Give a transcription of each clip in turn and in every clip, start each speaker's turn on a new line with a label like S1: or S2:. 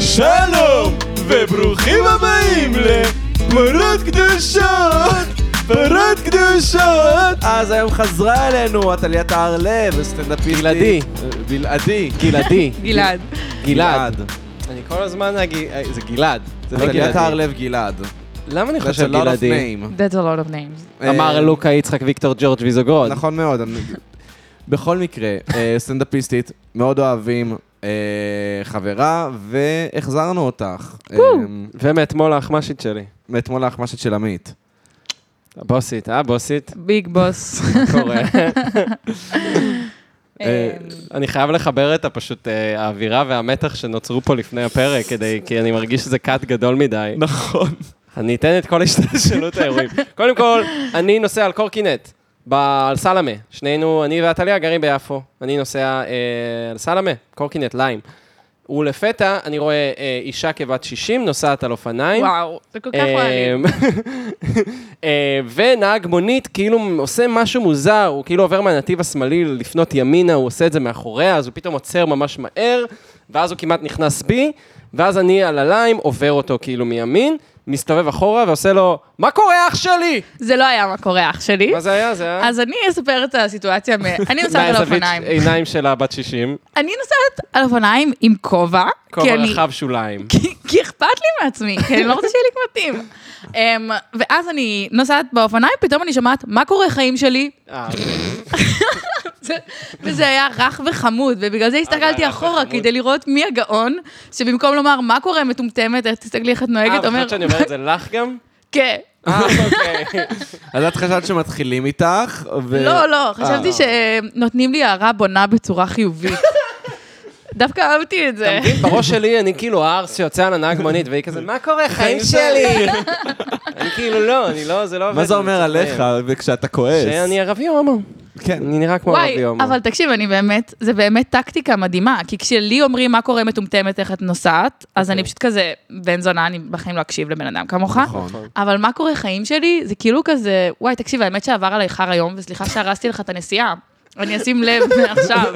S1: שלום, וברוכים הבאים לפרות קדושות, פרות קדושות.
S2: אז היום חזרה אלינו עתליית ההרלב, הסטנדאפיסטית.
S3: גלעדי.
S2: בלעדי.
S3: גלעדי.
S4: גלעד.
S3: גלעד. אני כל הזמן אגיד, זה גלעד. זה לא
S2: עתליית
S3: גלעדי.
S2: ההרלב גלעד.
S3: למה אני
S2: That's a
S3: חושב
S2: lot of
S3: גלעדי?
S2: name.
S4: That's a lot of names.
S3: אמר
S2: אה,
S3: לוקה יצחק ויקטור ג'ורג' ויזוגרוד.
S2: נכון מאוד. אני- בכל מקרה, אה, סטנדאפיסטית, מאוד אוהבים, אה, חברה, והחזרנו אותך. אה,
S3: ומאתמול האחמ"שית שלי.
S2: מאתמול האחמשת של עמית.
S3: הבוסית, אה, בוסית?
S4: ביג בוס.
S3: קורה.
S4: אה,
S3: אני חייב לחבר את הפשוט אה, האווירה והמתח שנוצרו פה לפני הפרק, כדי, כי אני מרגיש שזה קאט גדול מדי.
S1: נכון.
S3: אני אתן את כל השתלשלות האירועים. קודם כל, אני נוסע על קורקינט, ב- על סלמה. שנינו, אני ועתליה גרים ביפו. אני נוסע אה, על סלמה, קורקינט ליים. ולפתע אני רואה אה, אישה כבת 60 נוסעת על אופניים.
S4: וואו, זה כל כך רעיון.
S3: אה, ונהג מונית כאילו עושה משהו מוזר, הוא כאילו עובר מהנתיב השמאלי לפנות ימינה, הוא עושה את זה מאחוריה, אז הוא פתאום עוצר ממש מהר, ואז הוא כמעט נכנס בי, ואז אני על הליים, עובר אותו כאילו מימין, מסתובב אחורה ועושה לו, מה קורה אח שלי?
S4: זה לא היה מה קורה אח שלי.
S3: אה, מה זה היה? זה היה...
S4: אז אני אספר את הסיטואציה, מ- אני נוסעת על
S3: מהזווית
S4: אופניים.
S3: עיניים של הבת 60,
S4: אני נוסעת על אופניים עם כובע,
S3: כובע
S4: כי אני-
S3: רחב שוליים.
S4: כי- כי אכפת לי מעצמי, כי אני לא רוצה שיהיה לי קמטים. אמ, ואז אני נוסעת באופניים, פתאום אני שומעת, מה קורה חיים שלי?
S3: אה,
S4: זה- וזה היה רך וחמוד, ובגלל זה הסתכלתי
S3: היה אה, רך
S4: אחורה,
S3: וחמוד.
S4: כדי לראות מי הגאון, שבמקום לומר, מה קורה מטומטמת, איך תסתכלי איך את נוהגת,
S3: אה,
S4: אומר,
S3: חשבת שאני אומר את זה לך גם?
S4: כן.
S3: אה, אוקיי.
S2: אז את חשבת שמתחילים איתך, ו... אה.
S4: לא, לא, חשבתי שנותנים לי הערה בונה בצורה חיובית. דווקא אהבתי את זה.
S3: אתה מבין? בראש שלי אני כאילו הארס שיוצא על הנהג מונית, והיא כזה, מה קורה, חיים שלי? אני כאילו, לא, אני לא, זה לא עובד.
S2: מה זה אומר
S3: אני
S2: עליך,
S3: מצטער.
S2: וכשאתה כועס?
S3: שאני ערבי או הומו.
S2: כן.
S3: אני נראה כמו
S4: וואי,
S3: ערבי הומו.
S4: אבל תקשיב, אני באמת, זה באמת טקטיקה מדהימה, כי כשלי אומרים מה קורה מטומטמת, איך את נוסעת, אז אני פשוט כזה, בן זונה, אני בחיים לא אקשיב לבן אדם כמוך.
S2: אוקיי. נכון.
S4: אבל מה קורה חיים שלי, זה כאילו כזה, וואי, תקשיב, האמת שעבר עליי חר היום, וסליחה שהרסתי לך את הנסיעה. אני אשים לב מעכשיו.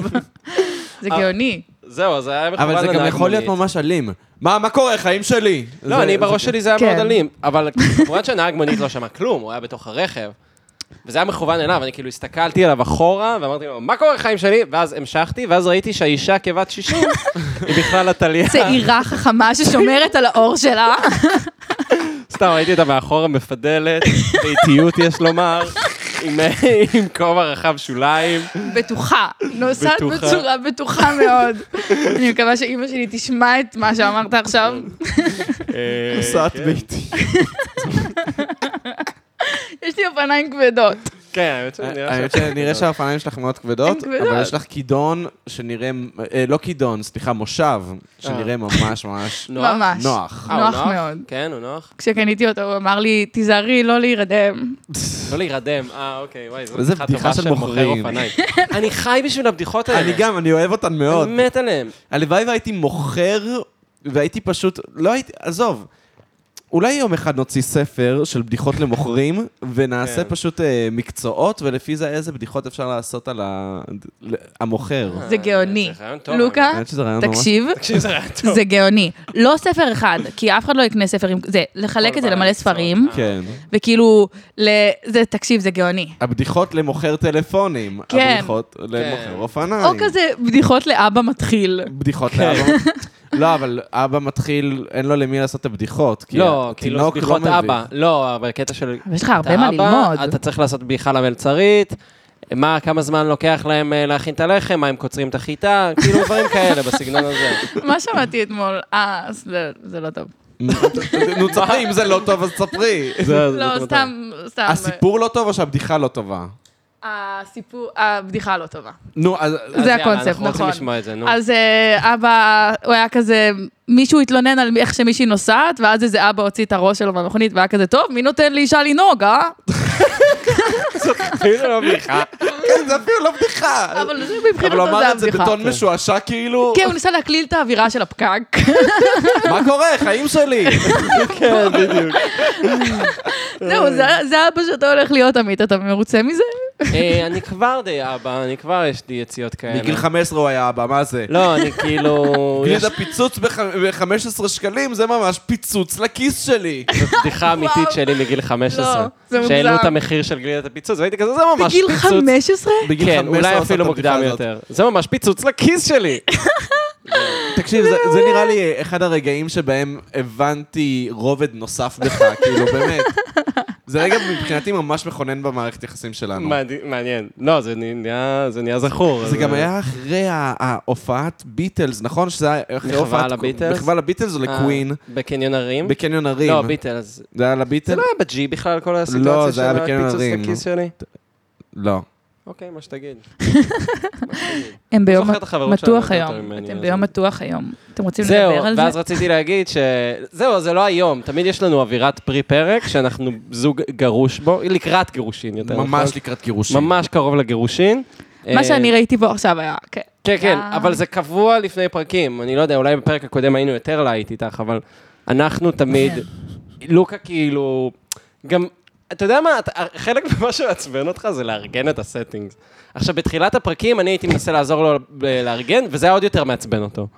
S4: זה
S2: אה.
S4: גאוני.
S3: זהו, אז היה מכוון
S2: אבל זה גם
S3: לנהג
S2: יכול להיות
S3: מונית.
S2: ממש אלים. מה, מה קורה, חיים שלי?
S3: לא,
S2: זה-
S3: אני
S2: זה-
S3: בראש שלי זה היה
S4: כן.
S3: מאוד אלים, אבל כמובן שהנהג מונית לא שמע כלום, הוא היה בתוך הרכב. וזה היה מכוון אליו, אני כאילו הסתכלתי עליו אחורה, ואמרתי לו, מה קורה חיים שלי? ואז המשכתי, ואז ראיתי שהאישה כבת 60, היא בכלל עתליה.
S4: צעירה חכמה ששומרת על האור שלה.
S3: סתם, ראיתי אותה מאחורה מפדלת, באיטיות יש לומר, עם- עם כובע רחב שוליים.
S4: בטוחה, נוסעת
S3: בטוחה.
S4: בצורה בטוחה מאוד. אני מקווה שאימא שלי תשמע את מה שאמרת עכשיו.
S3: אה,
S2: נוסעת
S3: כן.
S2: ביתי.
S4: יש לי אופניים כבדות.
S3: כן, האמת שזה נראה
S2: אה, האמת שנראה שהאופניים שלך מאוד כבדות,
S4: הן כבדות.
S2: אבל יש לך כידון שנראה, אה, לא כידון, סליחה, מושב, שנראה ממש ממש
S3: נוח?
S4: ממש.
S2: נוח.
S3: אה, הוא
S4: נוח מאוד.
S3: כן, הוא נוח.
S4: כשקניתי אותו, הוא אמר לי, תיזהרי לא להירדם.
S3: לא להירדם. אה, אוקיי, וואי, זו
S2: איזה
S3: בדיחה
S2: בדיחה
S3: טובה
S2: של
S3: של מוכר
S2: מוכרים.
S3: אופניים. אני חי בשביל הבדיחות האלה.
S2: אני גם, אני אוהב אותן מאוד.
S3: אני מת עליהם.
S2: הלוואי והייתי מוכר, והייתי פשוט, לא הייתי, עזוב. אולי יום אחד נוציא ספר של בדיחות למוכרים, ונעשה
S3: כן.
S2: פשוט אה, מקצועות, ולפי זה איזה בדיחות אפשר לעשות על ה- ל- המוכר.
S4: זה גאוני.
S3: אה, זה רעיון טוב,
S4: לוקה,
S2: האמת שזה רעיון ממש...
S4: אה. תקשיב,
S3: תקשיב, זה רעיון טוב.
S4: זה גאוני. לא ספר אחד, כי אף אחד לא יקנה ספר עם... זה, לחלק
S3: כל
S4: את זה
S3: בעל
S4: למלא
S3: מקצוע.
S4: ספרים,
S3: אה,
S2: כן.
S4: וכאילו, ל- זה, תקשיב, זה גאוני.
S2: הבדיחות למוכר טלפונים.
S4: כן.
S2: הבדיחות למוכר אופניים.
S4: או כזה בדיחות לאבא מתחיל.
S2: בדיחות
S3: כן.
S2: לאבא. לא, אבל אבא מתחיל, אין לו למי לעשות את הבדיחות. כי
S3: לא, כאילו,
S2: התינוק לא
S3: בדיחות
S2: מבין.
S3: אבא. לא, אבל קטע של...
S4: אבל יש לך הרבה
S3: אתה
S4: מה
S3: אבא,
S4: ללמוד.
S3: אתה צריך לעשות בדיחה למלצרית. מה, כמה זמן לוקח להם אה, להכין את הלחם, מה הם קוצרים את החיטה, כאילו דברים כאלה בסגנון הזה.
S4: מה שמעתי אתמול? אה, זה- זה לא טוב.
S2: נו, תספרי, אם זה לא טוב, אז תספרי.
S4: לא, סתם, סתם.
S2: הסיפור לא טוב או שהבדיחה לא טובה?
S4: הסיפור, הבדיחה לא טובה.
S2: נו, אז...
S3: אז
S4: זה
S3: יאללה,
S4: הקונספט,
S3: אנחנו רוצים
S4: נכון.
S3: לשמוע את זה, נו.
S4: אז אה, אבא, הוא היה כזה, מישהו התלונן על איך שמישהי נוסעת, ואז איזה אבא הוציא את הראש שלו מהמכונית, והיה כזה, טוב, מי נותן לאישה לנהוג, אה?
S3: כאילו לא בדיחה.
S2: כן, זה אפילו לא בדיחה.
S4: אבל זה
S2: אבל הוא
S4: מבחינתו
S2: אמר
S4: זה
S2: את זה
S4: הבדיחה.
S3: כן.
S2: בטון משועשע, כאילו...
S4: כן, הוא ניסה להקליל את האווירה של הפקק.
S2: מה קורה, חיים שלי?
S3: כן, בדיוק.
S4: זהו, זה- זה אבא שאתה הולך להיות עמית, אתה מרוצה מזה?
S3: אה, אני כבר די אבא, אני כבר יש לי יציאות כאלה.
S2: מגיל 15 הוא היה אבא, מה זה?
S3: לא, אני כאילו... יש
S2: גלידה פיצוץ ב-15 שקלים, זה ממש פיצוץ לכיס שלי.
S3: זאת בדיחה אמיתית שלי מגיל 15.
S4: לא, זה מוגזם.
S3: שהעלו את המחיר של גלידת הפיצוץ, והייתי כזה, זה ממש
S4: בגיל
S3: פיצוץ.
S4: 15?
S2: בגיל
S3: כן,
S2: 15
S3: אולי
S2: הוא עשה
S3: אפילו
S2: את הבדיחה
S3: מוקדם
S2: הזאת. כן,
S3: יותר. זה ממש פיצוץ לכיס שלי.
S2: תקשיב, זה,
S4: לא.
S2: זה נראה לי אחד הרגעים שבהם הבנתי רובד נוסף בך, כאילו, באמת. זה רגע מבחינתי ממש מכונן במערכת יחסים שלנו.
S3: מעניין- מעניין. לא, זה נהיה- זה נהיה זכור. אז-
S2: זה גם היה אחרי ה- ההופעת ביטלס, נכון? שזה היה אחרי
S3: מחווה
S2: הופעת...
S3: לביטלס?
S2: מחווה לביטלס או
S3: אה,
S2: לקווין?
S3: בקניון הרים?
S2: בקניון הרים.
S3: לא, ביטלס.
S2: זה היה
S3: זה
S2: לביטלס?
S3: לא היה בג'י בכלל, כל
S2: לא,
S3: הסיטואציה
S2: זה
S3: של
S2: היה בקניון
S3: הפיצוץ
S2: הרים.
S3: לכיס שלי?
S2: לא.
S3: אוקיי, מה שתגיד.
S4: הם ביום
S3: זוכר את החברות
S4: מתוח
S3: שלנו יותר
S4: היום.
S3: ממני,
S4: אתם
S3: אז-
S4: ביום מתוח היום. אתם רוצים
S3: זהו,
S4: לדבר על זה?
S3: ואז רציתי להגיד ש... זהו, זה לא היום. תמיד יש לנו אווירת פרי-פרק, שאנחנו זוג גרוש בו, לקראת גירושין יותר. נכון?
S2: ממש לקראת גירושים.
S3: ממש קרוב לגירושין. אה,
S4: מה שאני ראיתי פה עכשיו היה... כן.
S3: כן, כן,
S4: אה.
S3: אבל זה קבוע לפני פרקים. אני לא יודע, אולי בפרק הקודם היינו יותר להיט איתך, אבל אנחנו תמיד...
S4: כן.
S3: לוקה כאילו... גם... אתה יודע מה, אתה- חלק ממה שמעצבן אותך זה לארגן את הסטינגס. עכשיו, בתחילת הפרקים אני הייתי מנסה לעזור לו ב- לארגן, וזה היה עוד יותר מעצבן אותו.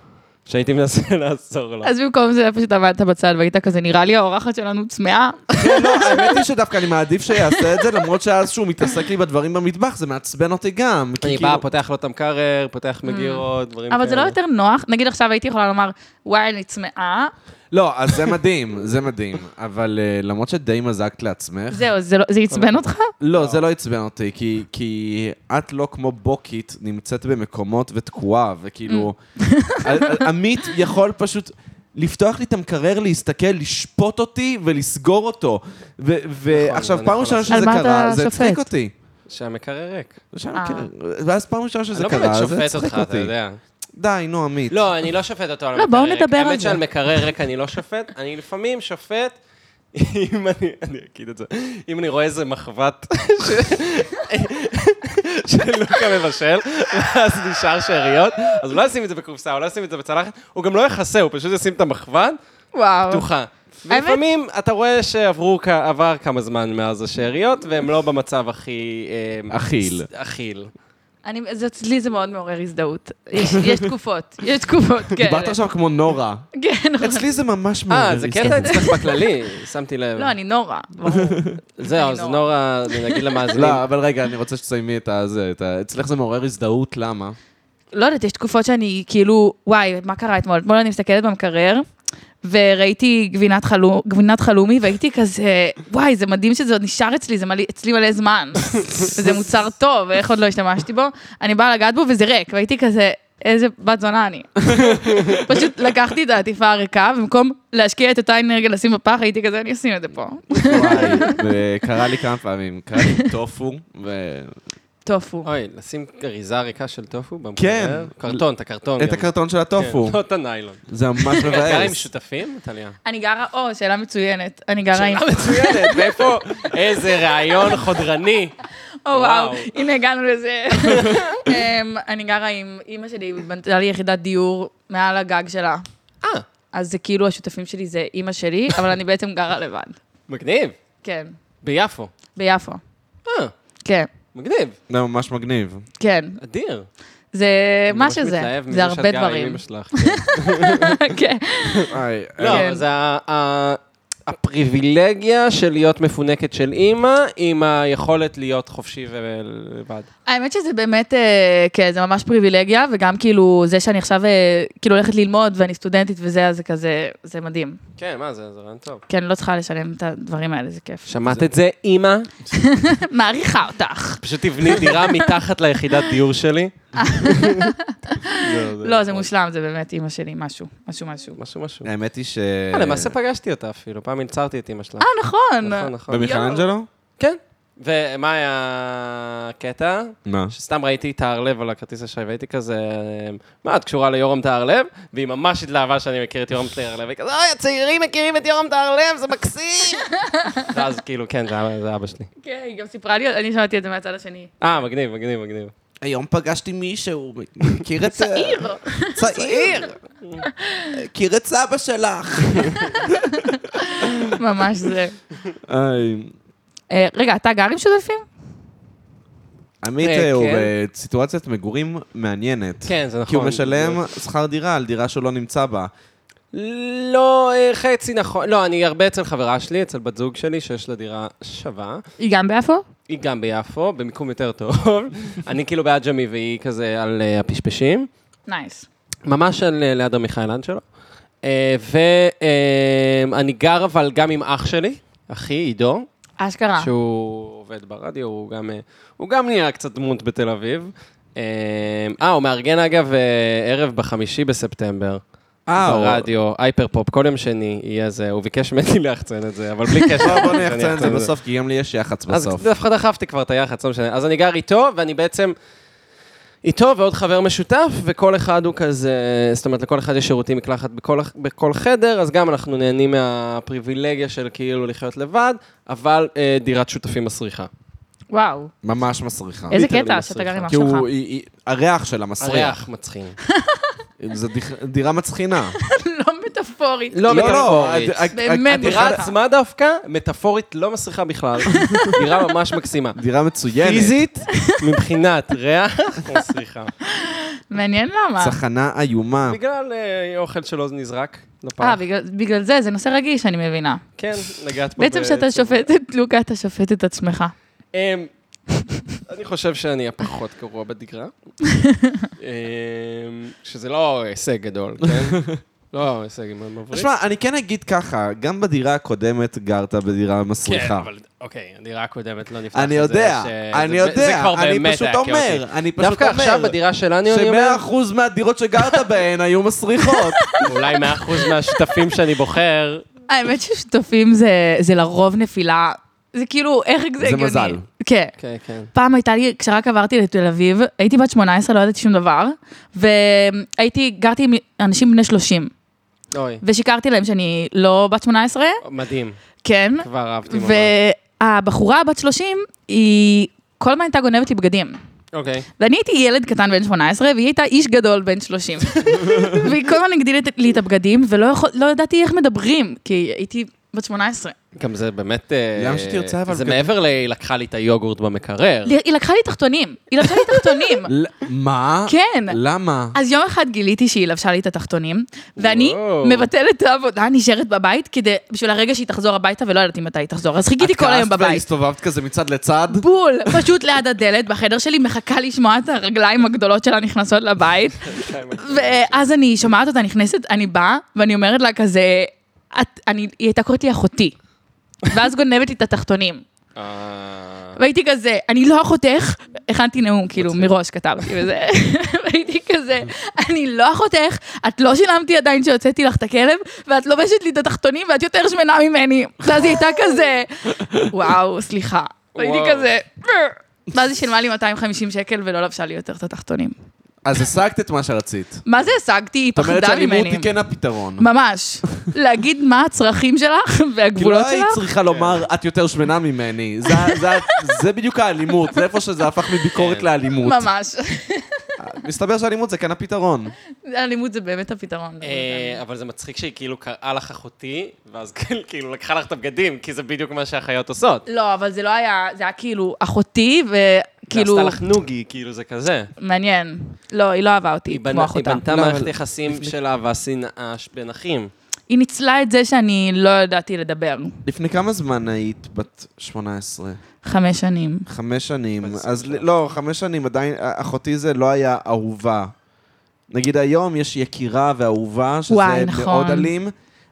S3: שהייתי מנסה לעזור לו.
S4: אז במקום זה פשוט עמדת בצד והיית כזה, נראה לי האורחת שלנו צמאה.
S2: כן, לא, האמת היא שדווקא אני מעדיף שיעשה את זה, למרות שאז שהוא מתעסק לי בדברים במטבח, זה מעצבן אותי גם. כי
S3: אני
S2: כאילו-
S3: בא, פותח לו את המקרר, פותח מגירות,
S2: כן,
S3: דברים כאלה.
S4: אה. אבל זה לא יותר נוח. נגיד עכשיו הייתי יכולה לומר, וואי, אני צמאה.
S2: לא, אז זה מדהים, זה מדהים. אבל אה, למרות שדי מזגת לעצמך,
S4: זהו, זה לא- זה עצבן אותך?
S2: לא, זה לא עצבן אותי, כי- כי את לא כמו בוקית נמצאת במקומות ותקועה, וכאילו...
S3: Mm.
S2: ה- ה- עמית יכול פשוט לפתוח לי את המקרר, להסתכל, לשפוט אותי ולסגור אותו. ו- ועכשיו,
S3: נכון, אני
S2: פעם
S3: יכול
S2: ראשונה שזה
S3: לעשות.
S4: על מה אתה
S2: קרה, זה הצחיק
S4: שופט?
S2: אותי.
S3: שהמקרר ריק.
S2: שם,
S4: אה.
S2: כן. ואז פעם ראשונה
S3: אני
S2: שזה
S3: לא באמת
S2: קרה, זה
S3: שופט
S2: הצחיק
S3: אותך, אתה
S2: אותי.
S3: יודע.
S2: די, נו, עמית.
S3: לא, אני לא שופט אותו על
S4: לא,
S3: מקרר ריק.
S4: בואו נדבר על
S3: האמת
S4: זה.
S3: שעל מקרר ריק אני לא שופט, אני לפעמים שופט, אם אני, אני אגיד את זה, אם אני רואה איזה מחבת ש- של לוקה מבשל, ואז נשאר שאריות, אז הוא לא ישים את זה בקופסה, הוא לא ישים את זה בצלחת, הוא גם לא יכסה, הוא פשוט ישים את המחבת
S4: וואו.
S3: פתוחה. ולפעמים אתה רואה שעברו כ- עבר כמה זמן מאז השאריות, והם לא במצב הכי... אה,
S2: אכיל.
S3: ס- אכיל.
S4: אני- זה- אצלי זה מאוד מעורר הזדהות. יש- יש תקופות, יש תקופות, כן.
S2: דיברת עכשיו כמו נורה.
S4: כן, אבל-
S2: אצלי זה ממש מעורר
S3: אה, זה
S2: הזדהות.
S3: קטע אצלך בכללי, שמתי לב.
S4: כן. לא, אני נורא, ברור.
S3: זהו,
S4: אני
S3: אז
S4: נורא.
S3: נורה, נגיד למאזינים.
S2: לא, אבל רגע, אני רוצה שתסיימי את הזה. את ה- אצלך זה מעורר הזדהות, למה?
S4: לא יודעת, יש תקופות שאני כאילו, וואי, מה קרה אתמול? אתמול אני מסתכלת במקרר, וראיתי גבינת, חלו, גבינת חלומי, והייתי כזה, וואי, זה מדהים שזה עוד נשאר אצלי, זה מלא, אצלי מלא זמן. וזה מוצר טוב, ואיך עוד לא השתמשתי בו? אני באה לגעת בו וזה ריק, והייתי כזה, איזה בת זונה אני. פשוט לקחתי את העטיפה הריקה, במקום להשקיע את אותה אנרגיה לשים בפח, הייתי כזה, אני אשים את זה פה.
S2: וואי, קרה לי כמה פעמים, קרה לי טופו, ו...
S4: טופו.
S3: אוי, לשים אריזה ריקה של טופו במקרר? קרטון, כן. את הקרטון.
S2: את
S3: גם.
S2: הקרטון של הטופו.
S3: אוקיי. כן, לא את הניילון.
S2: זה ממש
S3: את גרה עם
S2: מבאס.
S3: שותפים, טליה?
S4: אני גרה, או, שאלה מצוינת. אני גרה עם...
S3: אה, מצוינת, ואיפה? איזה רעיון חודרני.
S4: או וואו,
S3: וואו.
S4: Oh, הנה הגענו לזה. אמ, אני גרה עם אימא שלי, היא בנתה לי יחידת דיור מעל הגג שלה.
S3: אה,
S4: אז זה כאילו השותפים שלי זה אימא שלי, אבל אני בעצם גרה לבד.
S3: מגניב,
S4: כן,
S3: ביפו.
S4: ביפו.
S3: אה,
S4: כן,
S3: מגניב,
S2: זה ממש מגניב.
S4: כן.
S3: אדיר.
S4: זה
S3: אני
S4: מה
S3: ממש
S4: שזה,
S3: מתלהב מזה
S4: זה
S3: שאת
S4: הרבה
S3: גרה עם
S4: דברים.
S3: אמא שלך.
S4: כן.
S2: וואי,
S3: לא,
S4: כן.
S3: אבל זה ה- ה- הפריבילגיה של להיות מפונקת של אימא, עם היכולת להיות חופשי ולבד.
S4: האמת שזה באמת, אה, כן, זה ממש פריבילגיה, וגם כאילו זה שאני עכשיו אה, כאילו הולכת ללמוד ואני סטודנטית וזה, אז זה כזה, זה מדהים.
S3: כן, מה זה, זה רעיון טוב.
S4: כי אני לא צריכה לשלם את הדברים האלה, זה כיף.
S3: שמעת את זה, אימא?
S4: מעריכה אותך.
S3: פשוט תבני דירה מתחת ליחידת דיור שלי.
S4: לא,
S2: נכון.
S4: זה מושלם, זה באמת אימא שלי, משהו, משהו, משהו.
S3: משהו משהו.
S2: האמת היא ש...
S3: אה, למעשה פגשתי אותה אפילו, פעם הצהרתי את אמא שלה.
S4: אה, נכון.
S3: נכון, נכון.
S2: במיכלנג'לו?
S3: כן. ומה היה הקטע?
S2: מה?
S3: שסתם ראיתי את ההרלב על הכרטיס אשראי, והייתי כזה, מה, את קשורה ליורם תהרלב? והיא ממש התלהבה שאני מכיר את יורם תהרלב, והיא כזה, אוי, הצעירים מכירים את יורם תהרלב, זה מקסים! ואז כאילו, כן, זה אבא- זה אבא שלי.
S4: כן, היא גם סיפרה לי, אני שמעתי את זה מהצד השני.
S3: אה, מגניב, מגניב, מגניב.
S2: היום פגשתי מישהו, מכיר את... צעיר! צעיר! מכיר את סבא שלך.
S4: אה, ממש זה. אה, רגע, אתה גר עם שותפים?
S2: עמית
S3: אה,
S2: אה, הוא
S3: כן.
S2: בסיטואציית מגורים מעניינת.
S3: כן, זה נכון.
S2: כי הוא משלם שכר דירה על דירה שהוא לא נמצא בה.
S3: לא, אה, חצי נכון. לא, אני הרבה אצל חברה שלי, אצל בת זוג שלי, שיש לה דירה שווה.
S4: היא גם ביפו?
S3: היא גם ביפו, במיקום יותר טוב. אני כאילו בעג'מי והיא כזה על אה, הפשפשים.
S4: נייס.
S3: ממש על אה, ליד אה, המיכאלן שלו. ואני אה, גר אבל גם עם אח שלי, אחי עידו,
S4: אשכרה.
S3: שהוא עובד ברדיו, הוא גם, אה, הוא גם נראה קצת דמות בתל אביב. אה, אה, הוא מארגן אגב אה, ערב בחמישי בספטמבר.
S2: אה, הוא-
S3: ברדיו, הייפר פופ, כל יום שני יהיה זה, הוא ביקש ממני ליחצן את זה, אבל בלי קשר.
S2: בוא בוא
S3: אני
S2: נחצן את
S3: אחצן
S2: זה בסוף, כי גם לי יש יח"צ בסוף.
S3: אז לא- דווקא דחפתי כבר את היח"צ, לא משנה. אז אני גר איתו, ואני בעצם... איתו ועוד חבר משותף, וכל אחד הוא כזה, זאת אומרת, לכל אחד יש שירותי מקלחת בכל, בכל חדר, אז גם אנחנו נהנים מהפריבילגיה של כאילו לחיות לבד, אבל אה, דירת שותפים מסריחה.
S4: וואו.
S2: ממש מסריחה.
S4: איזה
S3: ליטרלי
S4: קטע
S3: מסריחה.
S4: שאתה גר עם אח
S2: כי
S4: שלך.
S2: הוא, היא- היא- הריח שלה מסריח.
S3: הריח מצחין.
S2: זו דיח- דירה מצחינה.
S4: לא מטאפורית.
S3: לא מטאפורית.
S2: הד- הד-
S4: באמת,
S2: הדירה-
S3: הדירה
S4: מסריחה.
S3: עצמה דווקא, מטאפורית לא מסריחה בכלל, דירה ממש מקסימה.
S2: דירה מצוינת.
S3: פיזית, מבחינת ריח, מסריחה.
S4: מעניין למה. אה,
S2: צחנה איומה.
S3: בגלל אה, אוכל שלא נזרק לא לפח.
S4: אה, בגלל- בגלל זה, זה נושא רגיש, אני מבינה.
S3: כן, נגעת פה.
S4: בעצם כשאתה
S3: בעצם.
S4: שופט את לוקה, אתה שופט את עצמך.
S3: אמ, אני חושב שאני הפחות גרוע בדגרה. אמ, שזה לא הישג גדול, כן? לא הישג מאוד מבריק.
S2: תשמע, אני כן אגיד ככה, גם בדירה הקודמת גרת בדירה
S3: כן,
S2: מסריחה.
S3: אבל אוקיי, הדירה הקודמת לא נפתחת.
S2: אני יודע, אני יודע, אני פשוט אומר, אני פשוט אומר.
S3: דווקא עכשיו בדירה שלנו, אני אומר,
S2: ש-100% מהדירות שגרת בהן היו מסריחות.
S3: אולי 100% מהשותפים שאני בוחר,
S4: האמת ששותפים זה- זה לרוב נפילה. זה כאילו, איך זה הגיוני.
S2: מזל.
S4: כן.
S3: כן, כן.
S4: פעם הייתה לי, כשרק עברתי לתל אביב, הייתי בת 18, לא ידעתי שום דבר, והייתי, גרתי עם אנשים בני 30,
S3: אוי,
S4: ושיקרתי להם שאני לא בת 18,
S3: מדהים,
S4: כן,
S3: כבר אהבתי ממש.
S4: והבחורה בת 30, היא כל הזמן הייתה גונבת לי בגדים.
S3: אוקיי.
S4: ואני הייתי ילד קטן בן 18, והיא הייתה איש גדול בן 30. והיא כל הזמן הגדילה את- לי את הבגדים, ולא יכול, לא ידעתי איך מדברים, כי הייתי בת 18.
S3: גם זה באמת... אה,
S2: למה שתרצה, אבל-
S3: זה מעבר ל... היא לקחה לי את היוגורט במקרר.
S4: היא לקחה לי תחתונים, היא לקחה לי תחתונים.
S2: מה?
S4: כן.
S2: למה?
S4: אז יום אחד גיליתי שהיא לבשה לי את התחתונים, ואני
S3: וואו.
S4: מבטלת את העבודה, נשארת בבית, כדי, בשביל הרגע שהיא תחזור הביתה, ולא ידעתי מתי היא תחזור, אז חיכיתי כל היום
S2: את כעסת
S4: בבית.
S2: והסתובבת כזה מצד לצד?
S4: בול, פשוט ליד הדלת, בחדר שלי, מחכה לשמוע את הרגליים הגדולות שלה נכנסות לבית, ואז אני שומעת אותה נכנסת, אני באה, ואני אומרת לה כזה, את, אני, היא הייתה קוראת לי אחותי, ואז גונבת לי את התחתונים.
S3: אה,
S4: והייתי כזה, אני לא אחותך, הכנתי נאום, כאילו, מראש כתבתי וזה, והייתי כזה, אני לא אחותך, את לא שילמתי עדיין שהוצאתי לך את הכלב, ואת לובשת לי את התחתונים ואת יותר שמנה ממני. ואז היא הייתה כזה, וואו, סליחה. והייתי
S3: וואו.
S4: כזה, ואז היא שילמה לי 250 שקל ולא לבשה לי יותר את התחתונים.
S2: אז השגת את מה שרצית.
S4: מה זה השגתי? היא
S2: זאת אומרת
S4: פחדה
S2: שהלימוד
S4: ממני.
S2: היא כן הפתרון.
S4: ממש. להגיד מה הצרכים שלך
S2: כאילו
S4: והגבולות
S2: לא היית
S4: שלך.
S2: צריכה לומר, את יותר שמנה ממני. זה- זה- זה בדיוק האלימות, זה איפה שזה הפך
S3: כן.
S2: מביקורת לאלימות.
S4: ממש.
S2: מסתבר שאלימות זה כן הפתרון.
S4: אלימות זה באמת הפתרון.
S3: אה, אבל זה מצחיק שהיא כאילו קראה לך אחותי, ואז כאילו- כאילו לקחה לך את הבגדים, כי זה בדיוק מה שהחיות עושות.
S4: לא, אבל זה לא היה, זה היה כאילו אחותי, וכאילו...
S3: כאילו... עשתה לך נוגי, כאילו זה כזה.
S4: מעניין. לא, היא לא אהבה אותי
S3: היא
S4: כמו
S3: בנה- היא
S4: אחותה.
S3: בנתה
S2: לא,
S3: מערכת
S2: אבל-
S3: יחסים שלה והשנאה ש- בין אחים.
S4: היא ניצלה את זה שאני לא ידעתי לדבר.
S2: לפני כמה זמן היית בת 18?
S4: חמש שנים.
S2: חמש
S3: בת
S2: שנים. אז
S3: עשרים
S2: ל- לא, חמש שנים עדיין, אחותי זה לא היה אהובה. נגיד היום יש יקירה ואהובה, שזה
S4: וואי, נכון.
S2: מאוד אלים.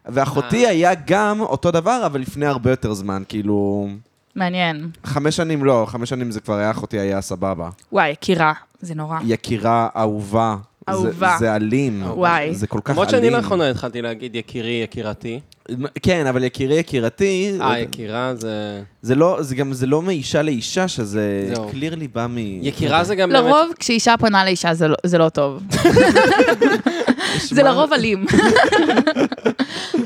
S2: ואחותי
S3: אה.
S2: היה גם אותו דבר, אבל לפני הרבה יותר זמן, כאילו...
S4: מעניין.
S2: חמש שנים לא, חמש שנים זה כבר היה אחותי היה סבבה.
S4: וואי, יקירה, זה נורא.
S2: יקירה אהובה. זה-
S4: אהובה.
S2: זה אלים.
S4: וואי.
S2: זה כל כך אלים.
S3: למרות שאני לאחרונה התחלתי להגיד יקירי, יקירתי.
S2: כן, אבל יקירי
S4: לא
S2: יקירתי,
S3: אה, יקירה זה...
S2: זה לא, זה גם, זה לא מאישה לאישה, שזה
S3: זהו.
S2: קלירלי בא מ...
S3: יקירה זה גם באמת...
S4: לרוב, כשאישה פונה לאישה זה לא- זה לא טוב. זה לרוב אלים.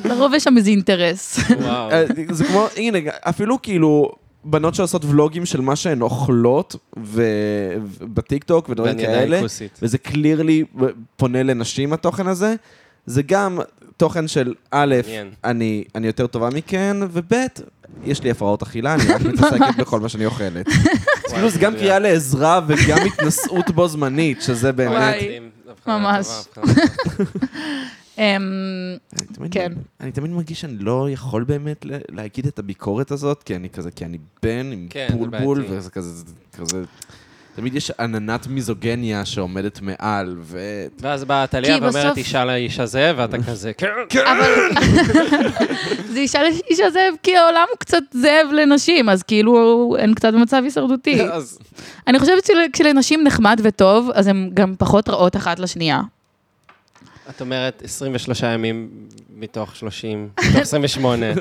S4: לרוב יש שם איזה אינטרס.
S3: וואו.
S2: אה, זה כמו, הנה, אפילו כאילו... בנות שעושות ולוגים של מה שהן אוכלות ו... בטיקטוק ודברים
S3: ואני עדיין
S2: כאלה,
S3: כוסית.
S2: וזה קלירלי פונה לנשים התוכן הזה, זה גם תוכן של א',
S3: מעניין.
S2: אני, אני יותר טובה מכן, וב', יש לי הפרעות אכילה, אני רק מתעסקת בכל מה שאני אוכלת. אז כאילו זה גם קריאה לעזרה וגם התנשאות בו זמנית, שזה באמת...
S4: וואי. ממש. אמ,
S2: אני תמיד-
S4: כן.
S2: אני תמיד מרגיש שאני לא יכול באמת ל- להגיד את הביקורת הזאת, כי אני כזה, כי אני בן עם
S3: כן, זה
S2: בולבול,
S3: בעייתי.
S2: וזה כזה, זה כזה... תמיד יש עננת מיזוגניה שעומדת מעל, ו...
S3: ואז באה טליה
S4: כי
S3: ואומרת,
S4: בסוף-
S3: אישה לאיש הזה, ואתה כזה, כן, כן.
S4: אבל זה אישה לאיש הזאב, כי העולם הוא קצת זאב לנשים, אז כאילו הן קצת במצב הישרדותי.
S3: אז-
S4: אני חושבת שכשלנשים נחמד וטוב, אז הן גם פחות רעות אחת לשנייה.
S3: את אומרת, 23 ימים מתוך 30, מתוך 28,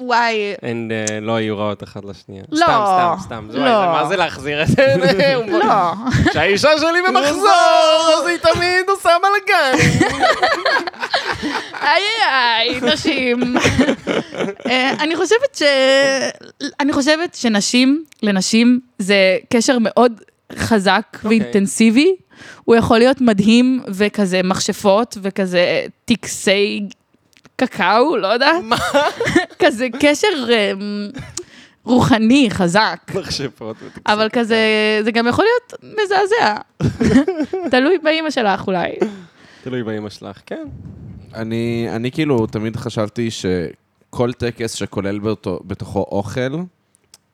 S4: וואי,
S3: הן אה, לא יהיו רעות אחת לשנייה.
S4: לא.
S3: סתם, סתם, סתם. זה-
S4: לא.
S3: וואי, זה- מה זה להחזיר את זה? הוא בוא-
S4: לא.
S3: כשהאישה שלי במחזור, אז היא תמיד עושה בלאגן.
S4: איי איי, איי, נשים. אה, אני חושבת ש... אני חושבת שנשים לנשים זה קשר מאוד חזק ואינטנסיבי. הוא יכול להיות מדהים וכזה מכשפות וכזה טקסי קקאו, לא יודעת. מה? כזה קשר אה, רוחני חזק.
S3: מחשבות.
S4: אבל כזה,
S3: כן.
S4: זה גם יכול להיות מזעזע. תלוי באימא שלך אולי.
S3: תלוי באמא שלך, כן.
S2: אני, אני כאילו תמיד חשבתי שכל טקס שכולל באותו, בתוכו אוכל,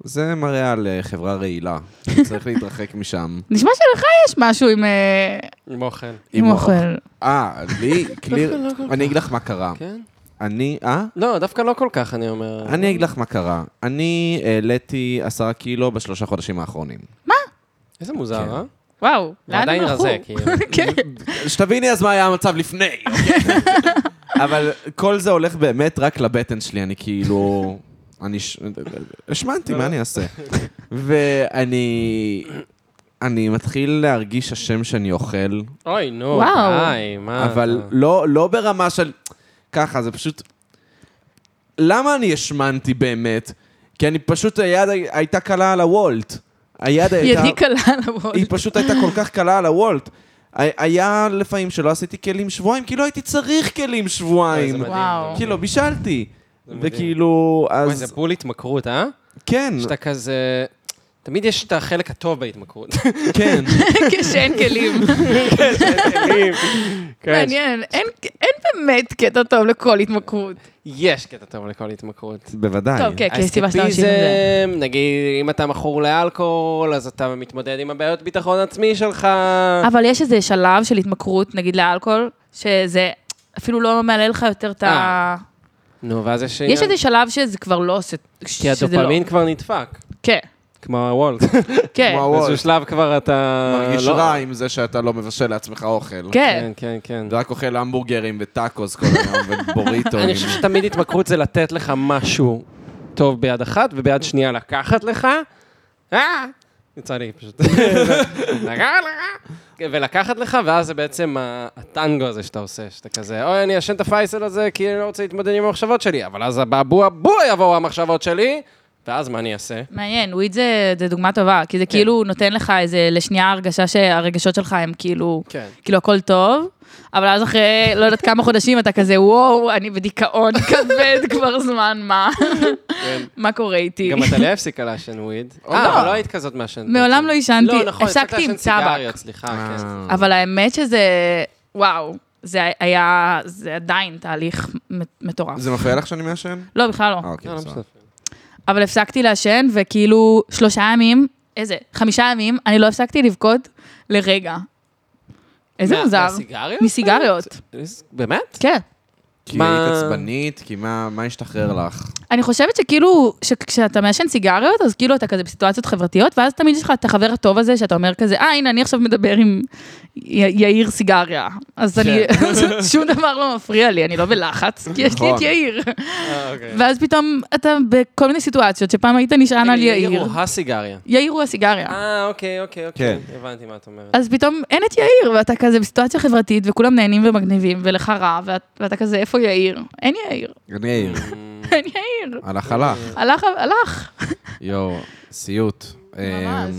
S2: זה מראה על אה, חברה רעילה. צריך להתרחק משם.
S4: נשמע שלך יש משהו עם... אה,
S3: עם אוכל.
S4: עם אוכל.
S2: אה, לי,
S3: דווקא
S2: קליר,
S3: לא כל
S2: אני אגיד לך מה קרה.
S4: אה.
S3: כן?
S2: אני, אה?
S3: לא, דווקא לא כל כך, אני אומר.
S2: אני אגיד לך מה קרה. אני העליתי עשרה קילו בשלושה חודשים האחרונים.
S3: איזה מוזר,
S2: כן.
S3: אה?
S4: וואו,
S3: הוא
S4: לאן הם
S3: עדיין
S4: הלכו?
S3: רזה, כאילו.
S4: כן.
S2: שתביני אז מה היה המצב לפני. אוקיי? אבל כל זה הולך באמת רק לבטן שלי, אני כאילו... אני... ש- השמנתי, מה אני אעשה? ואני... אני מתחיל להרגיש אשם שאני אוכל,
S3: אוי, נו,
S4: וואו.
S3: די, מה...
S2: אבל
S3: אתה-
S2: לא לא ברמה של... ככה, זה פשוט... למה אני השמנתי באמת? כי אני פשוט, היד הי- הייתה קלה על הוולט. היד
S3: אה,
S2: הייתה...
S4: ידי קלה למרות.
S2: היא פשוט הייתה כל כך קלה על הוולט. ה- היה לפעמים שלא עשיתי כלים שבועיים, כי לא הייתי צריך כלים
S3: אוי, אה, זה
S2: שבועיים.
S3: מדהים,
S4: וואו.
S3: זה
S2: כי לא בישלתי.
S3: מדהים.
S2: וכאילו,
S3: וואי, זה
S2: אז
S3: בול התמכרות, אה?
S2: כן,
S3: שאתה כזה... תמיד יש את החלק הטוב בהתמכרות. כן,
S2: כן.
S4: כשאין כלים. מעניין, אין אין באמת קטע טוב לכל התמכרות.
S3: אה, יש קטע טוב לכל התמכרות.
S2: בוודאי.
S4: טוב, כן, כי יש סיבה שאתה ממשיך עם זה.
S3: האסקפיזם, נגיד, אם אתה מכור לאלכוהול, אז אתה מתמודד עם הבעיות ביטחון עצמי שלך.
S4: אבל יש איזה שלב של התמכרות, נגיד לאלכוהול, שזה אפילו לא מעלה לך יותר את ה...
S3: אה. נו, ואז יש...
S4: יש איזה שלב שזה כבר לא עושה...
S3: כי
S4: שזה לא.
S3: הדופמין כבר נדפק.
S4: כן,
S3: כמו הוולט.
S4: כן,
S2: כמו הוולט.
S3: באיזשהו שלב כבר אתה...
S2: מרגיש
S3: לא-
S2: רע עם זה שאתה לא מבשל לעצמך אוכל.
S4: כן.
S3: כן, כן, כן.
S2: אתה רק אוכל המבורגרים וטאקוס כל היום ובוריטו.
S3: אני חושב שתמיד התמכרות זה לתת לך משהו טוב ביד אחת, וביד שנייה לקחת לך. אה! יצא לי פשוט. לקחת לך. ולקחת לך, ואז זה בעצם ה- הטנגו הזה שאתה עושה, שאתה כזה, אוי, אני אשן את הפייסל הזה כי אני לא רוצה להתמודד עם המחשבות שלי, אבל אז באבו אבו יבואו המחשבות שלי, ואז מה אני אעשה?
S4: מעניין, וויד זה, זה דוגמה טובה, כי
S3: כן.
S4: זה כאילו נותן לך איזה לשנייה הרגשה שהרגשות שלך הם כאילו,
S3: כן.
S4: כאילו הכל טוב, אבל אז אחרי לא יודעת כמה חודשים אתה כזה, וואו, אני בדיכאון כבד כבר זמן, מה? מה קורה איתי?
S3: גם אתה לא הפסיקה לעשן וויד.
S2: לא.
S3: אה, אבל לא היית כזאת מעשנת.
S4: מעולם לא עישנתי,
S3: לא, נכון, הפסקת
S4: הפסקתי עם
S3: לעשן סיגריות,
S4: טבק.
S3: סליחה,
S4: אה,
S3: כן.
S4: אבל האמת שזה, וואו, זה היה, זה עדיין תהליך מ- מטורף.
S2: אה, זה מפריע לך שאני מעשן?
S4: לא, בכלל לא.
S2: אה, אוקיי,
S3: לא, לא
S2: בסדר.
S3: משנה.
S4: אבל הפסקתי לעשן, וכאילו שלושה ימים, איזה, חמישה ימים, אני לא הפסקתי לבכות לרגע. איזה
S3: מה-
S4: מוזר.
S3: מהסיגריות?
S4: מסיגריות,
S3: באמת?
S4: כן.
S2: כי
S3: מה-
S2: היית עצבנית, כי מה מה השתחרר לך?
S4: אני חושבת שכאילו, שכשאתה מעשן סיגריות, אז כאילו אתה כזה בסיטואציות חברתיות, ואז תמיד יש לך את החבר הטוב הזה, שאתה אומר כזה, אה, הנה, אני עכשיו מדבר עם י- יאיר סיגריה. אז אני,
S3: כן.
S4: שום דבר לא מפריע לי, אני לא בלחץ, כי יש לי את
S2: נכון.
S4: יאיר.
S3: אה, אוקיי.
S4: ואז פתאום אתה בכל מיני סיטואציות, שפעם היית נשען על
S3: יאיר
S4: יאיר. כן.
S3: הוא הסיגריה.
S4: יאיר הוא הסיגריה.
S3: אה, אוקיי, אוקיי, אוקיי.
S2: כן.
S3: הבנתי מה את אומרת.
S4: אז פתאום אין את יאיר, ואתה כזה בסיטואציה חברתית, וכולם נהנים ומגניבים, ולך רע, ואת- ואתה כזה, איפה יאיר? אין יאיר,
S2: אני אעיר.
S3: אמ,
S4: אין יאיר.
S2: הלך הלך.
S4: הלך, הלך.
S2: יואו, אמ, סיוט. ממש.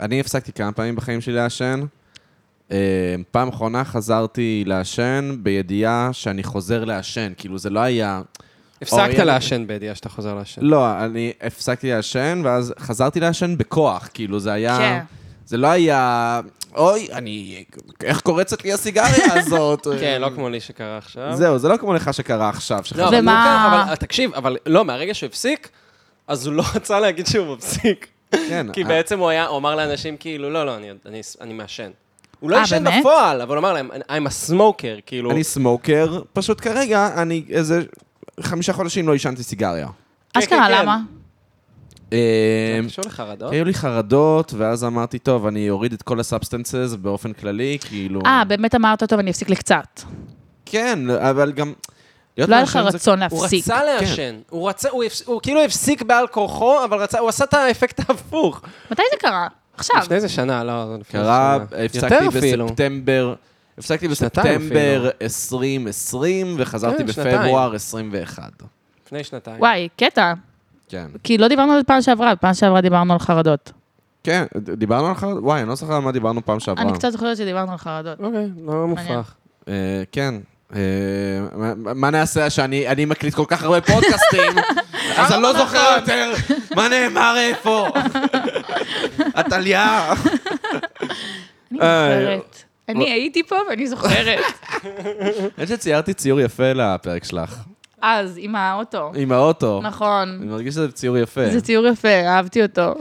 S2: אני הפסקתי כמה פעמים בחיים שלי לעשן, אה, פעם אחרונה חזרתי לעשן בידיעה שאני חוזר לעשן. כאילו, זה לא היה...
S3: הפסקת
S2: אוריאל-
S3: לעשן בידיעה שאתה חוזר לעשן.
S2: לא, אני הפסקתי לעשן, ואז חזרתי לעשן בכוח. כאילו, זה
S3: אה.
S2: היה...
S4: כן.
S2: זה לא היה... אוי, אני... איך קורצת לי הסיגריה הזאת? אמ,
S3: כן, לא כמו לי שקרה עכשיו.
S2: זהו, זה לא כמו לך שקרה עכשיו.
S3: לא,
S2: שחזרת-
S3: אבל
S4: ומה-
S3: הוא כן, אבל תקשיב, אבל לא, מהרגע שהוא הפסיק, אז הוא לא רצה להגיד שהוא מפסיק.
S2: כן,
S3: כי
S2: אה.
S3: בעצם הוא היה, הוא אמר לאנשים כאילו, לא, לא, אני- אני- אני מעשן. הוא לא
S4: אה,
S3: עישן
S4: באמת?
S3: בפועל, אבל הוא אמר להם, I'm a smoker, כאילו.
S2: אני סמוקר, פשוט כרגע אני איזה חמישה חודשים לא עישנתי סיגריה.
S3: כן,
S4: אשכרה,
S3: כן, כן.
S4: למה?
S2: אה,
S3: זה קשור לחרדות?
S2: היו לי חרדות, ואז אמרתי, טוב, אני אוריד את כל הסאבסטנסס באופן כללי, כאילו...
S4: אה, באמת אמרת, טוב, אני אפסיק לקצת.
S2: כן, אבל גם... להיות
S4: לא היה לך
S2: מעשן זה-
S4: רצון
S3: הוא
S4: להפסיק.
S2: כן.
S3: רצה לעשן, הוא רצה, הוא הפס- הוא כאילו הפסיק בעל כורחו, אבל רצה, הוא עשה את האפקט ההפוך.
S4: מתי זה קרה? עכשיו.
S3: לפני איזה שנה, לא, זה לפני
S2: קרה,
S3: שנה.
S2: הפסקתי
S3: יותר אפילו.
S2: בספטמבר, הפסקתי
S3: שנתיים
S2: בספטמבר 2020, וחזרתי
S3: כן, שנתיים.
S2: בפברואר 21.
S3: לפני שנתיים.
S4: וואי, קטע.
S2: כן.
S4: כי לא דיברנו על זה פעם שעברה, פעם שעברה דיברנו על חרדות.
S2: כן, דיברנו על חרדות? וואי, אני לא זוכר על מה דיברנו פעם שעברה.
S4: אני קצת זוכרת שדיברנו על חרדות.
S3: אוקיי, לא
S4: מעניין.
S3: מופרך.
S2: אה, כן. אה, מה- מה נעשה שאני אני מקליט כל כך הרבה פודקאסטים, אז אני לא
S4: נכון.
S2: זוכר יותר מה נאמר איפה. עתליה.
S4: אני
S2: אה,
S4: זוכרת. אני הייתי פה ואני זוכרת.
S2: אני חושב שציירתי ציור יפה לפרק שלך,
S3: אה.
S4: אז, עם האוטו.
S2: עם האוטו. אני
S4: נכון.
S2: מרגיש שזה ציור יפה.
S4: זה ציור יפה, אהבתי אותו.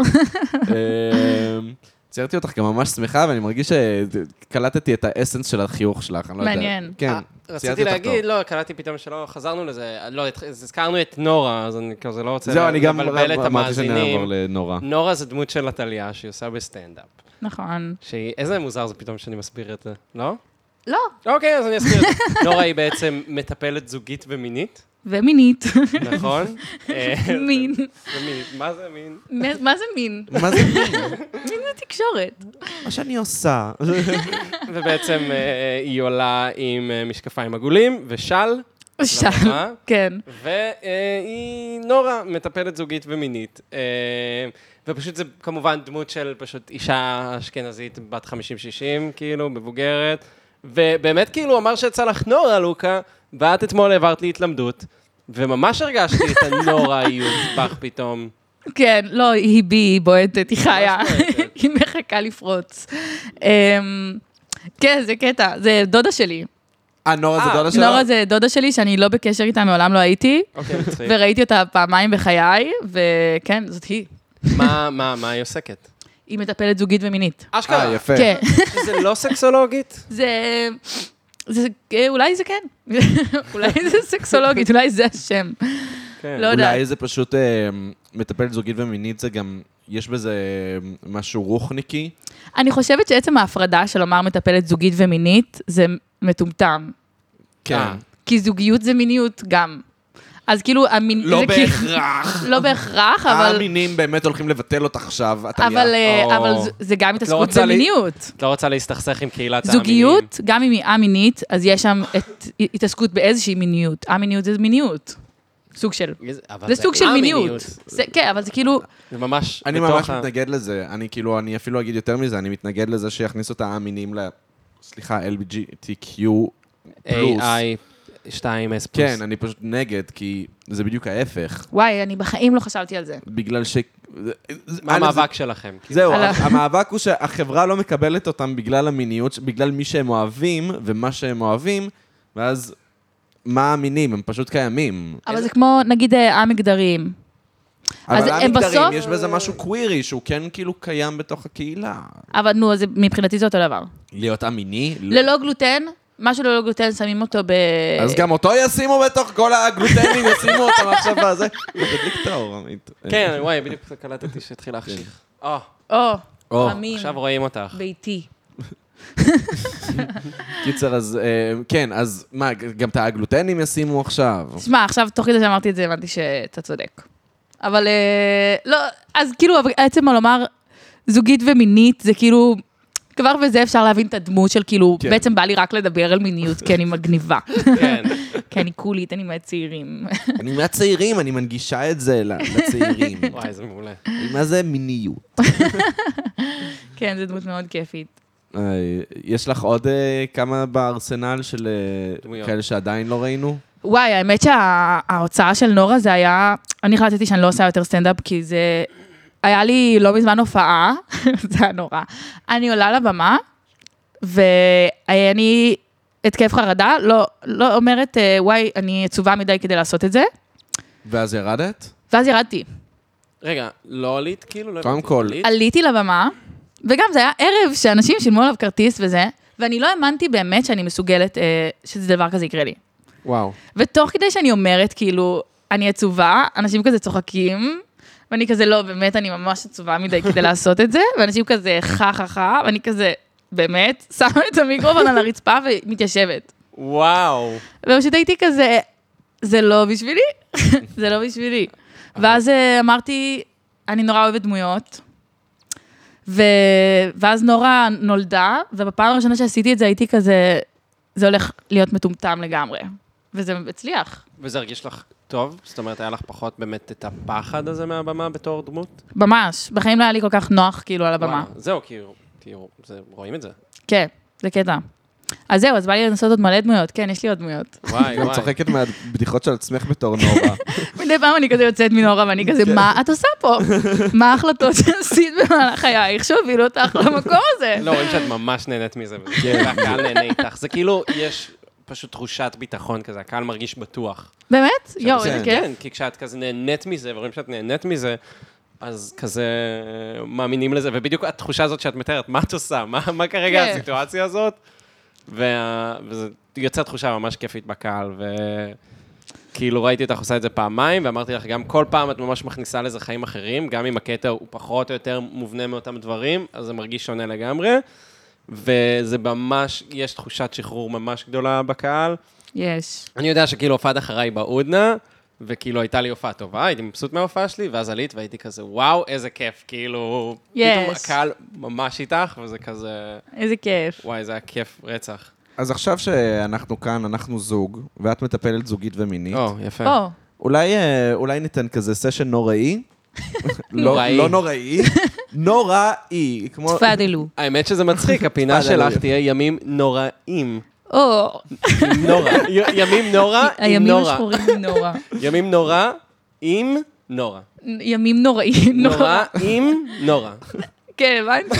S2: אמ, ציירתי אותך גם ממש שמחה, ואני מרגיש שקלטתי את האסנס של החיוך שלך, אני לא יודע.
S4: מעניין.
S2: כן,
S3: אה,
S2: ציירתי
S3: רציתי
S2: אותך
S3: להגיד, לא, קלטתי פתאום שלא חזרנו לזה, לא, התח- הזכרנו את נורה, אז אני כזה לא רוצה
S2: טוב. זהו, אני גם
S3: לבלבל את
S2: אמרתי שנעבור
S3: המאזינים.
S2: לנורה.
S3: נורה זה דמות של עתליה שהיא עושה בסטנדאפ.
S4: נכון.
S3: שהיא, איזה מוזר זה פתאום שאני מסביר את זה, לא?
S4: לא,
S3: אוקיי, אז אני אסביר את זה. נורה היא בעצם מטפלת זוגית ומינית,
S4: ומינית.
S3: נכון? אה,
S4: מין.
S3: ומינית, מה זה מין?
S4: מה- מה זה מין?
S2: מה זה
S4: מין זה תקשורת.
S2: מה שאני עושה?
S3: ובעצם אה, היא עולה עם אה, משקפיים עגולים ושל,
S4: שם.
S3: לבמה.
S4: כן.
S3: והיא נורה, מטפלת זוגית ומינית. אה, ופשוט זה כמובן דמות של פשוט אישה אשכנזית בת 50-60, כאילו, מבוגרת. ובאמת כאילו אמר שיצא לך נורה, לוקה, ואת אתמול העברת לי התלמדות, וממש הרגשתי את הנוראיות בך פתאום.
S4: כן, לא, היא בי, היא בועטת, היא חיה.
S3: בועטת.
S4: היא מחכה לפרוץ. אמ, כן, זה קטע, זה דודה שלי.
S2: אה, נורה זה
S3: אה,
S2: דודה שלך?
S4: נורה זה דודה שלי, שאני לא בקשר איתה, מעולם לא הייתי,
S3: אוקיי, מצחיק.
S4: וראיתי אותה פעמיים בחיי, וכן, זאת היא.
S3: מה, מה, מה היא עוסקת?
S4: היא מטפלת זוגית ומינית.
S3: אשכרה.
S2: אה, יפה.
S4: כן.
S3: זה לא סקסולוגית?
S4: זה... זה, אה, אולי זה כן, אולי זה סקסולוגית, אולי זה השם.
S3: כן.
S4: לא יודעת.
S2: אולי זה פשוט אה, מטפלת זוגית ומינית, זה גם, יש בזה אה, משהו רוחניקי.
S4: אני חושבת שעצם ההפרדה של לומר מטפלת זוגית ומינית, זה מטומטם.
S3: אה.
S4: כי זוגיות זה מיניות גם. אז כאילו, המין...
S2: לא
S4: זה כאילו-
S2: בהכרח.
S4: לא בהכרח, אבל...
S2: המינים באמת הולכים לבטל אותך עכשיו, עתליה.
S4: אבל, אה,
S3: אה, או. לא
S4: אבל זה- זה גם התעסקות
S3: רוצה לי-
S4: במיניות.
S3: את לא רוצה להסתכסך עם קהילת האמינים.
S4: זוגיות, גם אם היא א-מינית, אז יש שם את התעסקות באיזושהי מיניות. א-מיניות זה מיניות. סוג של.
S3: אבל
S4: זה סוג של מיניות.
S3: א-מיניות.
S4: זה- כן, אבל זה כאילו,
S3: זה ממש
S2: אני
S3: בתוך
S2: ממש
S3: ה-
S2: מתנגד לזה, אני כאילו, אני אפילו אגיד יותר מזה, אני מתנגד לזה שיכניסו את המינים ל... סליחה, LBGTQ פלוס.
S3: AI 2S פלוס.
S2: כן, אני פשוט נגד, כי זה בדיוק ההפך.
S4: וואי, אני בחיים לא חשבתי על זה.
S2: בגלל ש...
S3: מה
S2: א', זה-
S3: המאבק שלכם? כאילו?
S2: זהו,
S4: על ה-
S2: המאבק הוא שהחברה לא מקבלת אותם בגלל המיניות, בגלל מי שהם אוהבים ומה שהם אוהבים, ואז מה המינים? הם פשוט קיימים.
S4: אבל זה כמו, נגיד, אה, א-מגדריים. אז
S2: אבל
S4: הם
S2: המגדרים,
S4: בסוף-
S2: יש בזה משהו קווירי, שהוא כן כאילו קיים בתוך הקהילה.
S4: אבל נו, אז זה- מבחינתי זה אותו דבר.
S2: להיות א-מיני? לא.
S4: ללא גלוטן, מה שללא גלוטן שמים אותו ב...
S2: אז גם אותו ישימו בתוך כל הגלוטנים, ישימו אותם עכשיו בזה. תדליק את האור, עמית.
S3: כן, וואי, בדיוק קלטתי שהתחיל להחשיך.
S2: כן.
S3: אה,
S4: או,
S2: או,
S4: חמים,
S3: עכשיו רואים אותך.
S4: ביתי.
S2: קיצר, אז אה, כן, אז מה, גם את הגלוטנים ישימו עכשיו?
S4: תשמע, עכשיו, תוך כדי שאמרתי את זה, הבנתי שאתה צודק. אבל אה, לא, אז כאילו, אבל עצם לומר זוגית ומינית, זה כאילו, כבר בזה אפשר להבין את הדמות של כאילו,
S2: כן.
S4: בעצם בא לי רק לדבר על מיניות, כי אני מגניבה.
S3: כן.
S4: כי אני קולית, אני מהצעירים.
S2: אני מהצעירים, אני מנגישה את זה ל- לצעירים.
S3: וואי, זה מעולה.
S2: מה זה מיניות?
S4: כן, זו דמות מאוד כיפית.
S2: אה, יש לך עוד אה, כמה בארסנל של אה,
S3: דמויות.
S2: כאלה שעדיין לא ראינו?
S4: וואי, האמת שההוצאה של נורה זה היה, אני החלטתי שאני לא עושה יותר סטנדאפ, כי זה... היה לי לא מזמן הופעה, זה היה נורא. אני עולה לבמה, ואני התקף חרדה, לא, לא אומרת, אה, וואי, אני עצובה מדי כדי לעשות את זה,
S2: ואז ירדת?
S4: ואז ירדתי.
S3: רגע, לא עלית כאילו? לא
S2: קודם
S3: הבנתי.
S2: כל,
S3: עלית?
S4: עליתי לבמה, וגם זה היה ערב שאנשים שילמו עליו כרטיס וזה, ואני לא האמנתי באמת שאני מסוגלת, אה, שזה דבר כזה יקרה לי.
S2: וואו.
S4: ותוך כדי שאני אומרת, כאילו, אני עצובה, אנשים כזה צוחקים, ואני כזה, לא, באמת, אני ממש עצובה מדי כדי לעשות את זה, ואנשים כזה, חה חה חה, ואני כזה, באמת, שמה את המיקרופון על הרצפה ומתיישבת.
S3: וואו.
S4: ופשוט הייתי כזה, זה לא בשבילי, זה לא בשבילי. ואז אה, אמרתי, אני נורא אוהבת דמויות. ו... ואז נורה נולדה, ובפעם הראשונה שעשיתי את זה הייתי כזה, זה הולך להיות מטומטם לגמרי. וזה הצליח.
S3: וזה הרגיש לך טוב? זאת אומרת, היה לך פחות באמת את הפחד הזה מהבמה בתור דמות?
S4: ממש. בחיים לא היה לי כל כך נוח, כאילו, על הבמה.
S3: וואו, זהו, כאילו, כאילו, זה- רואים את זה.
S4: כן, זה קטע. אז זהו, אז בא לי לנסות עוד מלא דמויות. כן, יש לי עוד דמויות.
S3: וואי,
S2: גם
S3: וואי.
S2: צוחקת מהבדיחות של עצמך בתור נורא.
S4: מדי פעם אני כזה יוצאת מנורה, ואני כזה,
S3: כן.
S4: מה את עושה פה? מה ההחלטות שעשית במהלך חייך שהובילו אותך למקום הזה?
S3: לא, רואים שאת ממש נהנית מזה, וזה
S2: כן.
S3: כאילו, והקהל נהנה איתך. זה כאילו, יש פשוט תחושת ביטחון כזה, הקהל מרגיש בטוח.
S4: באמת? יואו,
S3: שזה-
S4: איזה כיף.
S3: כן, כי כשאת כזה נהנית מזה, ורואים שאת נהנית מזה, אז כזה אה, מאמינים לזה, ובדיוק התחושה הזאת שאת מתארת, מה את עושה? מה מה כרגע
S4: כן.
S3: הסיטואציה הזאת? וה- וזה יוצא תחושה ממש כיפית בקהל, ו... כאילו ראיתי אותך עושה את זה פעמיים, ואמרתי לך, גם כל פעם את ממש מכניסה לזה חיים אחרים, גם אם הקטע הוא פחות או יותר מובנה מאותם דברים, אז זה מרגיש שונה לגמרי, וזה ממש, יש תחושת שחרור ממש גדולה בקהל.
S4: יש.
S3: אני יודע שכאילו הופעת אחריי בהודנה, וכאילו הייתה לי הופעה טובה, הייתי מבסוט מההופעה שלי, ואז עלית והייתי כזה, וואו, איזה כיף, כאילו, פתאום
S4: Yes.
S3: הקהל ממש איתך, וזה כזה,
S4: איזה כיף.
S3: וואי, זה היה כיף רצח.
S2: אז עכשיו שאנחנו כאן, אנחנו זוג, ואת מטפלת זוגית ומינית,
S3: או, יפה.
S4: או,
S2: אולי, אה, אולי ניתן כזה סשן נוראי? לא,
S3: נוראי.
S2: לא נוראי, נוראי. כמו...
S4: תפאדלו.
S3: האמת שזה מצחיק, הפינה
S2: תפאדל,
S3: שלך
S2: אלוהים.
S3: תהיה ימים נוראים.
S4: או,
S3: עם נורה. י- ימים נורא עם
S4: הימים
S3: אה, נורה.
S4: השחורים עם נורה.
S3: ימים נורא עם נורה.
S4: ימים נוראים,
S3: נורא
S4: נורא.
S3: עם נורה.
S4: כן, הבנתי.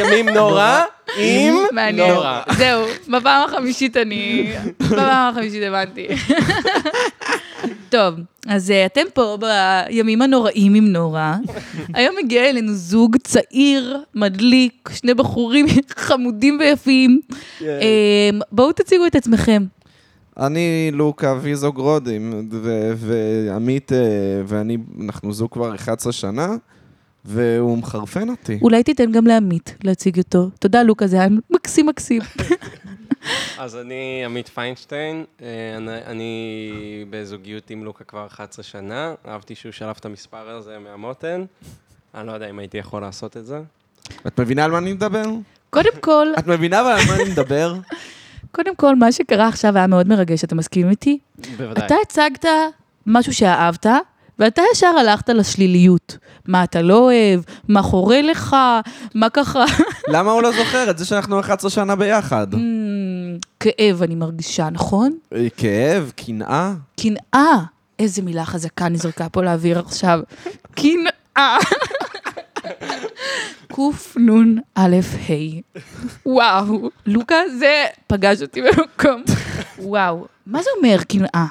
S3: ימים נורא עם
S4: מעניין.
S3: נורה.
S4: זהו, בפעם החמישית אני... בפעם החמישית הבנתי. טוב, אז אה, אתם פה בימים הנוראים עם נורה. היום מגיע אלינו זוג צעיר, מדליק, שני בחורים חמודים ויפים.
S3: כן.
S4: אה, בואו תציגו את עצמכם.
S2: אני לוקה ויזוגרודים, ו- ועמית אה, ואני, אנחנו זוג כבר 11 שנה, והוא מחרפן אותי.
S4: אולי תיתן גם לעמית להציג אותו. תודה, לוקה, זה היה מקסים מקסים.
S3: אז אני עמית פיינשטיין, אה, אני- אני בזוגיות עם לוקה כבר 11 שנה, אהבתי שהוא שלף את המספר הזה מהמותן. אני לא יודע אם הייתי יכול לעשות את זה.
S2: את מבינה על מה אני מדבר?
S4: קודם כל,
S2: את מבינה על מה אני מדבר?
S4: קודם כל, מה שקרה עכשיו היה מאוד מרגש, אתה מסכים איתי?
S3: בוודאי.
S4: אתה הצגת משהו שאהבת, ואתה ישר הלכת לשליליות. מה אתה לא אוהב, מה חורה לך, מה ככה...
S2: למה הוא לא זוכר את זה שאנחנו 11 שנה ביחד?
S4: אמ, כאב אני מרגישה, נכון?
S2: אה, כאב, קנאה.
S4: קנאה. איזה מילה חזקה נזרקה פה לאוויר עכשיו. קנאה. קנ"א ה'. וואו, לוקה זה פגש אותי במקום. וואו, מה זה אומר קנאה?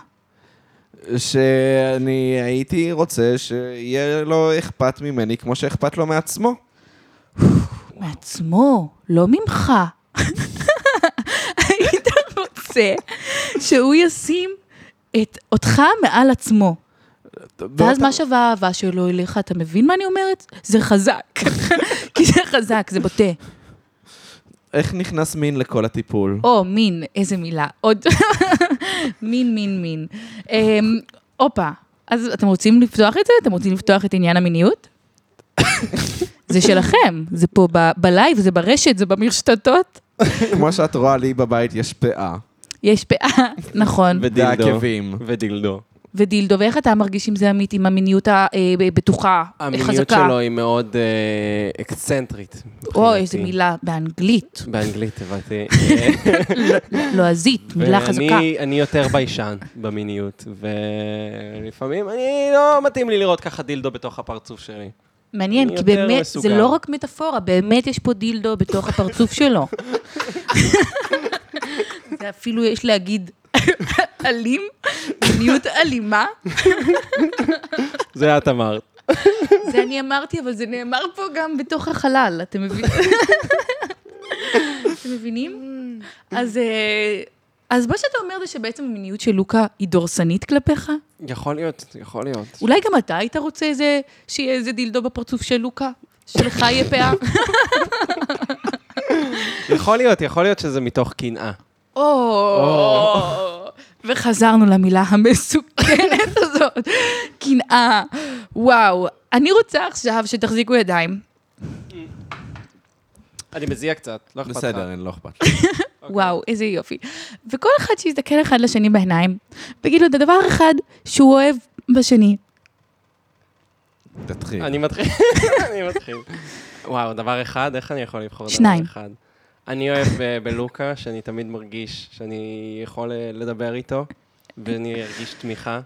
S2: שאני הייתי רוצה שיהיה לו אכפת ממני כמו שאכפת לו מעצמו.
S4: מעצמו, לא ממך. היית רוצה שהוא ישים את אותך מעל עצמו. ואז מה שווה האהבה שלו אליך, אתה מבין מה אני אומרת? זה חזק. כי זה חזק, זה בוטה.
S2: איך נכנס מין לכל הטיפול?
S4: או, מין, איזה מילה. עוד... מין, מין, מין. אמ, הופה, אז אתם רוצים לפתוח את זה? אתם רוצים לפתוח את עניין המיניות? זה שלכם, זה פה ב- בלייב, זה ברשת, זה במרשתתות.
S2: כמו שאת רואה לי בבית יש פאה.
S4: יש פאה, נכון.
S3: ודילדו.
S2: ועקבים.
S3: ודילדו.
S4: ודילדו, ואיך אתה מרגיש עם זה, עמית, עם המיניות הבטוחה,
S3: המיניות
S4: חזקה?
S3: שלו היא מאוד אה, אקסצנטרית.
S4: אוי,
S3: מבחינתי.
S4: איזה מילה באנגלית,
S3: באנגלית, הבנתי. אה,
S4: לועזית, מילה חזקה.
S3: ואני אני יותר ביישן במיניות, ולפעמים אני לא מתאים לי לראות ככה דילדו בתוך הפרצוף שלי.
S4: מעניין,
S3: אני
S4: כי
S3: יותר
S4: באמת,
S3: מסוגל.
S4: זה לא רק מטאפורה, באמת יש פה דילדו בתוך הפרצוף שלו. זה אפילו, יש להגיד, אלים, מיניות אלימה.
S3: זה את אמרת.
S4: זה אני אמרתי, אבל זה נאמר פה גם בתוך החלל, אתם מבינים? אתם מבינים? אז... אה, אז מה שאתה אומר זה שבעצם המיניות של לוקה היא דורסנית כלפיך?
S3: יכול להיות, יכול להיות.
S4: אולי גם אתה היית רוצה איזה, שיהיה איזה דילדו בפרצוף של לוקה? שלך יהיה פאה?
S3: יכול להיות, יכול להיות שזה מתוך קנאה.
S4: או, וחזרנו למילה המסוכנת הזאת, קנאה. וואו, אני רוצה עכשיו שתחזיקו ידיים.
S3: אני מזיע קצת, לא אכפת לך.
S2: בסדר, אין, לא אכפת.
S3: אוקיי.
S4: וואו, איזה יופי. וכל אחד שיסתכל אחד לשני בעיניים, ויגיד לו את הדבר האחד שהוא אוהב בשני.
S2: תתחיל.
S3: אני מתחיל, אני מתחיל. וואו, דבר אחד, איך אני יכול לבחור
S4: שניים.
S3: דבר אחד? אני אוהב אה, בלוקה, שאני תמיד מרגיש שאני יכול אה, לדבר איתו, ואני ארגיש תמיכה,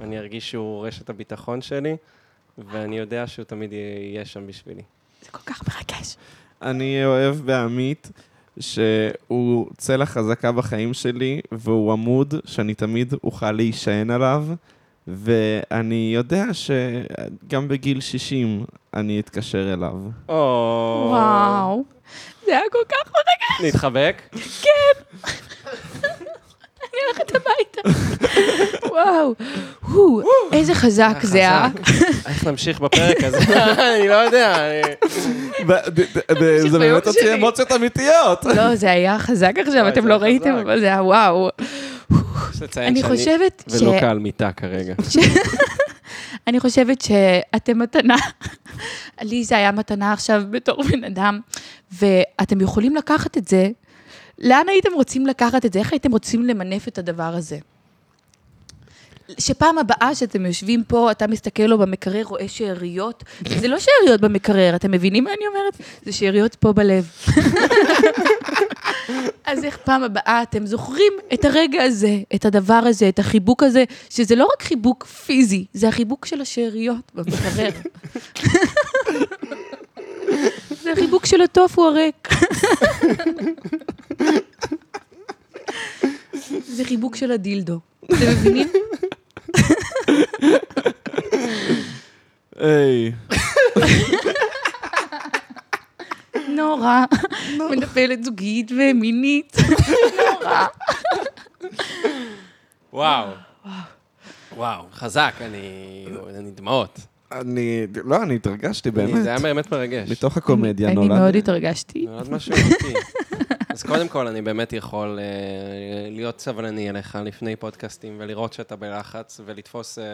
S3: אני ארגיש שהוא רשת הביטחון שלי, ואני יודע שהוא תמיד יהיה שם בשבילי.
S4: זה כל כך מרגש.
S1: אני אוהב בעמית שהוא צלע חזקה בחיים שלי, והוא עמוד שאני תמיד אוכל להישען עליו, ואני יודע שגם בגיל 60 אני אתקשר אליו.
S3: או...
S4: וואו. זה היה כל כך מרגש,
S3: נתחבק?
S4: אני הולכת הביתה. וואו. הו, איזה חזק
S3: אה,
S4: זה היה.
S3: איך נמשיך בפרק הזה? אני לא יודע. אני-
S4: תמשיך
S2: זה
S4: ביום
S2: באמת הוציא
S4: שלי.
S2: אמוציות אמיתיות.
S4: לא, זה היה חזק עכשיו,
S3: וואי,
S4: אתם
S3: זה
S4: לא
S3: היה
S4: ראיתם,
S3: חזק.
S4: אבל זה היה וואו.
S3: יש לציין
S4: אני
S3: שאני-
S4: חושבת ש...
S3: ולוקה על מיטה כרגע.
S4: אני חושבת שאתם מתנה, לי זה היה מתנה עכשיו בתור בן אדם, ואתם יכולים לקחת את זה, לאן הייתם רוצים לקחת את זה? איך הייתם רוצים למנף את הדבר הזה? שפעם הבאה שאתם יושבים פה, אתה מסתכל לו במקרר, רואה שאריות. זה לא שאריות במקרר, אתם מבינים מה אני אומרת? זה שאריות פה בלב. אז איך פעם הבאה אתם זוכרים את הרגע הזה, את הדבר הזה, את החיבוק הזה, שזה לא רק חיבוק פיזי, זה החיבוק של השאריות במקרר. זה החיבוק של הטופו הריק. זה חיבוק של הדילדו. אתם מבינים?
S2: היי.
S4: נורא. מטפלת זוגית ומינית. נורא.
S3: וואו. וואו, חזק, אני... אני דמעות.
S2: אני, לא, אני התרגשתי
S3: אני- זה
S2: באמת.
S3: היה באמת מרגש.
S2: מתוך הקומדיה
S4: אני
S2: נולד.
S4: מאוד התרגשתי.
S3: נולד משהו אמיתי. אז קודם כל, אני באמת יכול אה, להיות סבלני אליך לפני פודקאסטים ולראות שאתה בלחץ ולתפוס אה,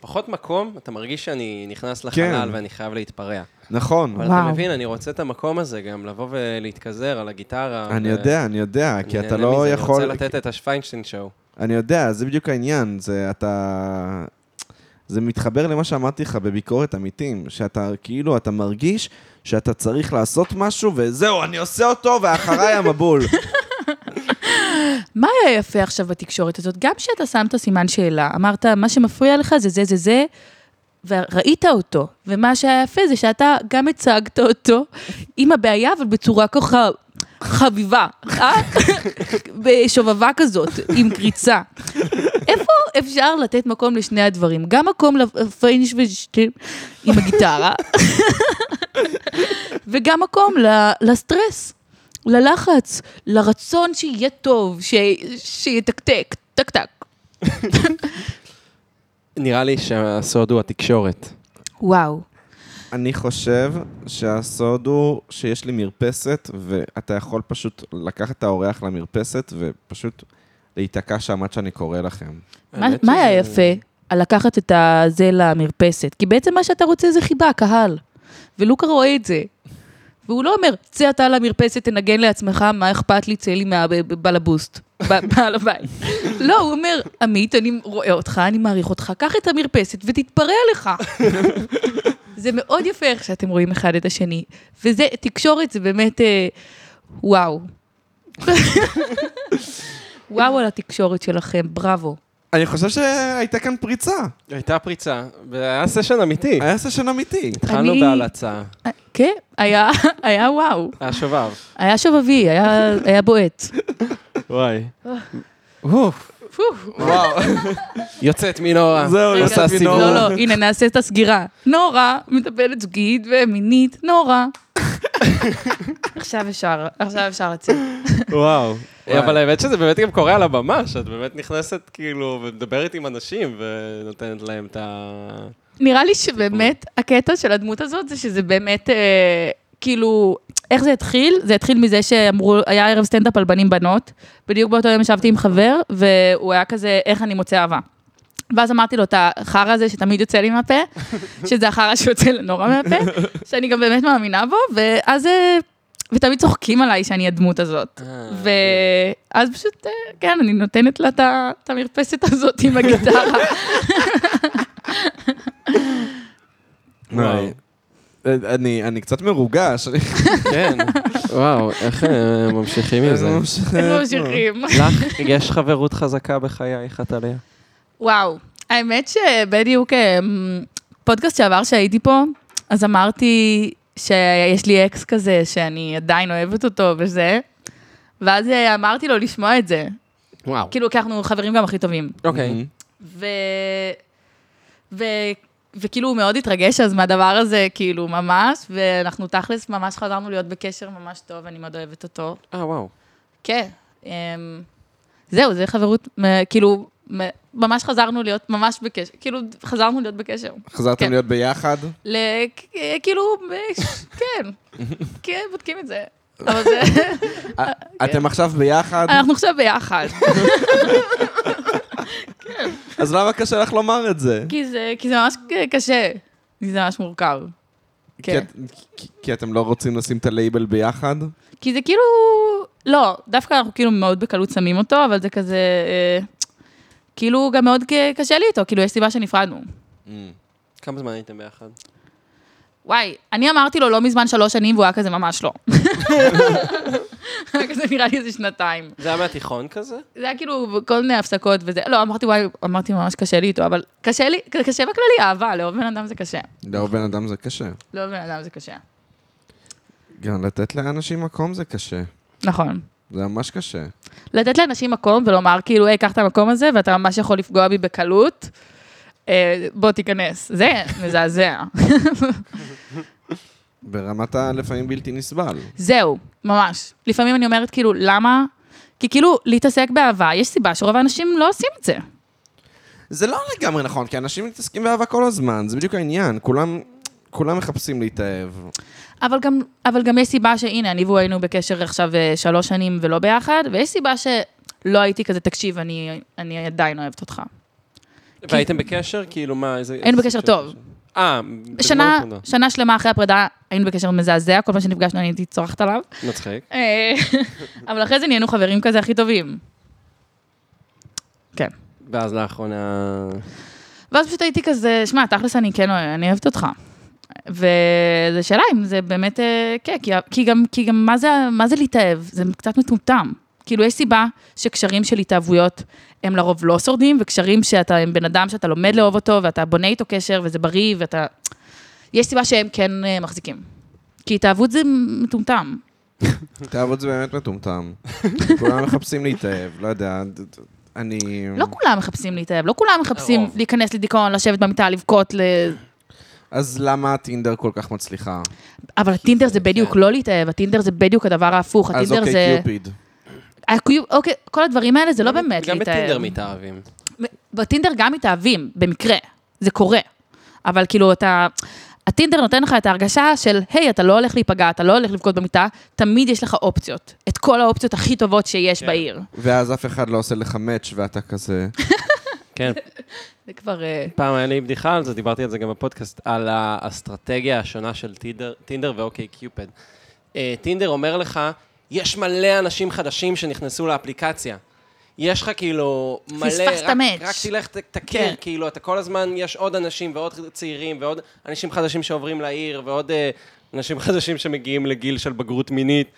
S3: פחות מקום, אתה מרגיש שאני נכנס לחלל
S2: כן.
S3: ואני חייב להתפרע.
S2: נכון.
S3: אבל אתה
S4: וואו.
S3: מבין, אני רוצה את המקום הזה גם, לבוא ולהתכזר על הגיטרה.
S2: אני
S3: ו-
S2: יודע, אני יודע, כי
S3: אה, אני
S2: אתה
S3: נהנה מזה,
S2: לא יכול...
S3: אני רוצה לתת את השפיינשטיין שואו.
S2: אני יודע, זה בדיוק העניין, זה אתה... זה מתחבר למה שאמרתי לך בביקורת עמיתים, שאתה כאילו, אתה מרגיש שאתה צריך לעשות משהו, וזהו, אני עושה אותו, ואחריי המבול.
S4: מה היה יפה עכשיו בתקשורת הזאת? גם כשאתה שמת סימן שאלה, אמרת, מה שמפריע לך זה זה זה זה, וראית אותו. ומה שהיה יפה זה שאתה גם הצגת אותו עם הבעיה, אבל בצורה ככה חביבה, אה? בשובבה כזאת, עם קריצה. איפה אפשר לתת מקום לשני הדברים? גם מקום לפיינש ושטים עם הגיטרה, וגם מקום ל- לסטרס. ללחץ, לרצון שיהיה טוב, ש... שיתקתק, טק טק.
S3: נראה לי שהסוד הוא התקשורת.
S4: וואו.
S2: אני חושב שהסוד הוא שיש לי מרפסת, ואתה יכול פשוט לקחת את האורח למרפסת, ופשוט להיתקע שם עד שאני קורא לכם.
S4: מה,
S3: האמת
S4: מה
S3: שזה-
S4: היה יפה? על לקחת את הזה למרפסת. כי בעצם מה שאתה רוצה זה חיבה, קהל. ולוקה רואה את זה. והוא לא אומר, צא אתה למרפסת, תנגן לעצמך, מה אכפת לי, צא לי מהבלבוסט. ב- בעל הבית. לא, הוא אומר, עמית, אני רואה אותך, אני מעריך אותך, קח את המרפסת ותתפרע לך. זה מאוד יפה איך שאתם רואים אחד את השני. וזה, תקשורת זה באמת, אה, וואו. וואו על התקשורת שלכם, בראבו.
S1: אני חושב שהייתה כאן פריצה.
S3: הייתה פריצה, והיה סשן אמיתי.
S1: היה סשן אמיתי.
S3: התחלנו
S4: אני-
S3: בהלצה.
S4: אה, כן, היה, היה וואו.
S3: היה שובב.
S4: היה שובבי, היה, היה בועט.
S3: וואי.
S4: פו.
S3: וואו. יוצאת מנורה.
S1: זהו,
S4: רגע,
S3: יוצאת
S4: לא,
S3: מנורה.
S4: לא, הנה, נעשה את הסגירה. נורה, מטפלת זוגית ומינית, נורה. עכשיו אפשר, עכשיו אפשר לצאת.
S3: וואו. אבל האמת שזה באמת גם קורה על הבמה, שאת באמת נכנסת כאילו ומדברת עם אנשים ונותנת להם את ה...
S4: נראה לי שבאמת, הקטע של הדמות הזאת זה שזה באמת, אה, כאילו, איך זה התחיל? זה התחיל מזה שאמרו, היה ערב סטנדאפ על בנים בנות, בדיוק באותו יום ישבתי עם חבר, והוא היה כזה, איך אני מוצא אהבה. ואז אמרתי לו את החרא הזה שתמיד יוצא לי מהפה, שזה החרא שיוצא לנורא מהפה, שאני גם באמת מאמינה בו, ואז, אה, ותמיד צוחקים עליי שאני הדמות הזאת.
S3: אה,
S4: ואז פשוט, אה, כן, אני נותנת לה את ה- את המרפסת הזאת עם הגיטרה.
S3: וואו.
S1: אני, אני קצת מרוגש. אני
S3: כן. וואו, איך אה, ממשיכים עם זה?
S1: ממש-
S4: הם ממשיכים.
S3: לך יש חברות חזקה בחייך, טליה?
S4: וואו, האמת שבדיוק אה, פודקאסט שעבר שהייתי פה, אז אמרתי שיש לי אקס כזה, שאני עדיין אוהבת אותו וזה, ואז אה, אמרתי לו לשמוע את זה.
S3: וואו.
S4: כאילו, כי אנחנו חברים גם הכי טובים.
S3: אוקיי.
S4: ו... ו... וכאילו הוא מאוד התרגש אז מהדבר הזה, כאילו, ממש, ואנחנו תכלס ממש חזרנו להיות בקשר ממש טוב, אני מאוד אוהבת אותו.
S3: אה, וואו.
S4: כן. אמ, זהו, זה חברות, מ- כאילו, מ- ממש חזרנו להיות ממש בקשר, כאילו, חזרנו להיות בקשר.
S1: חזרתם
S4: כן.
S1: להיות ביחד?
S4: ל- כ- כאילו, ב- כן, כן, בודקים את זה. אבל זה, כן.
S1: אתם עכשיו ביחד?
S4: אנחנו עכשיו ביחד,
S1: אז למה קשה לך לומר את זה?
S4: כי זה, כי זה ממש קשה, כי זה ממש מורכב.
S1: כי
S4: כן.
S1: את- כי- כי אתם לא רוצים לשים את הלייבל ביחד?
S4: כי זה כאילו, לא, דווקא אנחנו כאילו מאוד בקלות שמים אותו, אבל זה כזה, אה, כאילו גם מאוד ק- קשה לי איתו, כאילו יש סיבה שנפרדנו.
S3: כמה זמן הייתם ביחד?
S4: וואי, אני אמרתי לו לא מזמן שלוש שנים, והוא היה כזה ממש לא. כזה נראה לי איזה שנתיים.
S3: זה היה מהתיכון כזה?
S4: זה היה כאילו כל מיני הפסקות וזה, לא, אמרתי וואי, אמרתי ממש קשה לי איתו, אבל קשה לי, קשה בכללי אהבה, לאהוב בן אדם זה קשה.
S1: לא, בן אדם זה קשה.
S4: לאהוב בן אדם זה קשה.
S1: גם לתת לאנשים מקום זה קשה.
S4: נכון.
S1: זה ממש קשה.
S4: לתת לאנשים מקום ולומר כאילו, היי, קח את המקום הזה, ואתה ממש יכול לפגוע בי בקלות, אה, בוא תיכנס. זה מזעזע.
S1: ברמת הלפעמים בלתי נסבל.
S4: זהו, ממש. לפעמים אני אומרת כאילו, למה? כי כאילו, להתעסק באהבה, יש סיבה שרוב האנשים לא עושים את זה.
S1: זה לא לגמרי נכון, כי אנשים מתעסקים באהבה כל הזמן, זה בדיוק העניין. כולם, כולם מחפשים להתאהב.
S4: אבל גם, אבל גם יש סיבה שהנה, אני והוא היינו בקשר עכשיו אה, שלוש שנים ולא ביחד, ויש סיבה שלא הייתי כזה, תקשיב, אני, אני עדיין אוהבת אותך.
S3: והייתם בקשר? כאילו מה, איזה...
S4: היינו
S3: איזה
S4: בקשר
S3: סוג של
S4: טוב.
S3: קשר? אה,
S4: שנה,
S3: בזמן הפרידה.
S4: שנה שלמה אחרי הפרידה היינו בקשר מזעזע, כל פעם שנפגשנו אני הייתי צורחת עליו.
S3: מצחיק.
S4: אה, אבל אחרי זה נהיינו חברים כזה הכי טובים. כן.
S3: ואז לאחרונה...
S4: ואז פשוט הייתי כזה, שמע, תכלס אני כן אוהב- אני אוהבת אותך. וזו שאלה אם זה באמת, אה, כן, כי, כי גם, כי גם מה, זה, מה זה להתאהב? זה קצת מטומטם. כאילו, יש סיבה שקשרים של התאהבויות הם לרוב לא שורדים, וקשרים שאתה עם בן אדם שאתה לומד לאהוב אותו, ואתה בונה איתו קשר, וזה בריא, ואתה... יש סיבה שהם כן אה, מחזיקים. כי התאהבות זה מטומטם.
S1: התאהבות זה באמת מטומטם. כולם מחפשים להתאהב, לא יודע. ד- ד- אני...
S2: Mm.
S4: לא כולם מחפשים להתאהב, לא כולם מחפשים
S3: הרוב.
S4: להיכנס לדיכאון, לשבת במיטה, לבכות, ל...
S1: אז למה הטינדר כל כך מצליחה?
S4: אבל הטינדר
S3: כן.
S4: זה בדיוק לא להתאהב, הטינדר זה בדיוק הדבר ההפוך,
S1: אז
S4: הטינדר
S1: אוקיי,
S4: זה...
S1: קיופיד.
S4: הקיוב- אוקיי, כל הדברים האלה זה לא באמת
S3: גם
S4: להתאהב.
S3: בטינדר מתאהבים.
S4: בטינדר גם מתאהבים, במקרה, זה קורה. אבל כאילו אתה... הטינדר נותן לך את ההרגשה של, היי, אתה לא הולך להיפגע, אתה לא הולך לבכות במיטה, תמיד יש לך אופציות. את כל האופציות הכי טובות שיש
S3: כן.
S4: בעיר.
S1: ואז אף אחד לא עושה לך מאץ' ואתה כזה...
S3: כן,
S4: זה כבר... אה,
S3: פעם היה לי בדיחה על זה, דיברתי על זה גם בפודקאסט, על האסטרטגיה השונה של טינדר, טינדר ואוקיי קיופד. אה, טינדר אומר לך, יש מלא אנשים חדשים שנכנסו לאפליקציה. יש לך כאילו מלא,
S4: פספסת
S3: רק,
S4: מאץ'.
S3: רק תלך ת- תכיר,
S4: כן.
S3: כן. כאילו, אתה כל הזמן, יש עוד אנשים ועוד צעירים ועוד אנשים חדשים שעוברים לעיר ועוד אה, אנשים חדשים שמגיעים לגיל של בגרות מינית.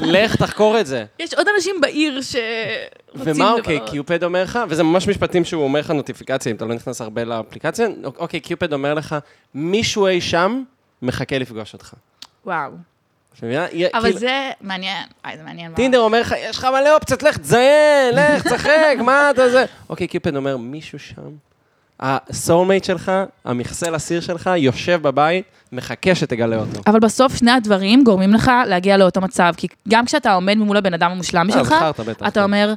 S3: לך תחקור את זה.
S4: יש עוד אנשים בעיר שרוצים
S3: ומה אוקיי,
S4: לברר.
S3: קיופד אומר לך, וזה ממש משפטים שהוא אומר לך נוטיפיקציה, אם אתה לא נכנס הרבה לאפליקציה, אוקיי, קיופד אומר לך, מישהו אי שם מחכה לפגוש אותך.
S4: וואו.
S3: את מבינה? יהיה-
S4: אבל
S3: כאילו-
S4: זה מעניין, וואי, זה מעניין. מאוד.
S3: טינדר אומר לך, יש לך מלא אופציות, לך תזיין, לך, תשחק, מה אתה זה? אוקיי, קיופד אומר, מישהו שם, הסולמייט שלך, המכסה לסיר שלך, יושב בבית, מחכה שתגלה אותו.
S4: אבל בסוף שני הדברים גורמים לך להגיע לאותו מצב, כי גם כשאתה עומד מול הבן אדם המושלם
S3: אה, אז
S4: שלך,
S3: חרטא בטח.
S4: אתה אומר,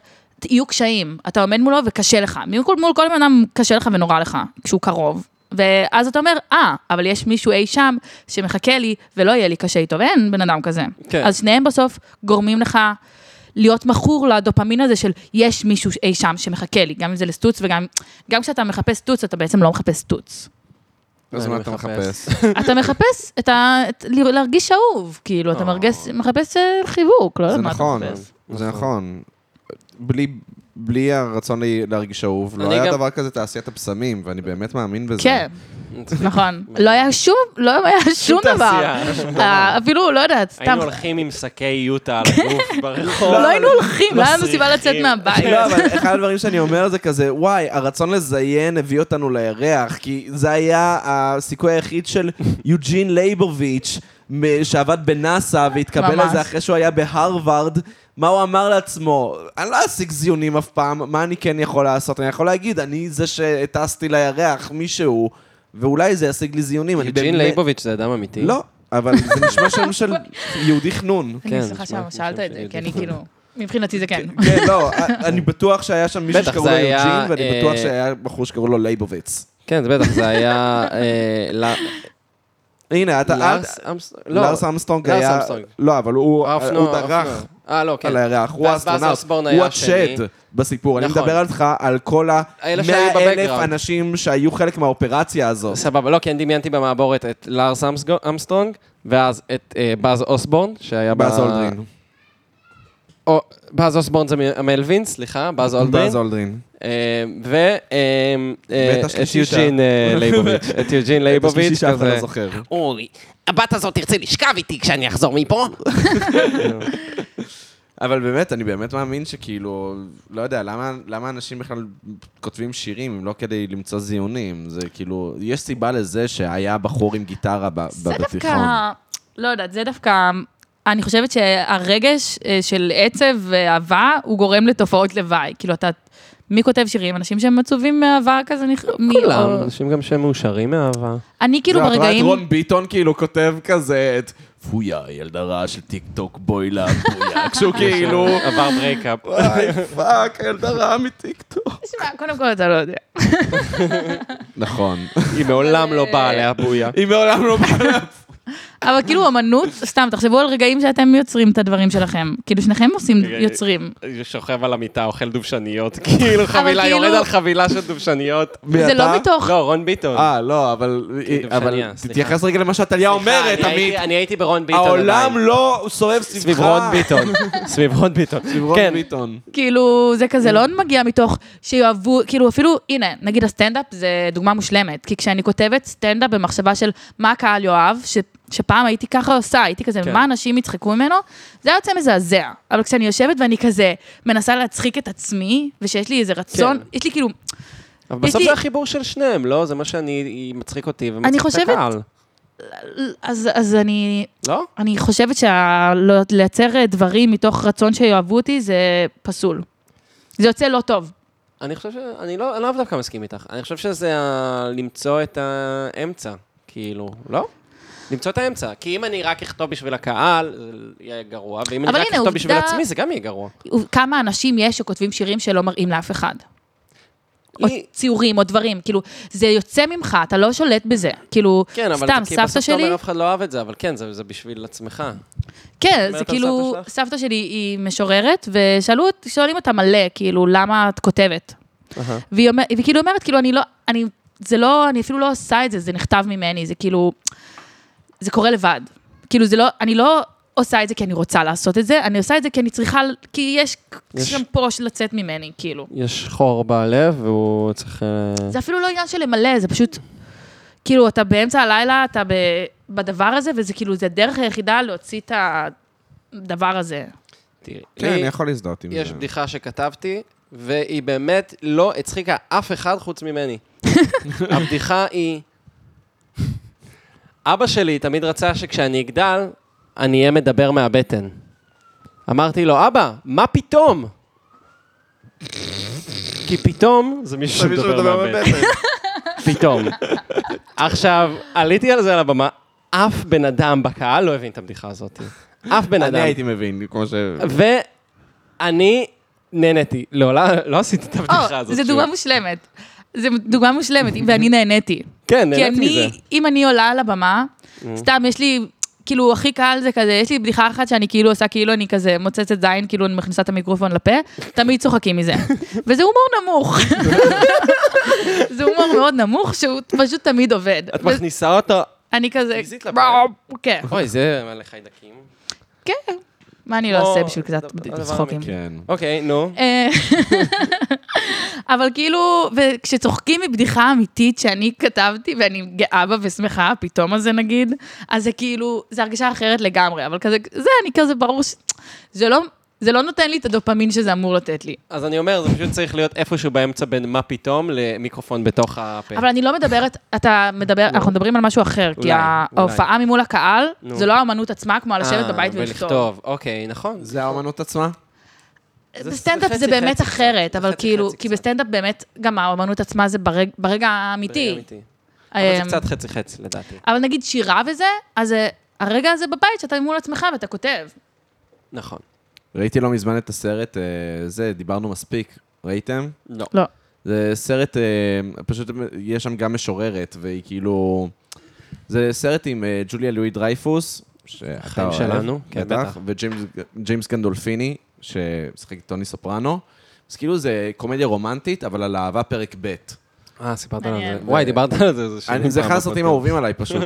S4: יהיו קשיים. אתה עומד מולו וקשה לך. מול מול כל בן אדם קשה לך ונורא לך, כשהוא קרוב. ואז אתה אומר, אה, אבל יש מישהו אי שם שמחכה לי ולא יהיה לי קשה איתו, ואין בן אדם כזה.
S3: כן.
S4: אז שניהם בסוף גורמים לך להיות מכור לדופמין הזה של יש מישהו אי שם שמחכה לי, גם אם זה לסטוץ וגם גם כשאתה מחפש סטוץ, אתה בעצם לא מחפש סטוץ.
S2: אז
S3: אני
S2: מה אתה מחפש?
S4: אתה מחפש את ה... את- ל- להרגיש אהוב, כאילו, אתה מרגש, מחפש אה, חיבוק, לא
S2: זה
S4: יודעת מה אתה
S2: נכון,
S4: מחפש.
S2: זה נכון. בלי... בלי הרצון לי להרגיש אהוב, לא
S3: אני
S2: היה
S3: גם-
S2: דבר כזה תעשיית הבשמים, ואני באמת מאמין בזה.
S4: כן, נכון. לא היה שום, לא היה שום דבר.
S3: תעשייה.
S4: אה, אפילו, לא יודעת, סתם.
S3: היינו הולכים עם שקי יוטה על הגוף ברחוב.
S4: לא היינו הולכים, לא היה לנו סיבה לצאת
S3: מסריחים.
S4: מהבית.
S2: לא, אבל אחד הדברים שאני אומר זה כזה, וואי, הרצון לזיין הביא אותנו לירח, כי זה היה הסיכוי היחיד של יוג'ין לייבוביץ', מ- שעבד בנאסא והתקבל
S4: ממש.
S2: לזה אחרי שהוא היה בהרווארד, מה הוא אמר לעצמו? אני לא אשיג זיונים אף פעם, מה אני כן יכול לעשות? אני יכול להגיד, אני זה שטסתי לירח, מישהו, ואולי זה ישיג לי זיונים. אני
S3: יוג'ין
S2: באמת-
S3: לייבוביץ' זה אדם אמיתי?
S2: לא, אבל זה נשמע שם של יהודי חנון.
S4: אני
S3: כן,
S4: שמחה
S3: נשמע
S4: שם
S3: כמו
S4: שאלת
S3: שם
S4: את זה,
S3: של
S4: כי אני כאילו, מבחינתי זה כן.
S2: כן, לא, אני בטוח שהיה שם מישהו
S3: בטח,
S2: שקראו לו
S3: זה היה,
S2: יוג'ין, ואני
S3: אה,
S2: בטוח שהיה בחור שקראו לו לייבוביץ.
S3: כן, זה בטח, זה היה... אה, ל-
S2: הנה, אתה...
S3: לארס אמסטרונג? לא,
S2: לארס אמסטרונג
S3: לארס
S2: היה...
S3: אמסטרונג.
S2: לא, אבל הוא
S3: האופנוע-
S2: הוא דרך
S3: האופנוע. אה, לא, כן.
S2: על הירח, הוא
S3: אה, ואז
S2: האסטרונאוט,
S3: אוסבורן היה
S2: הוא
S3: השני.
S2: השד בסיפור. אני
S3: נכון.
S2: מדבר עליך על כל
S3: אלה שהיו
S2: ה-100 אלף
S3: בבקגראונד.
S2: אנשים שהיו חלק מהאופרציה הזאת.
S3: סבבה, לא, כי אני דמיינתי במעבורת את לארס אמסגו- אמסטרונג, ואז את אה, באז אוסבורן, שהיה ב-
S2: באז אולדרין.
S3: או- באז אוסבורן זה מ- מלווין, סליחה, באז אולדרין.
S2: באז אולדרין.
S3: אה, ו... אה, אה,
S2: ואת
S3: את
S2: השלישי
S3: יוג'ין אה, לייבוביץ'. את יוג'ין
S2: השלישי
S3: לייבוביץ',
S2: שאף אחד
S3: כזה.
S2: לא זוכר.
S3: אורי, הבת הזאת תרצה לשכב איתי כשאני אחזור מפה?
S2: אבל באמת, אני באמת מאמין שכאילו, לא יודע, למה, למה אנשים בכלל כותבים שירים אם לא כדי למצוא זיונים? זה כאילו, יש סיבה לזה שהיה בחור עם גיטרה ב-
S4: זה
S2: בבטיחון.
S4: דווקא, לא יודעת, זה דווקא, אני חושבת שהרגש אה, של עצב ואהבה, הוא גורם לתופעות לוואי. כאילו, אתה, מי כותב שירים? אנשים שהם עצובים מאהבה כזה? נכ- מי-
S3: לא, כולם,
S4: או-
S3: אנשים גם שהם מאושרים מאהבה.
S4: אני כאילו
S2: לא, את רואה את
S4: ברגעים...
S2: רון ביטון כאילו כותב כזה את פויה, ילדה רעה של טיק טוק, בואי לה, פויה. כשהוא כאילו,
S3: עבר ברייקאפ.
S2: וואי, פאק, ילדה רעה מטיק טוק.
S4: תשמע, קודם כל אתה לא יודע.
S2: נכון.
S3: היא מעולם לא באה עליה בויה.
S2: היא מעולם לא באה.
S4: אבל כאילו אמנות, סתם, תחשבו על רגעים שאתם יוצרים את הדברים שלכם. כאילו, שניכם עושים, יוצרים.
S3: שוכב על המיטה, אוכל דובשניות, כאילו חבילה,
S4: כאילו-
S3: יורד על חבילה של דובשניות.
S4: זה לא מתוך...
S3: לא, רון ביטון.
S2: אה, לא, אבל אבל
S3: דובשניה, כן, סליחה.
S2: תתייחס רגע למה שהטליה אומרת,
S3: סליחה, אני
S2: עמית.
S3: הייתי- אה, אני הייתי ברון ביטון.
S2: העולם
S3: עדיין.
S2: לא סובב
S3: סביב
S2: סביבך.
S3: רון ביטון. סביב רון ביטון.
S2: סביב רון
S3: כן.
S2: ביטון.
S4: כאילו, זה כזה לא מגיע מתוך שיאהבו, כאילו אפילו, הנה, נגיד הסטנדאפ זה דוגמה מושלמת, כי כשאני כותבת סטנדאפ במחשבה של מה הקהל יאהב, ש, שפעם הייתי ככה עושה, הייתי כזה,
S3: כן.
S4: מה אנשים יצחקו ממנו, זה היה יוצא מזעזע. אבל כשאני יושבת ואני כזה מנסה להצחיק את עצמי, ושיש לי איזה רצון,
S3: כן.
S4: יש לי כאילו,
S3: אבל
S4: יש
S3: בסוף
S4: לי-
S3: זה החיבור של שניהם, לא? זה מה שאני, היא מצחיק אותי
S4: אני
S3: ומצחיק את
S4: חושבת-
S3: הקהל.
S4: אז, אז אני,
S3: לא?
S4: אני חושבת שלייצר דברים מתוך רצון שיאהבו אותי זה פסול. זה יוצא לא טוב.
S3: אני חושב ש... אני לא אני לא דווקא מסכים איתך. אני חושב שזה ה- למצוא את האמצע, כאילו, לא? למצוא את האמצע. כי אם אני רק אכתוב בשביל הקהל, זה יהיה גרוע, ואם אני
S4: אבל
S3: רק
S4: הנה,
S3: אכתוב בשביל
S4: עובדה-
S3: עצמי, זה גם יהיה גרוע.
S4: כמה אנשים יש שכותבים שירים שלא מראים לאף אחד? או
S3: היא-
S4: ציורים או דברים, כאילו, זה יוצא ממך, אתה לא שולט בזה. כאילו,
S3: כן, אבל
S4: סתם,
S3: כי
S4: סבתא
S3: בסוף אתה
S4: שלי,
S3: אומר, אף אחד לא אהב את זה, אבל כן, זה זה בשביל עצמך.
S4: כן, זה
S3: אומרת על
S4: כאילו,
S3: סבתא שלך?
S4: סבתא שלי היא משוררת, ושאלו, אות- שואלים אותה מלא, כאילו, למה את כותבת? והיא אומר- והיא כאילו אומרת, כאילו, אני לא, אני, זה לא, אני אפילו לא עושה את זה, זה נכתב ממני, זה כאילו, זה קורה לבד. כאילו, זה לא, אני לא עושה את זה כי אני רוצה לעשות את זה, אני עושה את זה כי אני צריכה, כי יש,
S3: יש.
S4: יש. שם פה של לצאת ממני, כאילו.
S3: יש חור בלב, והוא צריך... אה,
S4: זה אפילו לא עניין של למלא, זה פשוט, כאילו, אתה באמצע הלילה, אתה ב, בדבר הזה, וזה כאילו, זה הדרך היחידה להוציא את הדבר הזה.
S3: תראי,
S2: כן,
S3: לי
S2: אני יכול להזדהות עם זה.
S3: יש בדיחה שכתבתי, והיא באמת לא הצחיקה אף אחד חוץ ממני. הבדיחה היא... אבא שלי תמיד רצה שכשאני אגדל, אני אהיה מדבר מהבטן. אמרתי לו, אבא, מה פתאום? כי פתאום זה מישהו שמדבר מהבטן. פתאום. עכשיו, עליתי על זה על הבמה, אף בן אדם בקהל לא הבין את הבדיחה הזאת. אף בן אדם.
S2: אני הייתי מבין, כמו ש...
S3: ואני נהניתי. לא, לא, לא עשיתי את הבדיחה
S4: או,
S3: הזאת.
S4: זו
S3: שוב.
S4: אה, דוגמה מושלמת. זו דוגמה מושלמת, ואני נהניתי.
S3: כן,
S4: כי
S3: נהניתי
S4: אני,
S3: מזה. Mm.
S4: אם אני עולה על הבמה, סתם יש לי, כאילו, הכי קל זה כזה, יש לי בדיחה אחת שאני כאילו עושה כאילו אני כזה מוצצת זין, כאילו אני מכניסה את המיקרופון לפה, תמיד צוחקים מזה. וזה הומור נמוך. זה הומור מאוד נמוך, שהוא פשוט תמיד עובד.
S3: את מכניסה אותו...
S4: אני כזה...
S3: פיזית לפה?
S4: כן,
S3: אוי, זה מלא חיידקים.
S4: כן. מה אני לא
S3: כמו-
S4: אעשה בשביל קצת
S3: הדבר
S4: צחוקים?
S2: כן.
S3: אוקיי, נו.
S4: אה, אבל כאילו, וכשצוחקים מבדיחה אמיתית שאני כתבתי, ואני גאה בה ושמחה, פתאום הזה נגיד, אז זה כאילו, זה הרגשה אחרת לגמרי, אבל כזה, זה, אני כזה, ברור ש... זה לא, זה לא נותן לי את הדופמין שזה אמור לתת לי.
S3: אז אני אומר, זה פשוט צריך להיות איפשהו באמצע בין מה פתאום למיקרופון בתוך הפה.
S4: אבל אני לא מדברת, אתה מדבר, אנחנו מדברים על משהו אחר, כי
S3: אולי,
S4: ההופעה ממול הקהל,
S3: נו.
S4: זה לא האמנות עצמה, כמו לשבת
S3: אה,
S4: בבית ולכתוב.
S3: ולכתוב, אוקיי, נכון.
S2: זה האמנות עצמה?
S3: זה-
S4: בסטנדאפ
S3: זה
S4: זה
S3: חצי-חצי
S4: באמת
S3: קצת,
S4: אחרת, אבל
S3: חצי-חצי
S4: כאילו,
S3: קצת.
S4: כי בסטנדאפ באמת, גם האמנות עצמה זה ברג- ברגע
S3: ברגע
S4: האמיתי.
S3: אמיתי. אבל זה
S4: אמ,
S3: קצת חצי-חצי, לדעתי.
S4: אבל נגיד שירה וזה, אז אה, הרגע הזה בבית שאתה מול עצמך ואתה כותב.
S3: נכון.
S2: ראיתי לא מזמן את הסרט, אה, זה, דיברנו מספיק. ראיתם?
S3: לא.
S4: לא.
S2: זה סרט, אה, פשוט יש שם גם משוררת, והיא כאילו... זה סרט עם אה, ג'וליה לואי דרייפוס, שאתה
S3: החיים
S2: אוהב,
S3: שלנו, כן, בטח.
S2: בטח, וג'יימס גנדולפיני, שמשחק את טוני סופרנו. אז כאילו זה קומדיה רומנטית, אבל על אהבה פרק ב'.
S3: אה, סיפרת לנו
S4: מעניין.
S3: על זה. וואי, דיברת על זה, זה
S2: אני-
S3: שנים
S2: זה אחד
S3: פעם
S2: הסרטים
S3: בפודקאסט.
S2: האהובים עליי פשוט.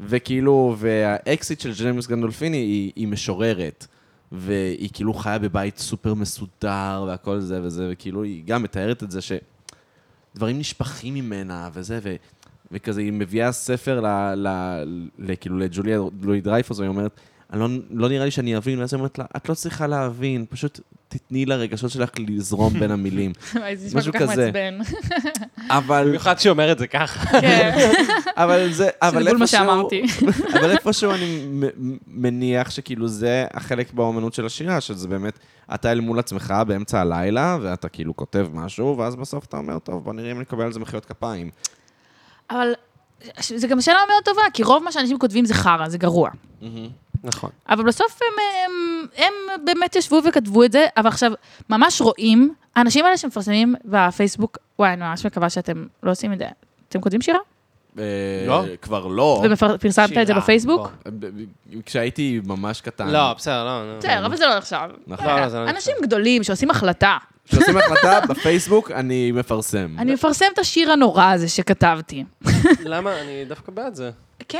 S2: וכאילו, והאקסיט של ג'יימס גנדולפיני היא, היא משוררת. והיא כאילו חיה בבית סופר מסודר והכל זה וזה, וכאילו היא גם מתארת את זה שדברים נשפכים ממנה וזה, ו... וכזה היא מביאה ספר ל... ל... ל... כאילו לג'וליה לואי דרייפוס, והיא אומרת, אני לא, לא נראה לי שאני אבין, ואז היא אומרת לה, את לא צריכה להבין, פשוט תתני לרגשות שלך לזרום בין המילים.
S4: זה נשמע
S2: משהו
S4: כל כך
S2: כזה.
S4: מעצבן.
S2: אבל,
S3: במיוחד שאומר את זה ככה.
S4: כן,
S2: אבל זה,
S4: שזה
S2: אבל
S4: בול מה
S2: איפשהו-
S4: שאמרתי.
S2: אבל איפשהו אני מ- מ- מניח שכאילו זה החלק באומנות של השירה, שזה באמת, אתה אל מול עצמך באמצע הלילה, ואתה כאילו כותב משהו, ואז בסוף אתה אומר, טוב, בוא נראה אם נקבל על זה מחיאות כפיים.
S4: אבל ש- זה גם שאלה מאוד טובה, כי רוב מה שאנשים כותבים זה חרא, זה גרוע.
S3: נכון.
S4: אבל בסוף הם, הם, הם באמת ישבו וכתבו את זה, אבל עכשיו, ממש רואים, האנשים האלה שמפרסמים בפייסבוק, וואי, אני ממש מקווה שאתם לא עושים את זה. אתם כותבים שירה?
S2: אה,
S3: לא.
S2: כבר לא.
S4: ופרסמת את זה
S3: שירה,
S4: בפייסבוק?
S3: בוא.
S2: ב- ב- כשהייתי ממש קטן.
S3: לא, בסדר, לא. לא.
S4: בסדר, אבל זה לא נחשב.
S2: נכון.
S3: לא, לא, זה לא נחשב.
S4: אנשים גדולים שעושים החלטה.
S2: כשעושים החלטה בפייסבוק, אני מפרסם.
S4: אני מפרסם את השיר הנורא הזה שכתבתי.
S3: למה? אני דווקא בעד זה.
S4: כן?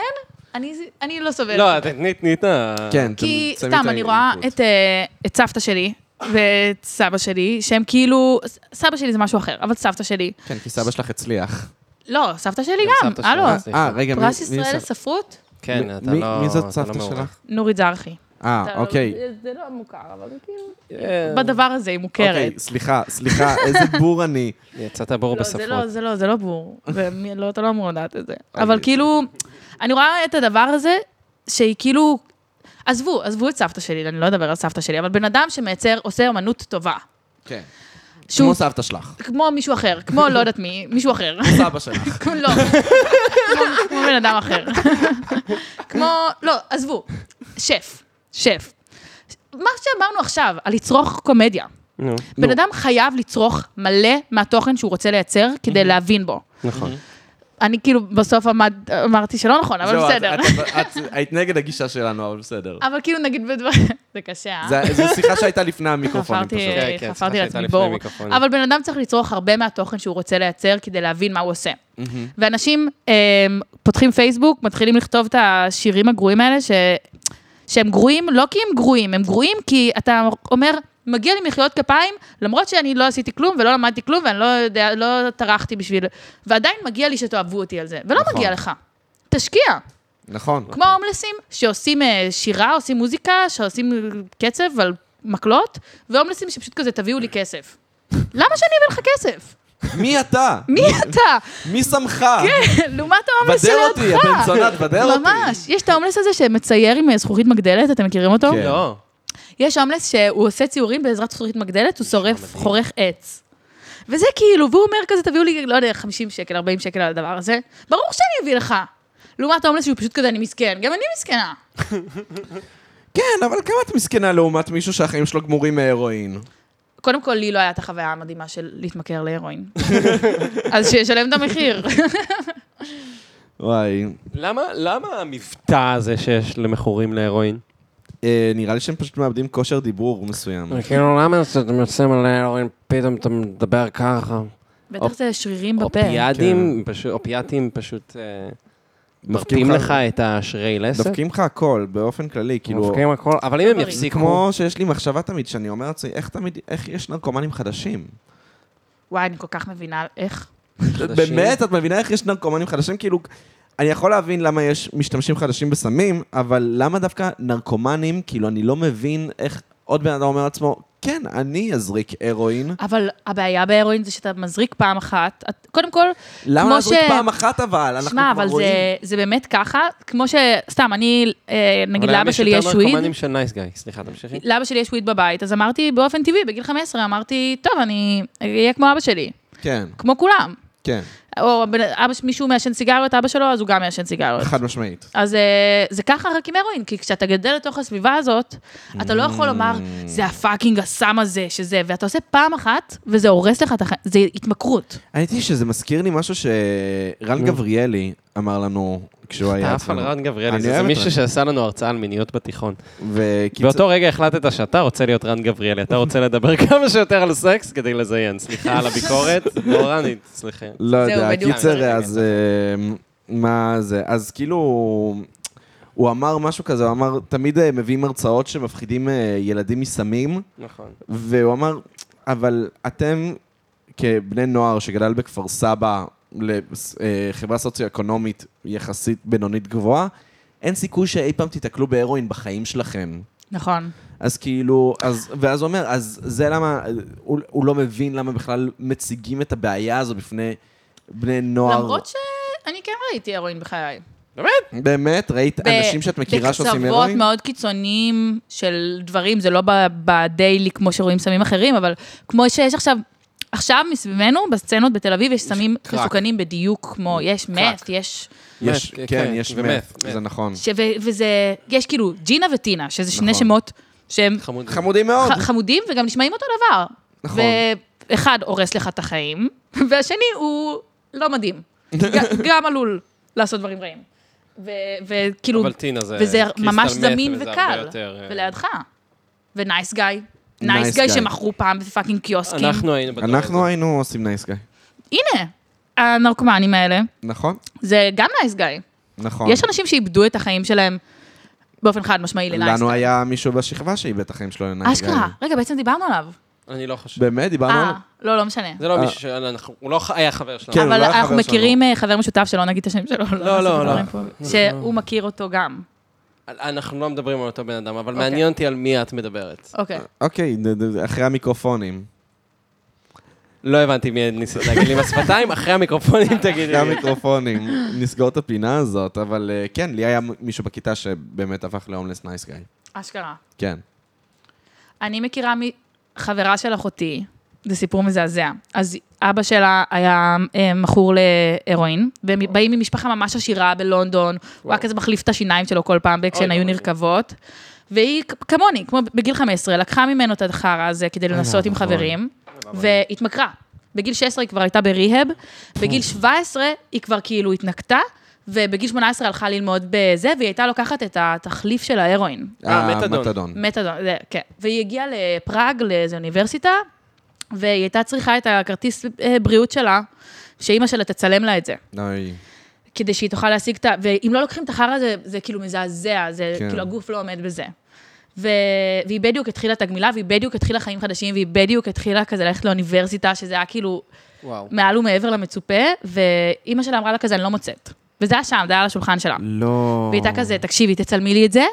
S4: אני, אני לא סובלת.
S3: לא, תתני, תני את ה...
S2: כן,
S4: כי
S2: אתם שמים
S4: סתם,
S2: את
S4: אני רואה
S2: האינפוט.
S4: את, אה, את סבתא שלי ואת סבא שלי, שהם כאילו... ס- סבא שלי זה משהו אחר, אבל סבתא שלי...
S2: כן, כי סבא שלך הצליח.
S4: לא, סבתא שלי
S3: גם
S4: גם,
S3: סבתא
S4: הלו.
S3: שלך. סליחה.
S2: אה, רגע, מי...
S4: פרס
S2: מי
S4: ישראל
S2: סב-
S4: לספרות,
S3: כן,
S2: מי-
S3: אתה
S2: מי-
S3: לא...
S2: מי
S3: אתה
S2: זאת
S3: לא
S2: סבתא
S3: מעורב.
S2: שלך?
S4: נורית זרחי.
S2: אה, אוקיי.
S4: זה לא מוכר, אבל כאילו...
S3: אה,
S4: בדבר הזה היא מוכרת.
S2: אוקיי, סליחה, סליחה, איזה בור אני.
S3: יצאת בור
S4: לא, זה לא,
S3: בספרות.
S4: זה לא, זה לא בור. ומי- לא, אתה לא אמור לדעת את זה.
S2: לא
S4: אבל כאילו, אני רואה את הדבר הזה, שהיא כאילו... עזבו, עזבו את סבתא שלי, אני לא אדבר על סבתא שלי, אבל בן אדם שמייצר, עושה אמנות טובה.
S2: כן.
S4: שהוא
S2: כמו סבתא שלך.
S4: כמו מישהו אחר, כמו לא יודעת מי, מישהו אחר.
S2: סבא שלך.
S4: כמו- לא, כמו- כמו בן אדם אחר. כמו, לא, עזבו, שף, שף. מה שאמרנו עכשיו, על לצרוך קומדיה.
S3: נו,
S4: בן אדם חייב לצרוך מלא מהתוכן שהוא רוצה לייצר כדי להבין בו.
S3: נכון.
S4: אני כאילו בסוף עמד, אמרתי שלא נכון, אבל
S2: זהו, את-
S4: בסדר.
S2: את- את היית נגד הגישה שלנו, אבל בסדר.
S4: אבל כאילו נגיד בדבר... זה קשה, אה?
S2: זה- זו שיחה שהייתה לפני המיקרופונים
S4: חפרתי,
S2: פשוט.
S3: כן, כן, סליחה
S4: חפרתי
S3: שהייתה
S4: לעצמי
S3: לפני
S4: בור.
S3: מיקרופון.
S4: אבל בן אדם צריך לצרוך הרבה מהתוכן שהוא רוצה לייצר כדי להבין מה הוא עושה. ואנשים אמ, פותחים פייסבוק, מתחילים לכתוב את השירים הגרועים האלה, ש... שהם גרועים לא כי הם גרועים, הם גרועים כי אתה אומר, מגיע לי מחיאות כפיים, למרות שאני לא עשיתי כלום ולא למדתי כלום ואני לא יודע, לא טרחתי בשביל... ועדיין מגיע לי שתאהבו אותי על זה, ולא
S2: נכון.
S4: מגיע לך. תשקיע. כן.
S2: נכון.
S4: כמו ההומלסים, שעושים אה, שירה, עושים מוזיקה, שעושים אה, קצב על מקלות, והומלסים שפשוט כזה, תביאו לי כסף. למה שאני אביא לך כסף?
S2: מי אתה?
S4: מי אתה?
S2: מי שמך?
S4: לעומת ההומלס
S2: בדר
S4: שלידך.
S2: אותי, הבן צונת, בדר אותי.
S4: כן, ממש. יש את ההומלס הזה שמצייר עם אה, זכוכית מגדלת, אתם מכירים אותו?
S2: כן.
S3: לא.
S4: יש הומלס שהוא עושה ציורים בעזרת זכוכית מגדלת, הוא שורף, חורך עץ. וזה כאילו, והוא אומר כזה, תביאו לי, לא יודע, 50 שקל, 40 שקל על הדבר הזה. ברור שאני אביא לך. לעומת ההומלס שהוא פשוט כזה, אני מסכן. גם אני מסכנה.
S2: כן, אבל כמה את מסכנה לעומת מישהו שהחיים שלו גמורים מהרואין?
S4: קודם כל, לי לא הייתה את החוויה המדהימה של להתמכר להרואין. אז שישלם את המחיר.
S2: וואי.
S3: למה, למה המבטא הזה שיש למכורים להרואין?
S2: אה, נראה לי שהם פשוט מאבדים כושר דיבור מסוים.
S3: כאילו, למה כשאתה מסיים על ההרואין, פתאום אתה מדבר ככה?
S4: בטח זה שרירים בפה.
S3: אופיאדים,
S2: כן.
S3: פשוט- אופיאטים פשוט אה, מרפים לך את השרירי לסת.
S2: דופקים לך הכל, באופן כללי, כאילו...
S3: דופקים הכל, אבל אם הם
S4: דברים.
S3: יפסיקו...
S2: כמו שיש לי מחשבה תמיד, שאני אומר לעצמי, איך תמיד, איך יש נרקומנים חדשים?
S4: וואי, אני כל כך מבינה איך.
S3: חדשים.
S2: באמת? את מבינה איך יש נרקומנים חדשים? כאילו, אני יכול להבין למה יש משתמשים חדשים בסמים, אבל למה דווקא נרקומנים, כאילו, אני לא מבין איך עוד בן אדם אומר לעצמו, כן, אני אזריק הרואין.
S4: אבל הבעיה בהרואין זה שאתה מזריק פעם אחת. את- קודם כל,
S2: למה
S4: כמו
S2: להזריק
S4: ש-
S2: פעם אחת אבל? אנחנו
S4: שמע,
S2: כבר
S4: אבל
S2: רואים.
S4: זה, זה באמת ככה, כמו ש... סתם, אני, אה, נגיד
S3: אבל היום
S4: לאבא שלי יש
S3: יותר
S4: וויד,
S3: נרקומנים של נייס גאי. סליחה, תמשיכי.
S2: אה,
S4: לאבא שלי יש וויד בבית, אז אמרתי באופן טבעי, בגיל 15, אמרתי, טוב, אני אהיה כמו אבא שלי,
S2: כן,
S4: כמו כולם.
S2: כן,
S4: או הבן- אבא, ש- מישהו מעשן סיגריות, אבא שלו, אז הוא גם מעשן סיגריות.
S2: חד משמעית.
S4: אז אה, זה ככה רק עם הרואין, כי כשאתה גדל לתוך הסביבה הזאת, אתה לא יכול לומר,
S2: Mm.
S4: זה הפאקינג הסם הזה, שזה, ואתה עושה פעם אחת, וזה הורס לך את החיים, זה התמכרות.
S2: האמת היא שזה מזכיר לי משהו שרן גבריאלי אמר לנו כשהוא היה
S3: טעף על
S2: אצלנו.
S3: רן
S2: אני
S3: גבריאלי, זה
S2: אוהב
S3: זה
S2: את רן.
S3: מישהו שעשה לנו הרצאה על מיניות בתיכון.
S2: וקיצור-
S3: באותו רגע החלטת שאתה רוצה להיות רן גבריאלי, אתה רוצה לדבר כמה שיותר על סקס כדי לזיין. סליחה על הביקורת, לא רני, סליחה.
S2: לא
S4: זהו,
S2: יודע,
S4: בדיוק. כן,
S2: קיצר,
S3: אה,
S2: אז אה, מה זה, אז כאילו, הוא אמר משהו כזה, הוא אמר, תמיד אה, מביאים הרצאות שמפחידים אה, ילדים מסמים,
S3: נכון.
S2: והוא אמר, אבל אתם, כבני נוער שגדל בכפר סבא, לחברה סוציו-אקונומית יחסית בינונית גבוהה, אין סיכוי שאי פעם תיתקלו בהרואין בחיים שלכם.
S4: נכון.
S2: אז כאילו, אז, ואז הוא אומר, אז זה למה, הוא, הוא לא מבין למה בכלל מציגים את הבעיה הזו בפני בני נוער.
S4: למרות שאני כן ראיתי הרואין בחיי.
S2: באמת? ראית
S4: ב-
S2: אנשים שאת מכירה שעושים
S4: בקצוות
S2: הרואין?
S4: מאוד קיצוניים של דברים, זה לא ב- בדיילי כמו שרואים סמים אחרים, אבל כמו שיש עכשיו... עכשיו מסביבנו, בסצנות בתל אביב, יש סמים
S3: קרק.
S4: מסוכנים בדיוק
S2: Mm.
S4: כמו, יש מת, יש...
S2: יש,
S3: מת,
S2: כן,
S3: כן,
S2: יש
S3: ומת,
S2: מת,
S3: מת.
S2: זה נכון.
S4: ש... ו- וזה... יש כאילו ג'ינה וטינה, שזה שני
S2: נכון.
S4: שמות שהם
S3: חמוד.
S2: חמודים מאוד.
S4: ח- חמודים וגם נשמעים אותו דבר.
S2: נכון.
S4: ואחד הורס לך את החיים, והשני הוא לא מדהים. ג- גם עלול לעשות דברים רעים. ו- וכאילו...
S3: אבל טינה זה...
S4: וזה
S3: קריסטל
S4: ממש
S3: מת,
S4: זמין
S3: וזה הרבה
S4: וקל,
S3: יותר, אה,
S4: ולידך. ונייס גיא.
S2: Nice
S4: נייס גיא
S2: Guy.
S4: שמכרו פעם בפאקינג קיוסקים.
S3: אנחנו היינו בדור
S2: אנחנו
S3: הזה.
S2: היינו עושים נייס גיא.
S4: הנה, הנרקומנים האלה,
S2: נכון?
S4: זה גם נייס גיא.
S2: נכון.
S4: יש אנשים שאיבדו את החיים שלהם באופן חד משמעי לנייס
S2: לנו
S4: גיא.
S2: היה מישהו בשכבה שאיבד את החיים שלו לנייס גיא.
S4: אשכרה. רגע, בעצם דיברנו עליו.
S3: אני לא חושב.
S2: באמת? דיברנו
S4: אה,
S2: על...
S4: לא, לא משנה.
S3: זה לא
S2: אה.
S3: מישהו שאנחנו... הוא לא ח- היה חבר שלנו.
S2: כן, הוא
S4: אבל
S2: לא היה
S4: אנחנו
S2: חבר שלנו.
S4: מכירים אה, חבר משותף שלא נגיד את השם שלו. נעשה
S3: לא,
S4: את
S3: לא.
S4: הדברים פה. שהוא מכיר אותו גם.
S3: אנחנו לא מדברים על אותו בן אדם, אבל
S4: אוקיי.
S3: מעניין אותי על מי את מדברת.
S4: אוקיי.
S2: אוקיי, ד- ד- אחרי המיקרופונים.
S3: לא הבנתי מי ניסית להגיד לי עם השפתיים, אחרי המיקרופונים תגידי
S2: אחרי
S3: לי.
S2: המיקרופונים. נסגור את הפינה הזאת, אבל אה, כן, לי היה מישהו בכיתה שבאמת הפך להומלס נייס גיא.
S4: אשכרה.
S2: כן.
S4: אני מכירה מחברה של אחותי, זה סיפור מזעזע. אז אבא שלה היה אה, מכור להרואין, והם באים ממשפחה ממש עשירה בלונדון, הוא היה כזה מחליף את השיניים שלו כל פעם כשהן היו נרקבות. והיא כ- כמוני, כמו בגיל 15, לקחה ממנו את החרא הזה כדי לנסות עם חברים, והתמכרה. בגיל 16 היא כבר הייתה בריהאב, בגיל 17 היא כבר כאילו התנקתה, ובגיל 18 הלכה ללמוד בזה, והיא הייתה לוקחת את התחליף של ההרואין.
S3: אה, מתדון.
S2: מתדון.
S4: מתדון, זה, כן. והיא הגיעה לפראג, לאיזו אוניברסיטה, והיא הייתה צריכה את הכרטיס אה, בריאות שלה, שאימא שלה תצלם לה את זה.
S2: אוי.
S4: כדי שהיא תוכל להשיג את ה... ואם לא לוקחים את החרא זה, זה כאילו מזעזע, זה
S2: כן.
S4: כן. כאילו הגוף לא עומד בזה. ו... והיא בדיוק התחילה את הגמילה, והיא בדיוק התחילה חיים חדשים, והיא בדיוק התחילה כזה ללכת לאוניברסיטה, שזה היה כאילו
S3: וואו.
S4: מעל ומעבר למצופה, ואימא שלה אמרה לה כזה, אני לא מוצאת. וזה היה שם, זה היה על השולחן שלה.
S2: לא.
S4: והיא הייתה כזה, תקשיבי, תצלמי לי את זה,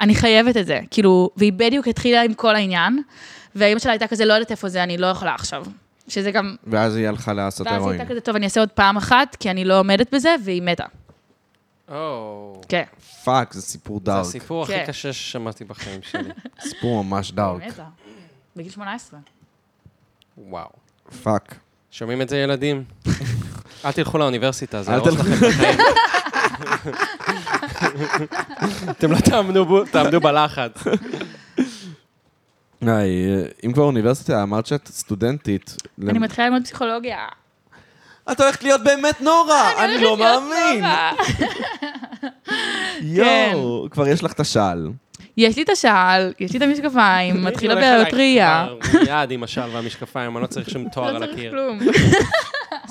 S4: אני חייבת את זה. כאילו, והיא בדיוק התחילה עם כל העניין, והאימא שלה הייתה כזה, לא יודעת איפה זה, אני לא יכולה עכשיו. שזה גם...
S2: ואז היא הלכה לעשות
S4: ואז היא
S2: הירואין.
S4: הייתה כזה, טוב, אני אעשה עוד פעם אחת, כי אני לא עומדת בזה, והיא מתה.
S3: או,
S4: כן.
S2: פאק, זה סיפור
S3: זה
S2: דארק.
S3: הסיפור הכי
S4: כן.
S3: קשה ששמעתי בחיים שלי.
S2: סיפור ממש דארק.
S4: היא מתה. בגיל 18.
S3: וואו.
S2: פאק.
S3: שומעים את זה ילדים? אל תלכו לאוניברסיטה, זה
S2: אל
S3: הראש
S2: תלכו.
S3: לכם בחיים. אתם לא תעמדו בו- תעמדו בלחץ.
S2: היי, אה, אם כבר אוניברסיטה, אמרת שאת סטודנטית.
S4: אני מתחילה ללמוד פסיכולוגיה.
S2: את הולכת להיות באמת נורא, אני לא מאמין.
S3: כן.
S2: יואו, כבר יש לך את השעל.
S4: יש לי את השעל, יש לי את המשקפיים, מתחילה
S3: אני הולך
S4: בעיות
S3: עליי
S4: ראייה.
S3: כבר מיד עם השל והמשקפיים, אני לא צריך שום תואר
S4: לא
S3: על
S4: צריך
S3: הקיר.
S4: כלום.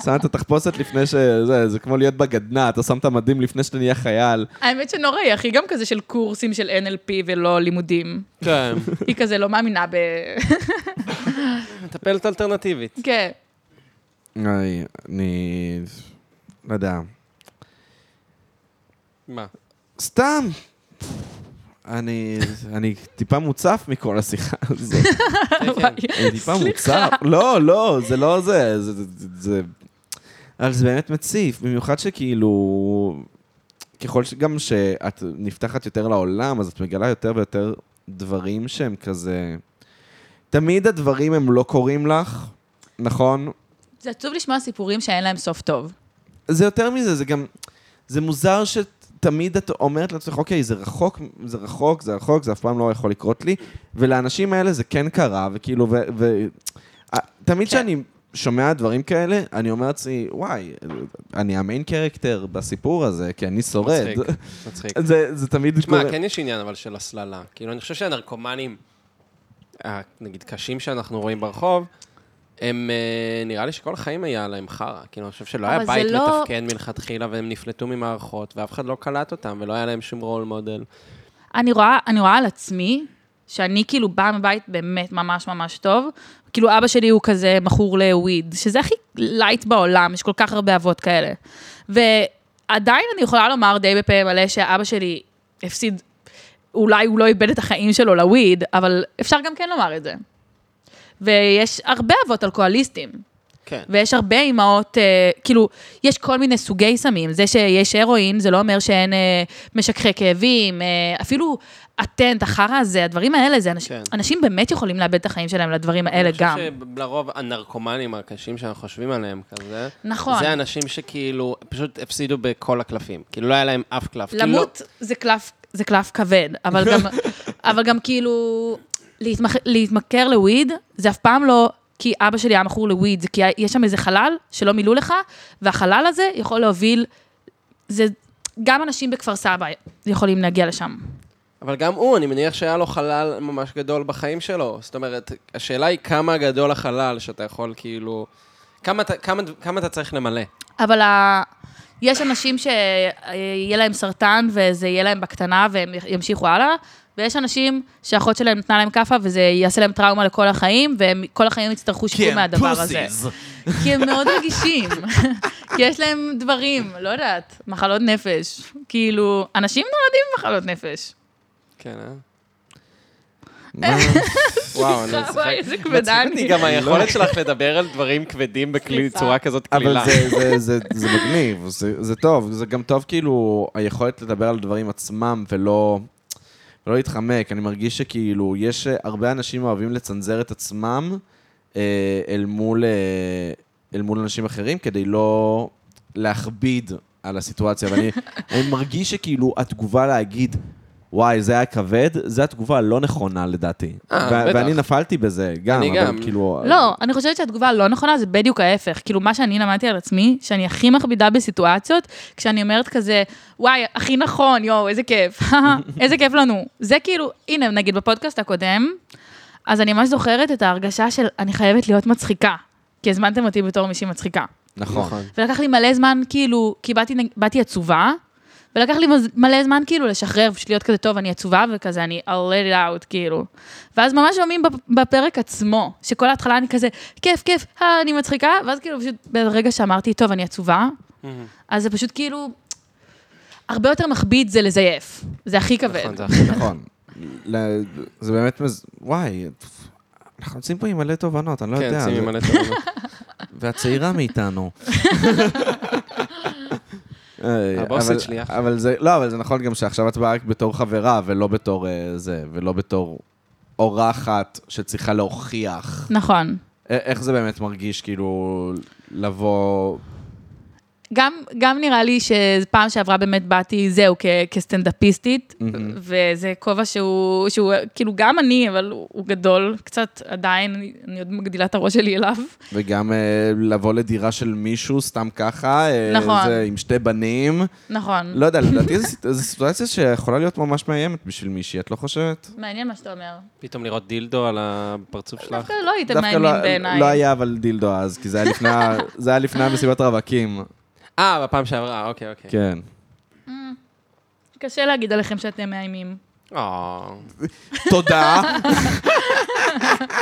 S2: שמה את התחפושת לפני שזה, זה כמו להיות בגדנע, אתה שם את המדים לפני שאתה נהיה חייל.
S4: האמת שנוראי, אחי, גם כזה של קורסים של NLP ולא לימודים.
S3: כן,
S4: היא כזה לא מאמינה ב...
S3: מטפלת אלטרנטיבית.
S4: כן.
S2: היי, אני... לא יודע.
S3: מה?
S2: סתם. אני, אני טיפה מוצף מכל השיחה הזאת.
S3: כן,
S2: אני טיפה מוצף. לא, לא, זה לא זה. זה, זה, זה, זה... אבל זה באמת מציף, במיוחד שכאילו... ככל שגם שאת נפתחת יותר לעולם, אז את מגלה יותר ויותר דברים שהם כזה... תמיד הדברים הם לא קורים לך, נכון?
S4: זה עצוב לשמוע סיפורים שאין להם סוף טוב.
S2: זה יותר מזה, זה גם... זה מוזר שתמיד את אומרת לעצמך, אוקיי, זה רחוק, זה רחוק, זה רחוק, זה אף פעם לא יכול לקרות לי, ולאנשים האלה זה כן קרה, וכאילו, ו... ו... אה, תמיד
S3: כן.
S2: כשאני שומע דברים כאלה, אני אומר לעצמי, וואי, אני המיין קרקטר בסיפור הזה, כי אני שורד.
S3: מצחיק, מצחיק.
S2: זה, זה תמיד
S3: תשמע, כן יש עניין אבל של הסללה. כאילו, אני חושב שהנרקומנים, ה- נגיד, קשים שאנחנו רואים ברחוב, הם, אה, נראה לי שכל החיים היה להם חרא. כאילו, אני חושב שלא היה
S4: אבל זה
S3: בית
S4: לא-
S3: מתפקד מלכתחילה, והם נפלטו ממערכות, ואף אחד לא קלט אותם, ולא היה להם שום רול מודל.
S4: אני רואה, אני רואה על עצמי, שאני כאילו באה מבית באמת ממש ממש טוב. כאילו אבא שלי הוא כזה מכור לוויד, שזה הכי לייט בעולם, יש כל כך הרבה אבות כאלה. ועדיין אני יכולה לומר די בפה מלא שאבא שלי הפסיד, אולי הוא לא איבד את החיים שלו לוויד, אבל אפשר גם כן לומר את זה. ויש הרבה אבות אלכוהוליסטים,
S3: כן.
S4: ויש הרבה אימהות, אה, כאילו, יש כל מיני סוגי סמים. זה שיש הרואין, זה לא אומר שאין אה, משככי כאבים, אה, אפילו הטנט, החרא הזה, הדברים האלה, זה אנשים,
S3: כן.
S4: כן. אנשים באמת יכולים לאבד את החיים שלהם לדברים האלה גם.
S3: אני חושב שלרוב הנרקומנים הקשים שאנחנו חושבים עליהם כזה,
S4: נכון.
S3: זה אנשים שכאילו פשוט הפסידו בכל הקלפים. כאילו לא היה להם אף קלף. כאילו,
S4: למות זה קלף, זה קלף כבד, אבל גם, אבל גם כאילו, להתמח, להתמכר לוויד, זה אף פעם לא... כי אבא שלי היה מכור לוויד, זה כי יש שם איזה חלל שלא מילאו לך, והחלל הזה יכול להוביל, זה, גם אנשים בכפר סבא יכולים להגיע לשם.
S3: אבל גם הוא, אני מניח שהיה לו חלל ממש גדול בחיים שלו. זאת אומרת, השאלה היא כמה גדול החלל שאתה יכול כאילו... כמה, אתה- כמה, כמה אתה צריך למלא?
S4: אבל ה... יש אנשים שיהיה להם סרטן וזה יהיה להם בקטנה והם ימשיכו הלאה, ויש אנשים שהאחות שלהם נתנה להם כאפה וזה יעשה להם טראומה לכל החיים, והם כל החיים יצטרכו
S2: כן,
S3: כן,
S4: שיקום מהדבר הזה. כי הם מאוד רגישים, כי יש להם דברים, לא יודעת, מחלות נפש. כאילו, אנשים נולדים עם מחלות נפש.
S3: כן, אה?
S2: מה?
S3: וואו, אני לא
S4: וואי,
S3: משחק.
S4: איזה כבדה אני.
S3: גם היכולת שלך לדבר על דברים כבדים
S4: סליחה.
S3: בצורה כזאת
S2: אבל
S3: קלילה.
S2: זה, זה, זה, זה מגניב, זה, זה טוב, זה גם טוב כאילו היכולת לדבר על דברים עצמם ולא, ולא להתחמק. אני מרגיש שכאילו יש אה, הרבה אנשים אוהבים לצנזר את עצמם אה, אל, מול, אה, אל מול אנשים אחרים כדי לא להכביד על הסיטואציה. ואני אני מרגיש שכאילו התגובה להגיד... וואי, זה היה כבד, זו התגובה הלא נכונה לדעתי.
S3: אה,
S2: ו-
S3: בטח.
S2: ואני נפלתי בזה גם,
S3: אני
S2: אבל
S3: גם.
S2: כאילו...
S4: לא, אני חושבת שהתגובה הלא נכונה זה בדיוק ההפך. כאילו, מה שאני למדתי על עצמי, שאני הכי מכבידה בסיטואציות, כשאני אומרת כזה, וואי, הכי נכון, יואו, איזה כיף, איזה כיף לנו. זה כאילו, הנה, נגיד בפודקאסט הקודם, אז אני ממש זוכרת את ההרגשה של אני חייבת להיות מצחיקה, כי הזמנתם אותי בתור מישהי מצחיקה.
S2: נכון.
S4: ולקח לי מלא זמן, כאילו, כי באתי, נג- באתי עצובה, ולקח לי מז- מלא זמן, כאילו, לשחרר, פשוט להיות כזה טוב, אני עצובה, וכזה, אני I'll let it out, כאילו. ואז ממש שומעים בפ- בפרק עצמו, שכל ההתחלה אני כזה, כיף, כיף, אה, אני מצחיקה, ואז כאילו, פשוט ברגע שאמרתי, טוב, אני עצובה,
S3: Mm-hmm.
S4: אז זה פשוט כאילו, הרבה יותר מכביד זה לזייף. זה הכי כבד.
S3: נכון, זה הכי-
S2: נכון. ל- זה באמת מז... וואי, אנחנו יוצאים פה עם מלא תובנות, אני לא
S3: כן,
S2: יודע.
S3: שימי
S2: זה-
S3: מלא תובנות.
S2: והצעירה מאיתנו. אה,
S3: הבוסית
S2: אבל-
S3: שלי, אחלה.
S2: אבל זה, לא, אבל זה נכון גם שעכשיו את באה רק בתור חברה, ולא בתור אה, זה, ולא בתור אורחת שצריכה להוכיח.
S4: נכון.
S2: א- איך זה באמת מרגיש, כאילו, לבוא...
S4: גם, גם נראה לי שפעם שעברה באמת באתי, זהו, כ- כסטנדאפיסטית, וזה כובע שהוא, שהוא, כאילו, גם אני, אבל הוא, הוא גדול קצת עדיין, אני, אני עוד מגדילה את הראש שלי אליו.
S2: וגם אה, לבוא לדירה של מישהו סתם ככה, אה,
S4: נכון.
S2: זה, עם שתי בנים.
S4: נכון.
S2: לא יודע, לדעתי זו סיט- זו סיטואציה שיכולה להיות ממש מאיימת בשביל מישהי, את לא חושבת?
S4: מעניין מה שאתה אומר.
S3: פתאום לראות דילדו על הפרצוף שלך.
S4: דווקא לא הייתם
S2: דווקא
S4: מעניינים
S2: לא-
S4: בעיניי.
S2: לא היה אבל דילדו אז, כי זה היה לפני ה- זה היה לפני המסיבת רווקים.
S3: אה, בפעם שעברה, אוקיי, אוקיי.
S2: כן.
S4: קשה להגיד עליכם שאתם מאיימים.
S2: כן.
S3: אה.
S2: תודה.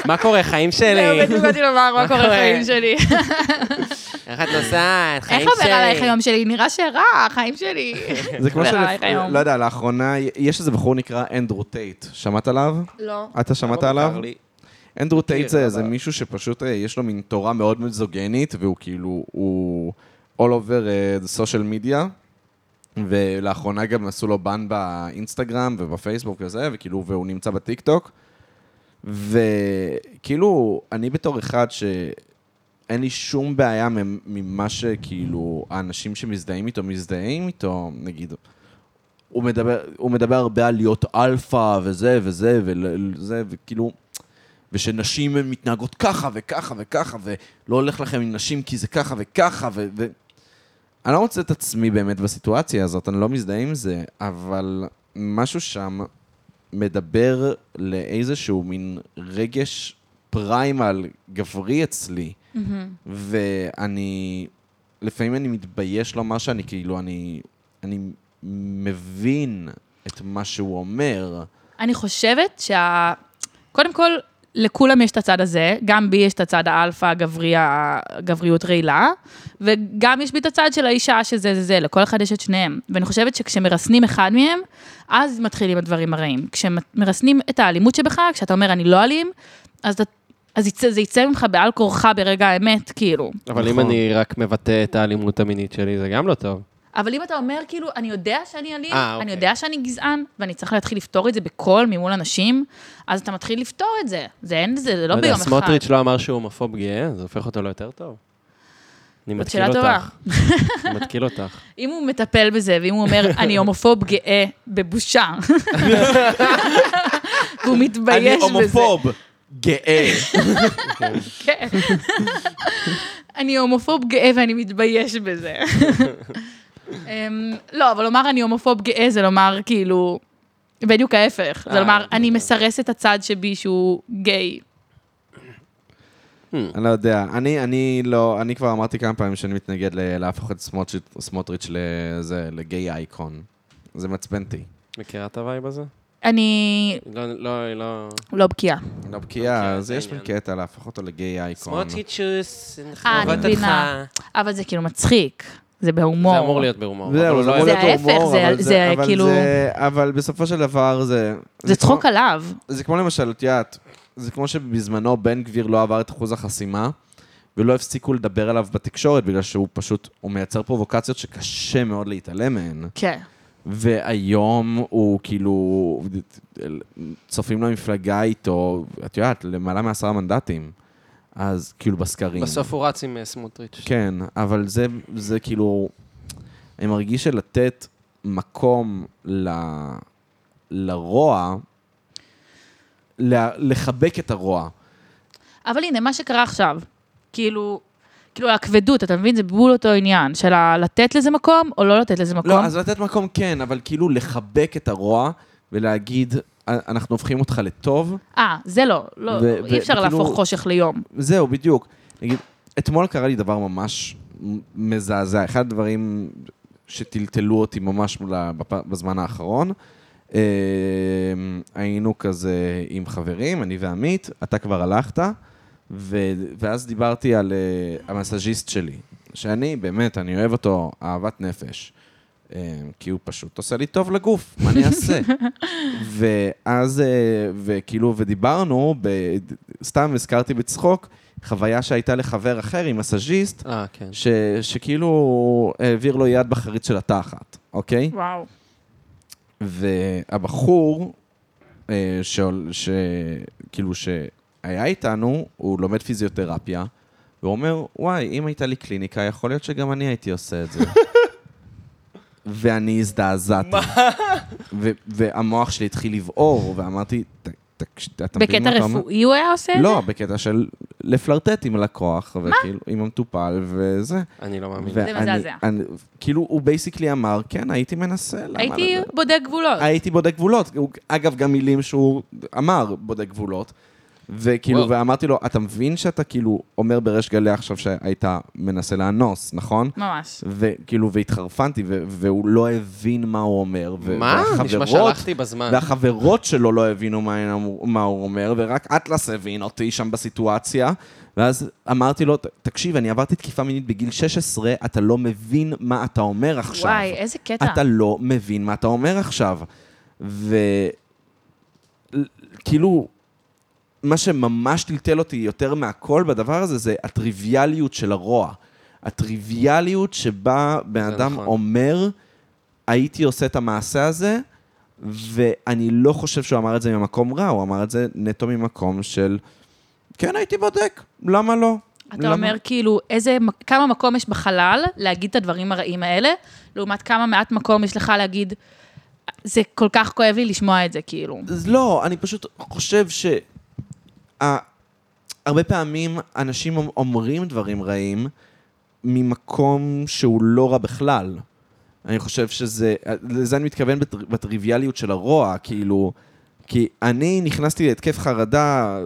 S3: מה קורה, חיים
S4: זהו,
S3: שלי?
S4: בדיוק באתי לומר מה קורה
S3: קורה?
S4: בחיים שלי.
S3: איך את נוסעת? חיים
S4: איך
S3: שלי.
S4: עובר עלייך היום שלי? נראה שרע, החיים שלי.
S2: זה כמו
S4: לא,
S2: ש...
S4: איך היום?
S2: לא יודע, לאחרונה, יש איזה בחור נקרא אנדרו טייט. שמעת עליו?
S4: לא.
S2: אתה שמעת עליו? אנדרו טייט
S3: מכיר,
S2: זה איזה
S3: אבל-
S2: מישהו שפשוט אה, יש לו מין תורה מאוד מיזוגנית, והוא כאילו, הוא all over אה, the social media, ולאחרונה גם עשו לו בן באינסטגרם ובפייסבוק וזה, וכאילו, והוא נמצא בטיקטוק. וכאילו, אני בתור אחד שאין לי שום בעיה ממ- ממה שכאילו האנשים שמזדהים איתו, מזדהים איתו, נגיד, הוא מדבר, הוא מדבר הרבה על להיות אלפא וזה וזה וזה, וכאילו, ושנשים הן מתנהגות ככה וככה וככה, ולא הולך לכם עם נשים כי זה ככה וככה, ו... ו... אני לא מוצא את עצמי באמת בסיטואציה הזאת, אני לא מזדהה עם זה, אבל משהו שם מדבר לאיזשהו מין רגש פריימל גברי אצלי, ואני... לפעמים אני מתבייש לומר שאני כאילו, אני... אני מבין את מה שהוא אומר.
S4: אני חושבת שה... קודם כל, לכולם יש את הצד הזה, גם בי יש את הצד האלפא, הגברי, הגבריות רעילה, וגם יש בי את הצד של האישה שזה זה זה, לכל אחד יש את שניהם. ואני חושבת שכשמרסנים אחד מהם, אז מתחילים הדברים הרעים. כשמרסנים את האלימות שבך, כשאתה אומר אני לא אלים, אז, אתה- אז יצא, זה יצא ממך בעל כורחה ברגע האמת, כאילו.
S3: אבל אם
S2: נכון.
S3: אני רק מבטא את האלימות המינית שלי, זה גם לא טוב.
S4: אבל אם אתה אומר, כאילו, אני יודע שאני אלים,
S3: אה,
S4: אני
S3: אוקיי.
S4: יודע שאני גזען, ואני צריך להתחיל לפתור את זה בקול ממול אנשים, אז אתה מתחיל לפתור את זה. זה אין, זה לא
S3: יודע,
S4: ביום אחד.
S3: סמוטריץ' לא אמר שהוא הומופוב גאה, זה הופך אותו ליותר טוב. אני
S4: זאת
S3: מתקיל
S4: שאלה טובה.
S3: אותך. אני מתקיל אותך.
S4: אם הוא מטפל בזה, ואם הוא אומר, אני הומופוב גאה בבושה, והוא מתבייש
S2: אני
S4: בזה.
S2: הומופוב, גאה.
S4: כן. אני הומופוב גאה ואני מתבייש בזה. אמ, לא, אבל לומר אני הומופוב גאה זה לומר כאילו, בדיוק ההפך. זה
S3: אה,
S4: לומר, אני
S3: בסדר.
S4: מסרס את הצד שבי שהוא גיי.
S2: אני לא יודע, אני, אני לא, אני כבר אמרתי כמה פעמים שאני מתנגד ל- להפוך את סמוטריץ', סמוטריץ' לזה, לגיי אייקון. זה מעצבן אותי.
S3: מכירה את הווייב הזה?
S4: אני
S3: לא, לא, לא...
S4: לא בקיאה.
S2: לא בקיאה,
S3: אוקיי,
S2: אז
S3: זה
S2: יש מין
S3: עניין.
S2: קטע להפוך אותו לגיי אייקון.
S3: סמוטריצ'וס,
S4: אה, אני מבינה. אבל זה כאילו מצחיק. זה בהומור.
S3: זה אמור להיות בהומור. אבל
S2: זהו,
S3: הוא
S2: זה
S3: לא
S2: אמור
S4: זה
S3: היה-
S2: להיות
S4: ההפך,
S2: הומור,
S4: זה-
S2: אבל
S4: זה
S2: אבל
S4: כאילו-
S2: זה- אבל בסופו של דבר זה...
S4: זה
S2: כמו-
S4: צחוק עליו.
S2: זה כמו למשל, את יודעת, זה כמו שבזמנו בן גביר לא עבר את אחוז החסימה, ולא הפסיקו לדבר עליו בתקשורת, בגלל שהוא פשוט, הוא מייצר פרובוקציות שקשה מאוד להתעלם מהן.
S4: כן.
S2: והיום הוא כאילו, צופים למפלגה איתו, את יודעת, למעלה מעשרה מנדטים. אז כאילו בסקרים.
S3: בסוף הוא רץ עם אה, סמוטריץ'.
S2: כן, אבל זה, זה כאילו, אני מרגיש שלתת מקום ל, לרוע, ל, לחבק את הרוע.
S4: אבל הנה, מה שקרה עכשיו, כאילו, כאילו הכבדות, אתה מבין? זה בול אותו עניין, של ה- לתת לזה מקום או לא לתת לזה מקום.
S2: לא, אז לתת מקום כן, אבל כאילו לחבק את הרוע ולהגיד, "אה, אנחנו הופכים אותך לטוב,
S4: אה, זה לא, לא,
S2: ו- ו-
S4: אי אפשר
S2: וכאילו-
S4: להפוך חושך ליום.
S2: זהו, בדיוק. נגיד, אתמול קרה לי דבר ממש מזעזע. אחד הדברים שטלטלו אותי ממש מול ה- בפ- בזמן האחרון, אה, היינו כזה עם חברים, אני ועמית, אתה כבר הלכת, ו- ואז דיברתי על אה, המסאז'יסט שלי, שאני באמת, אני אוהב אותו אהבת נפש. אה, כי הוא פשוט עושה לי טוב לגוף, מה אני אעשה? ואז, אה, וכאילו, ודיברנו, ב- סתם הזכרתי בצחוק, חוויה שהייתה לחבר אחר עם מסאז'יסט,
S3: אה, כן.
S2: ש, שכאילו העביר לו יד בחריץ של התחת, אוקיי?
S4: וואו.
S2: והבחור, אה, ש, ש, כאילו שהיה איתנו, הוא לומד פיזיותרפיה, והוא אומר, וואי, אם הייתה לי קליניקה, יכול להיות שגם אני הייתי עושה את זה. ואני הזדעזעתי. ו- והמוח שלי התחיל לבעור, ואמרתי, "ת- ת- אתה מבין
S4: בקטע
S2: מה אתה אומר?
S4: רפואי הוא היה עושה את זה?
S2: לא, בקטע של לפלרטט עם הלקוח, וכאילו, עם המטופל וזה.
S3: אני לא מאמין.
S2: ואני-
S4: מזעזע.
S2: אני- כאילו, הוא בייסיקלי אמר, כן, הייתי מנסה, למה...
S4: הייתי
S2: לא?"
S4: בודק גבולות.
S2: הייתי בודק גבולות. הוא- אגב, גם מילים שהוא אמר, בודק גבולות. וכאילו,
S3: וואו.
S2: ואמרתי לו, אתה מבין שאתה כאילו אומר בריש גלי עכשיו שהיית מנסה לאנוס, נכון?
S4: ממש.
S2: וכאילו, והתחרפנתי, ו- והוא לא הבין מה הוא אומר. ו-
S3: מה? נשמע
S2: והחברות
S3: שהלכתי בזמן.
S2: והחברות שלו לא הבינו מה, הן אמרו- מה הוא אומר, ורק אטלס הבין אותי שם בסיטואציה. ואז אמרתי לו, "ת- תקשיב, אני עברתי תקיפה מינית בגיל 16, אתה לא מבין מה אתה אומר עכשיו.
S4: וואי, איזה קטע.
S2: אתה לא מבין מה אתה אומר עכשיו. וכאילו, כאילו, מה שממש טלטל אותי יותר מהכל בדבר הזה, זה הטריוויאליות של הרוע. הטריוויאליות שבה בן
S3: זה
S2: אדם
S3: נכון.
S2: אומר, הייתי עושה את המעשה הזה, ואני לא חושב שהוא אמר את זה ממקום רע, הוא אמר את זה נטו ממקום של, כן, הייתי בודק, למה לא?
S4: אתה
S2: למה?"
S4: אומר כאילו, איזה, מק- כמה מקום יש בחלל להגיד את הדברים הרעים האלה, לעומת כמה מעט מקום יש לך להגיד, זה כל כך כואב לי לשמוע את זה, כאילו.
S2: אז לא, אני פשוט חושב ש... ה- הרבה פעמים אנשים אומ- אומרים דברים רעים ממקום שהוא לא רע בכלל. אני חושב שזה... לזה אני מתכוון בטר- בטריוויאליות של הרוע, כאילו... כי אני נכנסתי להתקף חרדה,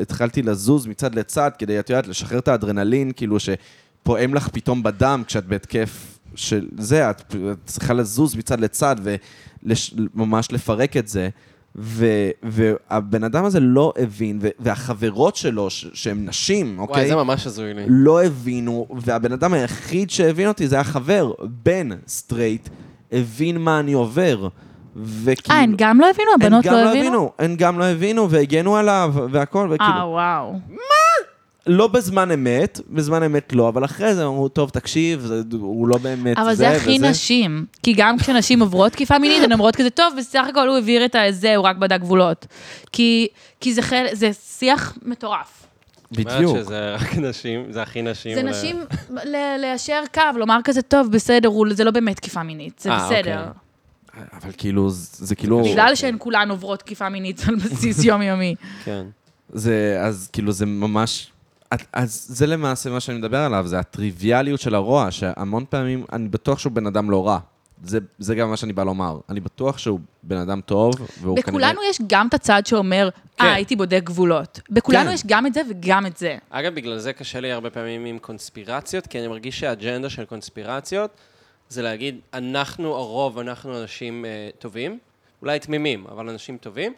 S2: התחלתי לזוז מצד לצד כדי, את יודעת, לשחרר את האדרנלין, כאילו שפועם לך פתאום בדם כשאת בהתקף של זה, את את צריכה לזוז מצד לצד וממש לפרק את זה. ו- והבן אדם הזה לא הבין, ו- והחברות שלו, ש- שהן נשים, אוקיי?
S3: וואי, זה ממש הזוי לי.
S2: לא הבינו, והבן אדם היחיד שהבין אותי זה היה חבר, בן סטרייט, הבין מה אני עובר. וכאילו...
S4: אה, הן גם לא הבינו? הבנות
S2: כאילו, הם גם
S4: לא הבינו?
S2: הם גם לא הבינו, והגנו עליו, והכל,
S4: אה, אוקיי.
S2: וכאילו,
S4: וואו.
S2: לא בזמן אמת, בזמן אמת לא, אבל אחרי זה אמרו, טוב, תקשיב, זה- הוא לא באמת
S4: אבל זה הכי
S2: וזה."
S4: נשים, כי גם כשנשים עוברות תקיפה מינית, הן אומרות כזה, טוב, בסך הכל הוא הבהיר את הזה, הוא רק בדק גבולות. כי כי זה חל- זה שיח מטורף.
S2: בדיוק.
S3: אומרת שזה רק נשים, זה הכי נשים.
S4: זה
S3: אולי.
S4: נשים ל- ליישר קו, לומר כזה, טוב, בסדר, הוא- זה לא באמת תקיפה מינית, זה
S3: אה,
S4: בסדר.
S3: אוקיי.
S2: אבל כאילו, זה זה כאילו...
S4: בגלל שהן כולן עוברות תקיפה מינית על בסיס יומיומי.
S3: כן.
S2: זה, אז כאילו זה ממש... את- אז זה למעשה מה שאני מדבר עליו, זה הטריוויאליות של הרוע, שהמון פעמים, אני בטוח שהוא בן אדם לא רע. זה, זה גם מה שאני בא לומר. אני בטוח שהוא בן אדם טוב, והוא כנראה...
S4: בכולנו יש גם את הצד שאומר,
S3: כן.
S4: אה, הייתי בודק גבולות. בכולנו
S2: כן.
S4: יש גם את זה וגם את זה.
S3: אגב, בגלל זה קשה לי הרבה פעמים עם קונספירציות, כי אני מרגיש שהאג'נדה של קונספירציות זה להגיד, אנחנו הרוב, אנחנו אנשים אה, טובים, אולי תמימים, אבל אנשים טובים,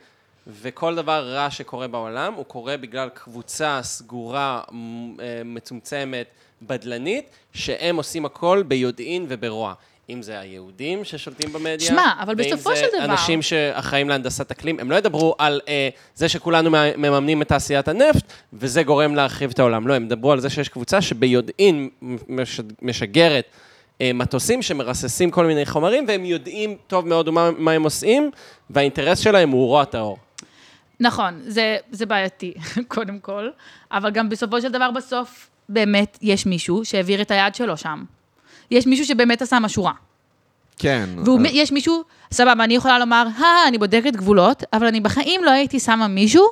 S3: וכל דבר רע שקורה בעולם, הוא קורה בגלל קבוצה סגורה, מ- אה, מצומצמת, בדלנית, שהם עושים הכל ביודעין וברוע. אם זה היהודים ששולטים במדיה,
S4: שמע, אבל
S3: ואם
S4: בסופו
S3: זה
S4: של דבר-
S3: אנשים שאחראים להנדסת אקלים, הם לא ידברו על אה, זה שכולנו מה- מממנים את תעשיית הנפט, וזה גורם להרחיב את העולם. לא, הם ידברו על זה שיש קבוצה שביודעין מש, משגרת אה, מטוסים שמרססים כל מיני חומרים, והם יודעים טוב מאוד מה, מה הם עושים, והאינטרס שלהם הוא רוע טהור.
S4: נכון, זה, זה בעייתי, קודם כל, אבל גם בסופו של דבר, בסוף, באמת יש מישהו שהעביר את היד שלו שם. יש מישהו שבאמת עשה משהו רע.
S2: כן. אז-
S4: ויש מישהו, סבבה, אני יכולה לומר, הא, אני בודקת גבולות, אבל אני בחיים לא הייתי שמה מישהו,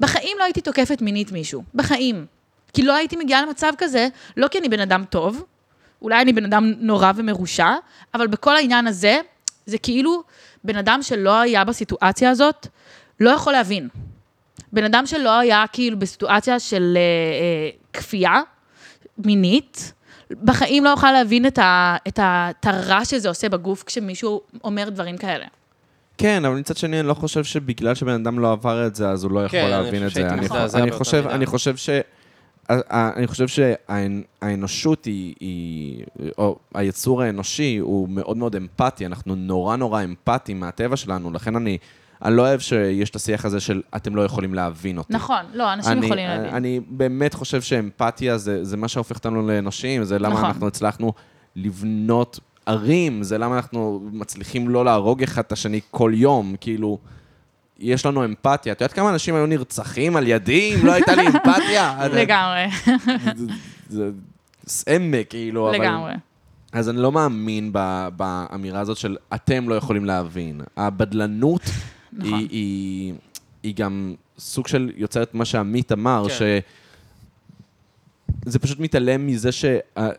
S4: בחיים לא הייתי תוקפת מינית מישהו. בחיים. כי לא הייתי מגיעה למצב כזה, לא כי אני בן אדם טוב, אולי אני בן אדם נורא ומרושע, אבל בכל העניין הזה, זה כאילו בן אדם שלא היה בסיטואציה הזאת, לא יכול להבין. בן אדם שלא היה כאילו בסיטואציה של אה, אה, כפייה מינית, בחיים לא אוכל להבין את ה- את ה- את הרע שזה עושה בגוף כשמישהו אומר דברים כאלה.
S2: כן, אבל מצד שני, אני לא חושב שבגלל שבן אדם לא עבר את זה, אז הוא לא יכול
S3: כן, אני
S2: להבין
S3: חושב
S2: את זה.
S3: שהייתי
S2: אני
S3: מזדעזע
S2: חו- אני
S3: באותה
S2: חושב,
S3: מידה.
S2: אני חושב ש... אני חושב שהאנושות היא, היא, או היצור האנושי הוא מאוד מאוד אמפתי, אנחנו נורא נורא אמפתיים מהטבע שלנו, לכן אני, אני לא אוהב שיש את השיח הזה של אתם לא יכולים להבין אותי.
S4: נכון, לא, אנשים
S2: אני- אה,
S4: יכולים להבין.
S2: אני באמת חושב שאמפתיה זה, זה מה שהופך אותנו לאנושיים, זה למה
S4: נכון.
S2: אנחנו הצלחנו לבנות ערים, זה למה אנחנו מצליחים לא להרוג אחד את השני כל יום, כאילו... יש לנו אמפתיה. את יודעת כמה אנשים היו נרצחים על ידי אם לא הייתה לי אמפתיה?
S4: לגמרי,
S2: זה- זה סמק, כאילו. אבל-
S4: לגמרי.
S2: אז אני לא מאמין ב- באמירה הזאת של אתם לא יכולים להבין. הבדלנות
S4: נכון.
S2: היא, היא, היא גם סוג של יוצרת מה שעמית אמר,
S3: כן.
S2: כן. שזה פשוט מתעלם מזה שהרוע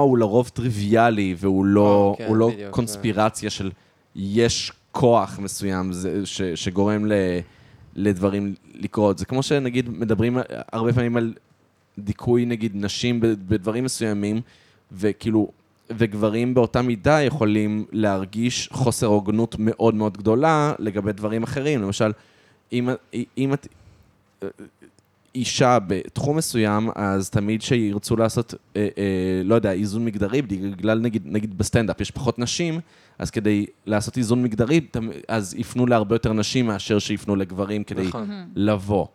S2: הוא לרוב טריוויאלי, והוא לא,
S3: אה, כן,
S2: הוא לא
S3: בדיוק,
S2: קונספירציה של יש כוח מסוים זה, ש, שגורם ל, לדברים לקרות. זה כמו שנגיד מדברים הרבה פעמים על דיכוי נגיד נשים ב- בדברים מסוימים, וכאילו, וגברים באותה מידה יכולים להרגיש חוסר הוגנות מאוד מאוד גדולה לגבי דברים אחרים. למשל, אם, אם את אישה בתחום מסוים, אז תמיד שירצו לעשות, אה, אה, לא יודע, איזון מגדרי, בגלל נגיד, נגיד בסטנדאפ יש פחות נשים, אז כדי לעשות איזון מגדרי, תמ- אז יפנו להרבה יותר נשים מאשר שיפנו לגברים כדי
S3: נכון.
S2: לבוא.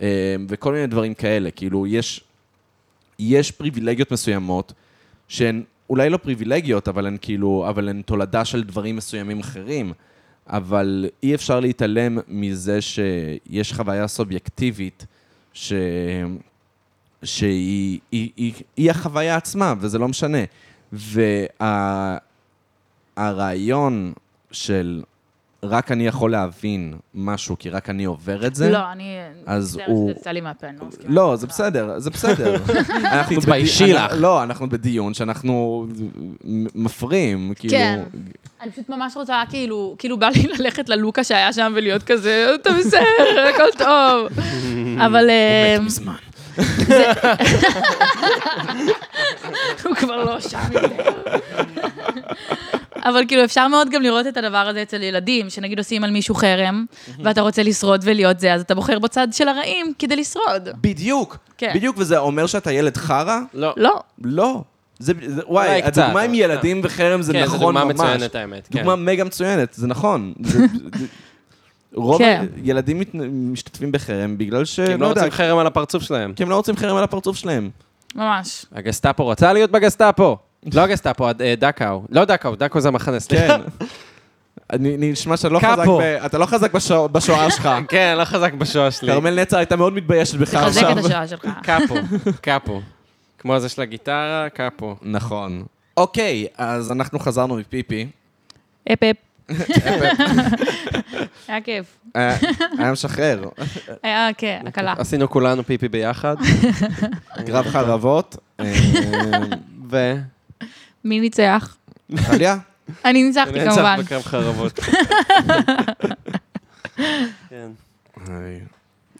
S2: אה, וכל מיני דברים כאלה, כאילו, יש, יש פריבילגיות מסוימות, שהן אולי לא פריבילגיות, אבל הן כאילו, אבל הן תולדה של דברים מסוימים אחרים. אבל אי אפשר להתעלם מזה שיש חוויה סובייקטיבית ש... שהיא היא, היא, היא החוויה עצמה, וזה לא משנה. והרעיון של רק אני יכול להבין משהו, כי רק אני עובר את זה,
S4: לא, אני...
S2: אז
S4: זה מה
S2: הוא-
S4: שזה יצא לי מהפה, אני לא מסכימה.
S2: לא, זה בסדר, זה בסדר. אנחנו
S3: תתביישי
S2: בדי-
S3: לך.
S2: לא, אנחנו בדיון שאנחנו מפרים, כאילו...
S4: כן. אני פשוט ממש רוצה, כאילו, כאילו בא לי ללכת ללוקה שהיה שם ולהיות כזה, אתה בסדר, הכל טוב. אבל...
S3: אמ,
S4: אה,
S2: מזמן.
S4: הוא כבר לא שם יותר. אבל כאילו, אפשר מאוד גם לראות את הדבר הזה אצל ילדים, שנגיד עושים על מישהו חרם, ואתה רוצה לשרוד ולהיות זה, אז אתה בוחר בצד של הרעים כדי לשרוד.
S2: בדיוק.
S4: כן.
S2: בדיוק, וזה אומר שאתה ילד חרא?
S3: לא.
S4: לא.
S2: לא. זה, זה, וואי,
S3: אולי קצת,
S2: הדוגמה עם
S3: אבל-
S2: ילדים וחרם זה
S3: כן, זו
S2: נכון ממש.
S3: דוגמה מצוינת, האמת, כן.
S2: דוגמה מגה מצוינת, זה נכון. זה- זה- רוב
S4: כן.
S2: הילדים מת- משתתפים בחרם בגלל ש...
S3: כי הם לא
S2: יודע,
S3: רוצים חרם על הפרצוף שלהם.
S2: כי הם לא רוצים חרם על הפרצוף שלהם.
S4: ממש.
S3: הגסטאפו רצה להיות בגסטאפו. לא הגסטאפו, הד- אה, דקאו. לא דקאו, דקאו זה המחנה, סליחה.
S2: כן. אני- נשמע שאתה לא חזק
S3: קאפו.
S2: ב- אתה לא חזק בשוע- בשואה שלך.
S3: כן, לא חזק בשואה שלי.
S2: כרמל נצר הייתה מאוד מתביישת בך
S4: תחזק
S2: עכשיו.
S4: את השואה שלך.
S3: קאפו, קאפו. כמו הזה של הגיטרה, קאפו.
S2: נכון. אוקיי, אז אנחנו חזרנו מפיפי.
S4: אפ אפ. היה כיף.
S2: אה, היה משחרר.
S4: היה, כן, הקלה.
S3: עשינו כולנו פיפי ביחד.
S2: גרב חרבות. אה,
S3: ו...
S4: מי ניצח?
S2: טליה?
S4: אני ניצחתי
S3: ננצח
S4: כמובן.
S3: בקרב חרבות. כן.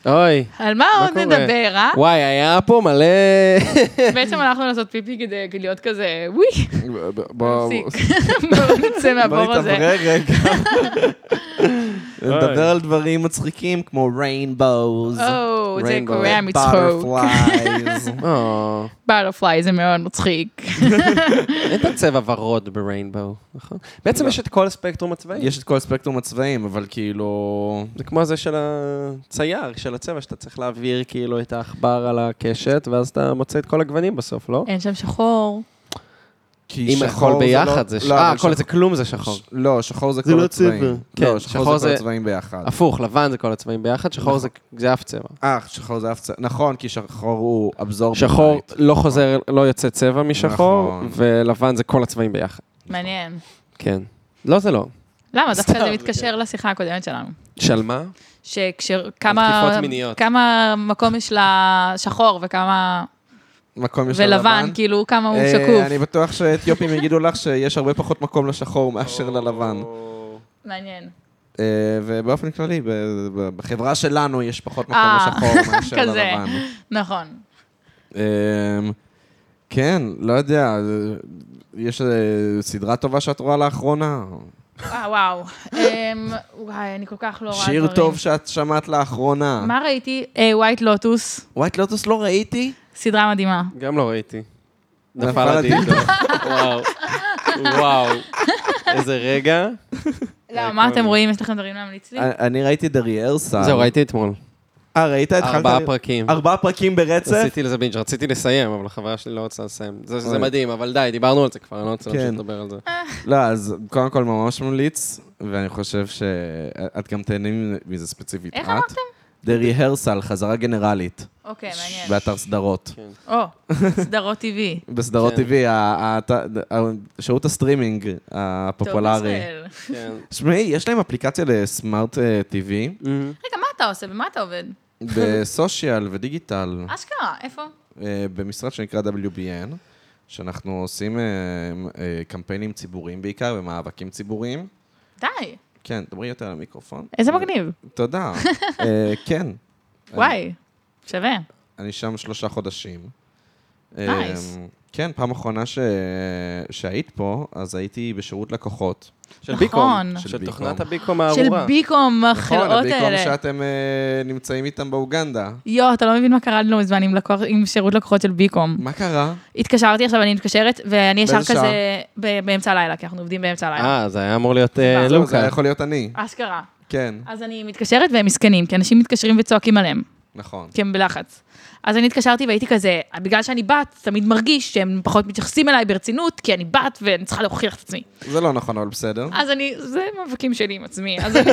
S3: אוי,
S4: על מה
S3: מה
S4: עוד
S3: קורה?
S4: נדבר, אה?
S3: וואי, היה פה מלא...
S4: בעצם הלכנו לעשות פיפי כדי להיות כזה, וואי,
S2: בואו
S4: נפסיק. בואו נצא מהבור הזה.
S2: נתאוורר רגע. נדבר
S3: אוי.
S2: על דברים מצחיקים כמו ריינבוז.
S4: או, Oh, זה קורע מצחוק.
S3: או,
S4: בטרפליי זה מאוד מצחיק.
S3: אין את הצבע ורוד בריינבו, נכון? בעצם יש את כל הספקטרום הצבאי.
S2: לא. יש את כל ספקטרום הצבעים, אבל כאילו...
S3: זה כמו זה של הצייר, של הצבע, שאתה צריך להעביר כאילו את העכבר על הקשת, ואז אתה מוצא את כל הגוונים בסוף, לא?
S4: אין שם שחור.
S2: כי
S3: אם
S2: שחור
S3: הכל ביחד זה
S2: לא-
S3: ש...
S2: לא,
S3: אה,
S2: אבל
S3: הכל זה כלום זה שחור.
S2: ש- לא, שחור זה
S3: זה
S2: כל
S3: לא
S2: הצבעים.
S3: צבע. כן,
S2: לא,
S3: שחור
S2: שחור זה כל
S3: זה-
S2: הצבעים ביחד.
S3: הפוך, לבן זה כל הצבעים ביחד, שחור זה- זה אף צבע.
S2: אה, שחור זה אף צבע. נכון, כי שחור הוא אבזור.
S3: שחור לא חוזר, לא יוצא צבע משחור,
S2: נכון.
S3: ולבן זה כל הצבעים ביחד.
S4: מעניין.
S3: כן. לא, זה לא.
S4: למה? דווקא
S3: סתם,
S4: זה
S2: כן.
S4: מתקשר לשיחה הקודמת שלנו.
S3: של מה?
S4: שכשכמה...
S3: תקיפות מיניות.
S4: כמה מקום יש לשחור וכמה...
S2: מקום יש
S4: ולבן,
S2: ללבן.
S4: כאילו, כמה הוא
S2: אה, אני
S4: שקוף.
S2: בטוח שאתיופים יגידו לך שיש הרבה פחות מקום לשחור מאשר ללבן.
S4: מעניין.
S2: אה, ובאופן כללי, ב- ב- בחברה שלנו יש פחות מקום
S4: אה,
S2: לשחור מאשר
S4: כזה.
S2: ללבן.
S4: נכון.
S2: אמ, כן, לא יודע, יש אה, סדרה טובה שאת רואה לאחרונה?
S4: אה, וואו. אמ, וואי, אני כל כך לא רואה דברים.
S2: שיר טוב שאת שמעת לאחרונה.
S4: מה ראיתי? ווייט לוטוס,
S2: ווייט לוטוס לא ראיתי?
S4: סדרה מדהימה.
S3: גם לא ראיתי.
S2: נפל
S3: נפל הדילדו. וואו. וואו. איזה רגע.
S2: אה,
S4: למה, לא, מה אתם רואים? יש לכם דברים להמליץ לי?
S2: אני אני ראיתי דריארסה.
S3: זהו, ראיתי אתמול.
S2: אה, ראית? התחלת
S3: ארבעה
S2: לראות?
S3: פרקים.
S2: ארבעה פרקים ברצף?
S3: עשיתי לזה בינג', רציתי לסיים, אבל החברה שלי לא רוצה לסיים. זה- זה
S2: אוי.
S3: מדהים, אבל די, דיברנו על זה כבר, אני לא רוצה להמשיך
S2: כן.
S3: לדבר על זה.
S4: אה,
S2: לא, אז קודם כל ממש ממליץ, ואני חושב שאת גם תהנה מזה ספציפית.
S4: איך
S2: את.
S4: אמרתם?
S2: דריהרסל, חזרה גנרלית,
S4: אוקיי, מעניין.
S2: באתר סדרות.
S4: או, סדרות TV.
S2: בסדרות
S3: כן.
S2: TV, ה- ה- ה- שירות הסטרימינג
S4: טוב, אה,
S2: הפופולרי.
S4: ישראל.
S3: כן.
S2: שמעי, יש להם אפליקציה לסמארט אה, TV,
S4: רגע, מה אתה עושה? במה אתה עובד?
S2: בסושיאל ודיגיטל,
S4: אשכרה, איפה?
S2: אה, במשרד שנקרא WBN, שאנחנו עושים אה, אה, קמפיינים ציבוריים בעיקר ומאבקים ציבוריים.
S4: די.
S2: כן, דברי יותר למיקרופון.
S4: איזה מגניב.
S2: תודה. אה, כן,
S4: וואי, שווה.
S2: אני שם שלושה חודשים.
S4: Nice.
S2: אה, כן, פעם אחרונה ש... שהיית פה, אז הייתי בשירות לקוחות.
S3: של
S4: נכון.
S3: ביקום.
S2: של
S3: של
S2: ביקום.
S3: תוכנת הביקום
S4: של
S3: הארורה.
S4: ביקום,
S2: נכון,
S4: החלאות
S2: במקום
S4: האלה.
S2: שאתם אה, נמצאים איתם באוגנדה.
S4: יואו, אתה לא מבין מה קרה לי לא מזמן עם לקוח- עם שירות לקוחות של ביקום.
S2: מה קרה?
S4: התקשרתי עכשיו, אני מתקשרת, ואני ישר
S2: באיזה
S4: כזה ב- באמצע הלילה, כי אנחנו עובדים באמצע הלילה.
S3: אה, זה היה אמור להיות אה,
S4: זהו, זה
S2: זה היה
S3: לוקה.
S2: יכול להיות אני.
S4: אשכרה.
S2: כן,
S4: אז אני מתקשרת והם מסכנים, כי אנשים מתקשרים וצועקים עליהם,
S2: נכון.
S4: כי הם בלחץ. אז אני התקשרתי והייתי כזה, בגלל שאני בת, תמיד מרגיש שהם פחות מתייחסים אליי ברצינות, כי אני בת ואני צריכה להוכיח את עצמי.
S2: זה לא נכון, אבל בסדר.
S4: אז אני, זה מאבקים שלי עם עצמי. אז אני,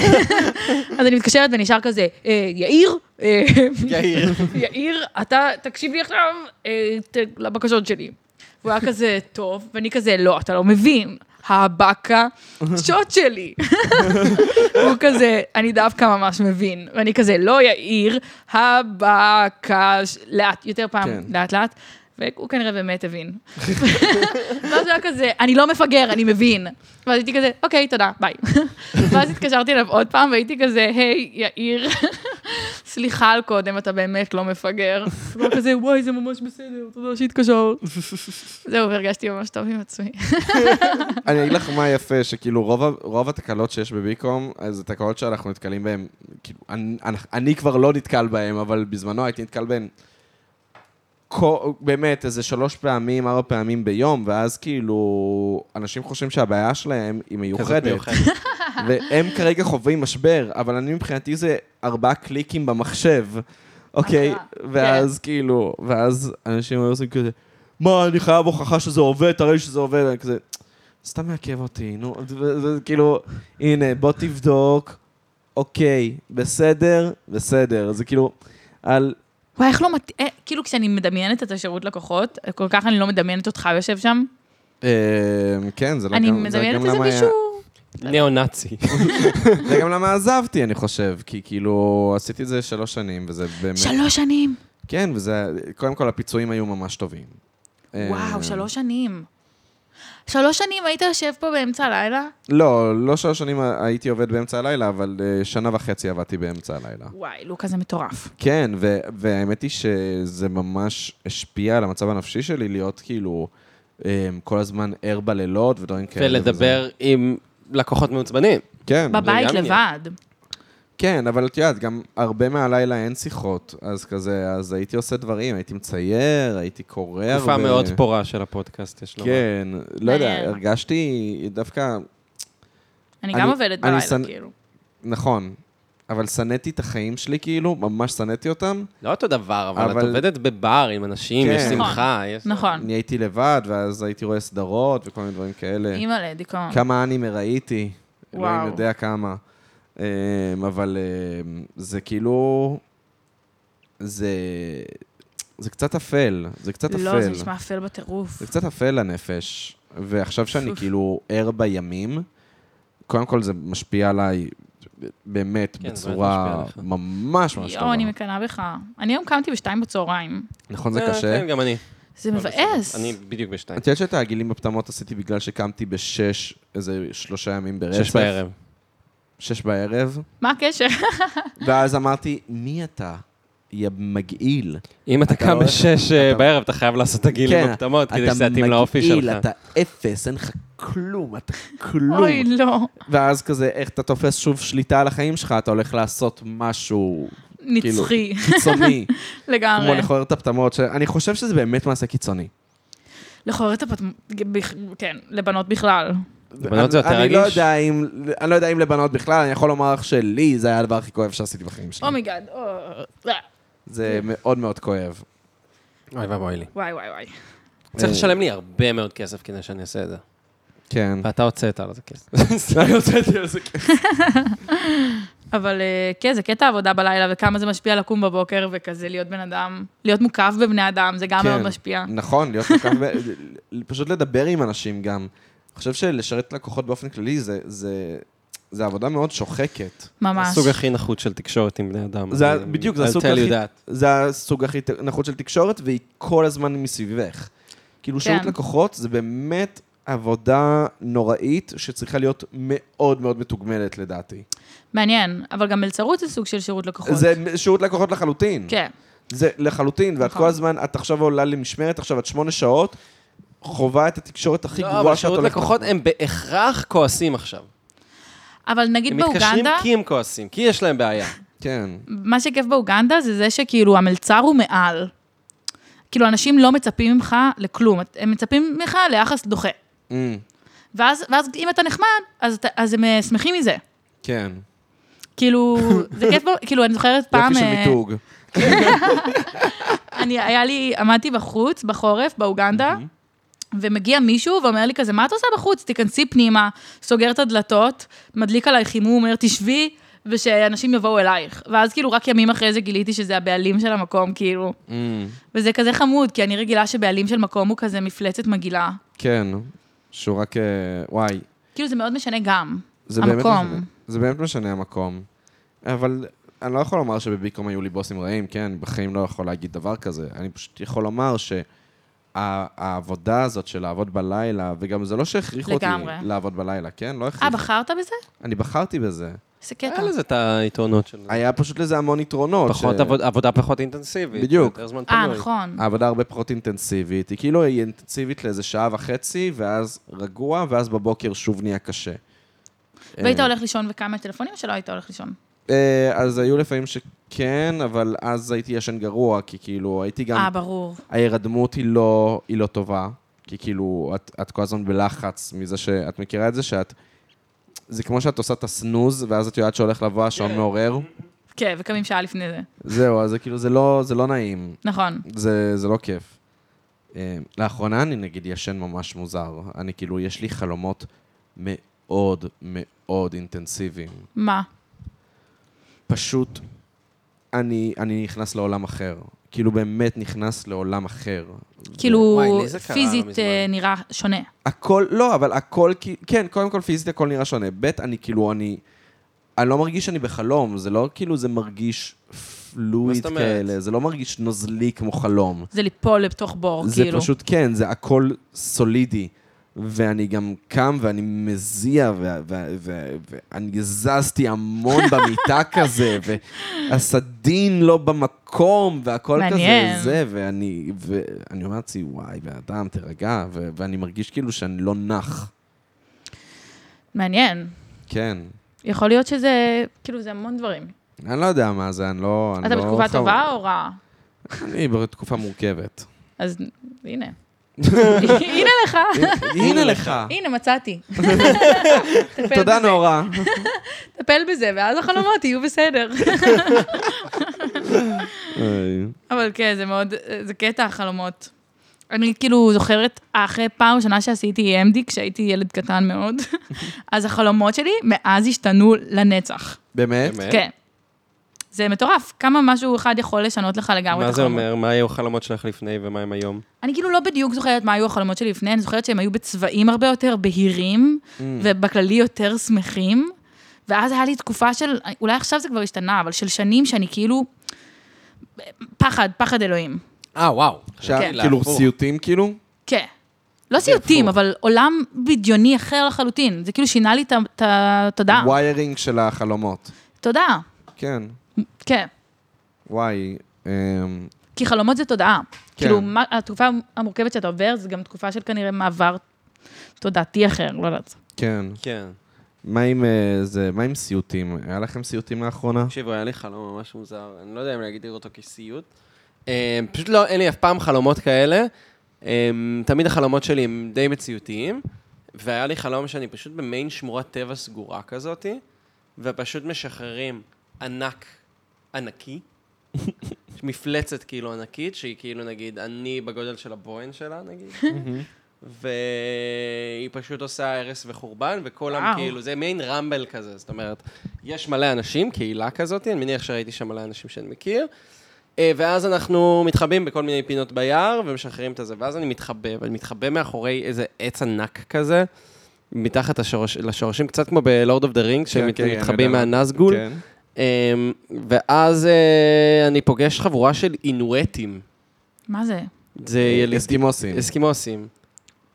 S4: אז אני מתקשרת ונשאר כזה, "אה, יאיר, אה,
S3: יאיר.
S4: יאיר, אתה תקשיב לי עכשיו אה, ת- לבקשות שלי. והוא היה כזה, טוב, ואני כזה, לא, אתה לא מבין, הבקה שוט שלי. הוא כזה, אני דווקא ממש מבין. ואני כזה, לא יאיר, הבקה, ש-" לאט, יותר פעם,
S2: כן.
S4: לאט לאט. והוא כנראה באמת הבין. ואז הוא היה כזה, אני לא מפגר, אני מבין. ואז הייתי כזה, אוקיי, תודה, ביי. ואז התקשרתי אליו עוד פעם, והייתי כזה, היי, יאיר, סליחה על קודם, אתה באמת לא מפגר. והוא כזה, וואי, זה ממש בסדר, תודה שהתקשרת. זהו, והרגשתי ממש טוב עם עצמי.
S2: אני אגיד לך מה יפה, שכאילו רוב, ה- רוב התקלות שיש בביקום, אז זה תקלות שאנחנו נתקלים בהן, כאילו, אני, אנ- אני כבר לא נתקל בהן, אבל בזמנו הייתי נתקל בהן כל, באמת איזה שלוש פעמים, ארבע פעמים ביום, ואז כאילו, אנשים חושבים שהבעיה שלהם היא
S3: כזאת
S2: מיוחדת,
S3: מיוחדת.
S2: והם כרגע חווים משבר, אבל אני מבחינתי זה ארבעה קליקים במחשב, אוקיי?
S4: אהה,
S2: ואז כאילו, ואז אנשים היו עושים כזה, מה, אני חייב הוכחה שזה עובד, תראה לי שזה עובד, אני כזה, סתם מעכב אותי, נו, זה- זה כאילו, הנה, בוא תבדוק, אוקיי, בסדר, בסדר, זה כאילו, על...
S4: וואי, איך לא מת... אה, כאילו, כשאני מדמיינת את השירות לקוחות, כל כך אני לא מדמיינת אותך יושב שם,
S2: אה, כן, זה לא
S4: אני
S2: גם, זה
S4: מדמיינת
S2: גם
S4: איזה
S2: למה היה-
S4: מישהו...
S3: ניאו-נאצי.
S2: כן, זה גם למה עזבתי, אני חושב, כי כאילו, עשיתי את זה שלוש שנים, וזה באמת...
S4: שלוש שנים.
S2: כן, וזה, קודם כל הפיצויים היו ממש טובים. אה,
S4: וואו, שלוש שנים. שלוש שנים היית יושב פה באמצע הלילה?
S2: לא, לא שלוש שנים הייתי עובד באמצע הלילה, אבל אה, שנה וחצי עבדתי באמצע הלילה.
S4: וואי, לוקה זה מטורף.
S2: כן, ו- והאמת היא שזה ממש השפיע על המצב הנפשי שלי, להיות כאילו אה, כל הזמן ער בלילות ודברים כאלה. וזה-
S3: ולדבר עם לקוחות מעוצבנים.
S2: כן,
S4: בבית
S3: גם
S4: לבד.
S2: כן, אבל את יודעת, גם הרבה מהלילה אין שיחות, אז כזה, אז הייתי עושה דברים, הייתי מצייר, הייתי קורא הרבה.
S3: תקופה מאוד פורה של הפודקאסט, יש לומר.
S2: כן, לא יודע,
S4: מעניין.
S2: הרגשתי דווקא
S4: אני
S2: אני-
S4: גם עובדת
S2: אני
S4: בלילה,
S2: שנ-
S4: כאילו.
S2: נכון, אבל שנאתי את החיים שלי, כאילו, ממש שנאתי אותם.
S3: לא אותו דבר, אבל את
S2: אבל-
S3: עובדת בבר עם אנשים,
S2: כן.
S3: יש
S2: נכון.
S3: שמחה, יש...
S4: נכון.
S2: אני הייתי לבד, ואז הייתי רואה סדרות וכל מיני דברים כאלה.
S4: אימא'לה, דיכאון.
S2: אה. כמה אנימה ראיתי,
S4: וואו.
S2: אלוהים יודע כמה. אמ, אבל אמ, זה כאילו... זה... זה קצת אפל, זה קצת אפל.
S4: לא, זה נשמע אפל בטירוף.
S2: זה קצת אפל לנפש, ועכשיו שאני
S4: אוף.
S2: כאילו ער בימים, קודם כל זה משפיע עליי באמת
S3: כן, זה באמת
S2: בצורה
S3: משפיע עליך.
S2: ממש ממש
S4: יואו,
S2: טובה.
S4: אני מקנאה בך. אני היום קמתי בשתיים בצהריים.
S2: נכון, זה
S3: אה,
S2: קשה?
S3: כן, גם אני.
S4: זה
S3: הכל
S4: מבאס.
S3: בסדר. אני בדיוק בשתיים.
S2: את יודעת שאת העגילים בפטמות עשיתי בגלל שקמתי בשש, איזה שלושה ימים ברצף.
S3: שש בערב.
S2: שש בערב.
S4: מה הקשר?
S2: ואז אמרתי, מי אתה? יא מגעיל.
S3: אם אתה
S2: אתה
S3: קם
S2: הולך-
S3: בשש אה, בערב, אתה חייב לעשות את הגיל עם
S2: כן,
S3: הקטמות, כדי שזה
S2: אתה
S3: יתאים לאופי
S2: מגעיל,
S3: שלך.
S2: אתה אפס, אין לך כלום, אתה כלום.
S4: אוי, לא.
S2: ואז כזה, איך אתה תופס שוב שליטה על החיים שלך, אתה הולך לעשות משהו כאילו,
S4: נצחי,
S2: קיצוני, כמו
S4: לגמרי.
S2: לכוער את הפטמות, שאני חושב שזה באמת מעשה קיצוני.
S4: לכעור את הפת... כן, לבנות בכלל.
S3: כן. לבנות זה יותר
S2: אני- אני לא
S3: רגיש?
S2: יודע אם, אני לא יודע אם לבנות בכלל, אני יכול לומר לך שלי זה היה הדבר הכי כואב שעשיתי בחיים שלי.
S4: אומייגאד, או... אה,
S2: זה מאוד מאוד כואב.
S3: אוי ואבוי לי.
S4: וואי, וואי, וואי.
S3: צריך
S2: אה,
S3: לשלם לי הרבה מאוד כסף כדי שאני אעשה את זה.
S2: כן.
S3: ואתה הוצאת על זה כסף.
S4: אבל אה, כן, זה קטע עבודה בלילה, וכמה זה משפיע לקום בבוקר, וכזה להיות בן אדם, להיות מוקף בבני אדם, זה גם
S2: כן.
S4: מאוד משפיע.
S2: נכון, להיות כל כך... ב- פשוט לדבר עם אנשים גם. אני חושב שלשרת לקוחות באופן כללי זה- זה... זה עבודה מאוד שוחקת.
S4: ממש.
S3: הסוג הכי נחות של תקשורת עם בני אדם.
S2: זה-
S3: אני-
S2: בדיוק, זה
S3: I'll
S2: הסוג
S3: tell you
S2: הכי-
S3: that.
S2: זה הסוג הכי ת- נחות של תקשורת, והיא כל הזמן מסביבך. כאילו,
S4: כן.
S2: שירות לקוחות זה באמת עבודה נוראית שצריכה להיות מאוד מאוד מתוגמלת, לדעתי.
S4: מעניין, אבל גם מלצרות זה סוג של שירות לקוחות.
S2: זה שירות לקוחות לחלוטין.
S4: נכון. כן,
S2: זה לחלוטין, ואת
S4: נכון.
S2: כל הזמן, את עכשיו עולה למשמרת, עכשיו את שמונה שעות, חווה את התקשורת הכי
S3: לא, אבל
S2: גרועה שאת
S3: שירות
S2: הולכת...
S3: לקוחות הם בהכרח כועסים עכשיו.
S4: אבל נגיד
S3: הם מתקשרים
S4: באוגנדה,
S3: כי הם כועסים, כי יש להם בעיה.
S2: כן.
S4: מה שכיף באוגנדה זה זה שכאילו המלצר הוא מעל. כאילו, אנשים לא מצפים ממך לכלום, הם מצפים ממך ליחס דוחה.
S2: Mm,
S4: ואז, ואז אם אתה נחמד, אז, אתה- אז הם אה, שמחים מזה.
S2: כן.
S4: כאילו, זה כיף, בו- כאילו, אני זוכרת פעם...
S2: יופי של
S4: אה,
S2: מיתוג.
S4: אני, היה לי, עמדתי בחוץ, בחורף, באוגנדה,
S2: אוקיי.
S4: ומגיע מישהו ואומר לי כזה, מה את עושה בחוץ? תיכנסי פנימה, סוגר את הדלתות, מדליק עליי חימום, אומר, תשבי, ושאנשים יבואו אלייך. ואז כאילו, רק ימים אחרי זה גיליתי שזה הבעלים של המקום, כאילו.
S2: Mm,
S4: וזה כזה חמוד, כי אני רגילה שבעלים של מקום הוא כזה מפלצת מגעילה.
S2: כן. שהוא רק... אה, וואי.
S4: כאילו, זה מאוד משנה גם.
S2: זה באמת
S4: המקום.
S2: משנה. זה באמת משנה המקום. אבל אני לא יכול לומר שבביקום היו לי בוסים רעים, כן, אני בחיים לא יכול להגיד דבר כזה. אני פשוט יכול לומר שה- העבודה הזאת של לעבוד בלילה, וגם זה לא שהכריחו אותי
S4: לגמרי.
S2: לעבוד בלילה, כן? לא
S4: אה,
S2: הכריחו.
S4: בחרת בזה?
S2: אני בחרתי בזה.
S4: איזה קטע.
S3: היה
S2: אה, לא,
S3: לזה את היתרונות של
S2: היה פשוט לזה המון יתרונות.
S3: פחות
S2: ש-
S3: עבוד- עבודה פחות אינטנסיבית.
S2: בדיוק.
S3: יותר זמן
S4: אה,
S2: לא-
S3: פנוי.
S4: נכון.
S2: העבודה הרבה פחות אינטנסיבית. היא כאילו היא אינטנסיבית לאיזה שעה וחצי, ואז רגוע, ואז בבוקר שוב נהיה קשה.
S4: והיית
S2: אה,
S4: הולך לישון וכמה טלפונים, או שלא היית הולך לישון?
S2: אה, אז היו לפעמים שכן, אבל אז הייתי ישן גרוע, כי כאילו הייתי גם...
S4: אה, ברור.
S2: ההירדמות היא לא, היא לא טובה, כי כאילו, את, את כל הזמן בלחץ מזה שאת מכירה את זה, שאת... זה כמו שאת עושה את הסנוז, ואז את יודעת שהולך לבוא השעון מעורר.
S4: כן, וקמים שעה לפני זה.
S2: זהו, אז זה כאילו, זה לא, זה לא נעים,
S4: נכון.
S2: זה, זה לא כיף. אה, לאחרונה אני נגיד ישן ממש מוזר. אני כאילו, יש לי חלומות מאוד מאוד אינטנסיביים.
S4: מה?
S2: פשוט, אני, אני נכנס לעולם אחר. כאילו, באמת נכנס לעולם אחר.
S4: כאילו,
S3: וואי, לי זה קרה לא
S4: פיזית
S3: מזמן.
S4: אה, נראה שונה.
S2: הכל, לא, אבל הכל, כי- כן, קודם כל פיזית הכל נראה שונה. ב', אני כאילו, אני, אני לא מרגיש שאני בחלום, זה לא כאילו זה מרגיש
S3: מה
S2: פלואיד
S3: זאת אומרת?
S2: כאלה, זה לא מרגיש נוזלי כמו חלום.
S4: זה ליפול לתוך בור,
S2: זה
S4: כאילו.
S2: פשוט, כן, זה הכל סולידי. ואני גם קם ואני מזיע, ו- ו- ו- ואני זזתי המון במיטה כזה, והסדין לא במקום, והכל
S4: מעניין.
S2: כזה זה, ואני, ואני אומר לעצמי, וואי, בן אדם, תירגע, ו- ואני מרגיש כאילו שאני לא נח.
S4: מעניין.
S2: כן.
S4: יכול להיות שזה, כאילו, זה המון דברים.
S2: אני לא יודע מה זה, אני לא... אני
S4: אתה
S2: לא
S4: בתקופה
S2: חבר-
S4: טובה או רעה?
S2: אני בתקופה מורכבת.
S4: אז הנה. הנה לך,
S2: הנה לך.
S4: הנה מצאתי. טפל
S2: תודה,
S4: בזה,
S2: נורא.
S4: טפל בזה, ואז החלומות יהיו בסדר.
S2: איי.
S4: אבל כן, זה מאוד, זה קטע החלומות. אני כאילו זוכרת, אחרי פעם ראשונה שעשיתי EMD, כשהייתי ילד קטן מאוד, אז החלומות שלי מאז השתנו לנצח.
S2: באמת?
S3: באמת?
S4: כן. זה מטורף, כמה משהו אחד יכול לשנות לך לגמרי את
S3: מה זה
S4: החלומות.
S3: אומר? מה היו החלומות שלך לפני ומה הם היום?
S4: אני כאילו לא בדיוק זוכרת מה היו החלומות שלי לפני, אני זוכרת שהם היו בצבעים הרבה יותר בהירים,
S3: Mm.
S4: ובכללי יותר שמחים. ואז היה לי תקופה של, אולי עכשיו זה כבר השתנה, אבל של שנים שאני כאילו... פחד, פחד אלוהים.
S3: אה, וואו.
S2: שהיה
S4: כן.
S2: כאילו
S3: להפוך.
S2: סיוטים, כאילו?
S4: כן. לא סיוטים,
S2: הפוך.
S4: אבל עולם בדיוני אחר לחלוטין. זה כאילו שינה לי את ה- את ה- תודה.
S2: ויירינג של החלומות.
S4: תודה.
S2: כן.
S4: כן.
S2: וואי, אמ,
S4: כי חלומות זה תודעה. כאילו, מה- התקופה המורכבת שאתה עובר, זה גם תקופה של כנראה מעבר תודעתי אחר, לא יודעת.
S2: כן.
S3: כן.
S2: מה עם אה, זה, מה עם סיוטים? היה לכם סיוטים לאחרונה?
S3: תקשיבו, היה לי חלום ממש מוזר, אני לא יודע אם להגדיר אותו כסיוט. אה, פשוט לא, אין לי אף פעם חלומות כאלה. אה, תמיד החלומות שלי הם די מציאותיים, והיה לי חלום שאני פשוט במעין שמורת טבע סגורה כזאתי, ופשוט משחררים ענק, ענקי, מפלצת כאילו ענקית, שהיא כאילו נגיד, אני בגודל של הבוהן שלה נגיד. והיא פשוט עושה הרס וחורבן, וכולם
S4: וואו.
S3: כאילו, זה מעין רמבל כזה, זאת אומרת, יש מלא אנשים, קהילה כזאת, אני מניח שראיתי שם מלא אנשים שאני מכיר, אה, ואז אנחנו מתחבאים בכל מיני פינות ביער, ומשחררים את הזה, ואז אני מתחבא, ואני מתחבא מאחורי איזה עץ ענק כזה, מתחת השורש, לשורשים, קצת כמו בלורד אוף דה רינג, שהם
S2: כן, אני
S3: מתחבאים
S2: יודע.
S3: מהנזגול,
S2: כן.
S3: אמ, ואז אה, אני פוגש חבורה של אינואטים.
S4: מה זה?
S3: זה יליד...
S2: אה, אסקימוסים.
S3: אסקימוסים.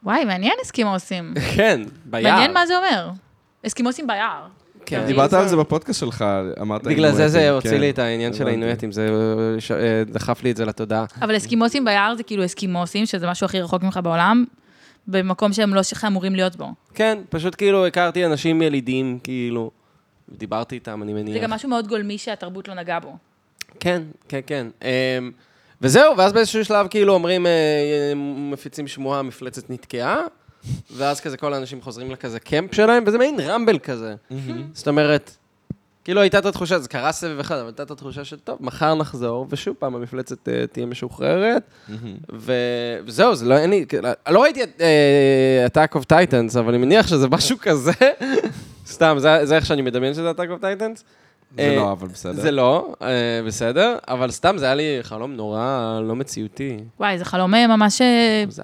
S4: וואי, מעניין אסקימוסים.
S3: כן, ביער.
S4: מעניין מה זה אומר. אסקימוסים ביער.
S3: כן.
S2: דיברת על זה בפודקאסט שלך, אמרת...
S3: בגלל זה זה
S2: אינואטים,
S3: הוציא
S2: כן.
S3: לי את העניין של
S2: הבנתי.
S3: האינואטים, זה אה, ש- אה, דחף לי את זה לתודעה.
S4: אבל אסקימוסים ביער זה כאילו אסקימוסים, שזה משהו הכי רחוק ממך בעולם, במקום שהם לא שלך אמורים להיות בו.
S3: כן, פשוט כאילו הכרתי אנשים ילידים, כאילו, דיברתי איתם, אני מניח.
S4: זה גם משהו מאוד גולמי שהתרבות לא נגעה בו.
S3: כן, כן, כן. אמ, וזהו, ואז באיזשהו שלב כאילו אומרים, אה, אה, מפיצים שמועה, המפלצת נתקעה, ואז כזה כל האנשים חוזרים לכזה קמפ שלהם, וזה מעין רמבל כזה. זאת אומרת, כאילו הייתה את התחושה, זה קרה סבב אחד, אבל הייתה את התחושה של, טוב, מחר נחזור, ושוב פעם המפלצת אה, תהיה משוחררת, ו- וזהו, זה לא, אין לי, כאילו, לא ראיתי את אה, Attack of Titans, אבל אני מניח שזה משהו כזה, סתם, זה זה איך שאני מדמיין שזה Attack of Titans. אה,
S2: זה לא, אבל בסדר.
S3: זה לא, אה, בסדר, אבל סתם זה היה לי חלום נורא לא מציאותי.
S4: וואי, זה חלום אה, ממש אה,
S3: מוזר.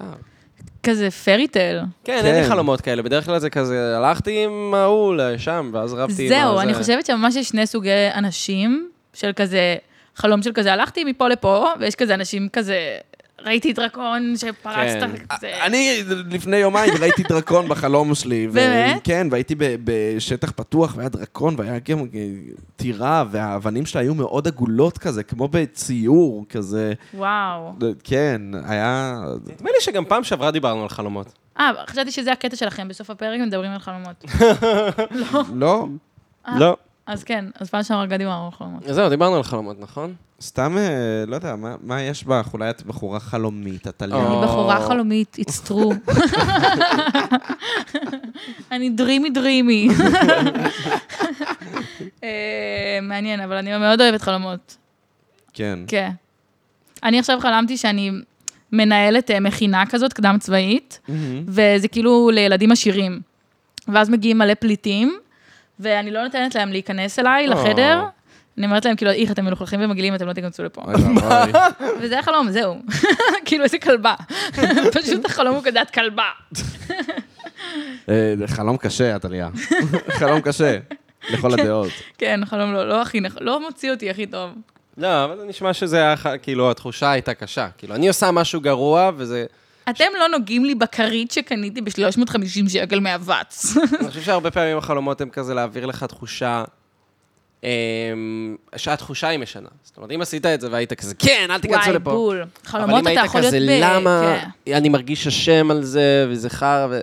S4: כזה פרי טייל.
S3: כן, אין לי חלומות כאלה, בדרך כלל זה כזה, הלכתי עם ההוא לשם, ואז רבתי עם
S4: זהו,
S3: הזה.
S4: אני חושבת שממש יש שני סוגי אנשים, של כזה, חלום של כזה, הלכתי מפה לפה, ויש כזה אנשים כזה, ראיתי דרקון שפרצת,
S3: כן.
S4: כזה.
S2: אני לפני יומיים ראיתי דרקון בחלום שלי. ו-
S4: באמת?
S2: כן, והייתי ב- בשטח פתוח, והיה דרקון, והיה גם אה, טירה, והאבנים שלה היו מאוד עגולות כזה, כמו בציור כזה.
S4: וואו.
S2: כן, היה...
S3: נדמה לי שגם פעם שעברה דיברנו על חלומות.
S4: אה, חשבתי שזה הקטע שלכם, בסוף הפרק מדברים על חלומות.
S2: לא,
S3: לא.
S4: אז כן, אז פעם שעברה גדי אמרנו חלומות.
S3: אז זהו, דיברנו על חלומות, נכון?
S2: סתם, אה, לא יודע, מה- מה יש בך? אולי את בחורה חלומית, את עלייה.
S3: או.
S4: אני בחורה חלומית, it's true. אני דרימי דרימי. אה, מעניין, אבל אני מאוד אוהבת חלומות.
S2: כן.
S4: כן. אני עכשיו חלמתי שאני מנהלת אה, מכינה כזאת, קדם צבאית, וזה כאילו לילדים עשירים. ואז מגיעים מלא פליטים, ואני לא נותנת להם להיכנס אליי
S3: אה.
S4: לחדר. אני אומרת להם, כאילו, איך, אתם מלוכלכים ומגעילים, אתם לא תיכנסו לפה.
S2: אוי ואבוי.
S4: וזה החלום, זהו. כאילו, איזה כלבה. פשוט החלום הוא כזה, את כלבה.
S2: אה, חלום קשה, את עלייה. חלום קשה, לכל הדעות.
S4: כן, חלום לא, לא הכי נכון, לא מוציא אותי הכי טוב.
S3: לא, אבל זה נשמע שזה היה, ח- כאילו, התחושה הייתה קשה. כאילו, אני עושה משהו גרוע, וזה...
S4: אתם לא נוגעים לי בכרית שקניתי ב-350 שקל מאבץ.
S3: אני חושב שהרבה פעמים החלומות הם כזה להעביר לך תחושה, אמ, שהתחושה היא משנה. זאת אומרת, אם עשית את זה והיית כזה, כן, אל תיכנסו
S4: וואי,
S3: לפה.
S4: בול. חלומות
S3: אבל אם
S4: אתה
S3: היית
S4: יכול להיות
S3: כזה,
S4: ב...
S3: למה
S4: כן.
S3: אני מרגיש אשם על זה, וזה חרא, ו...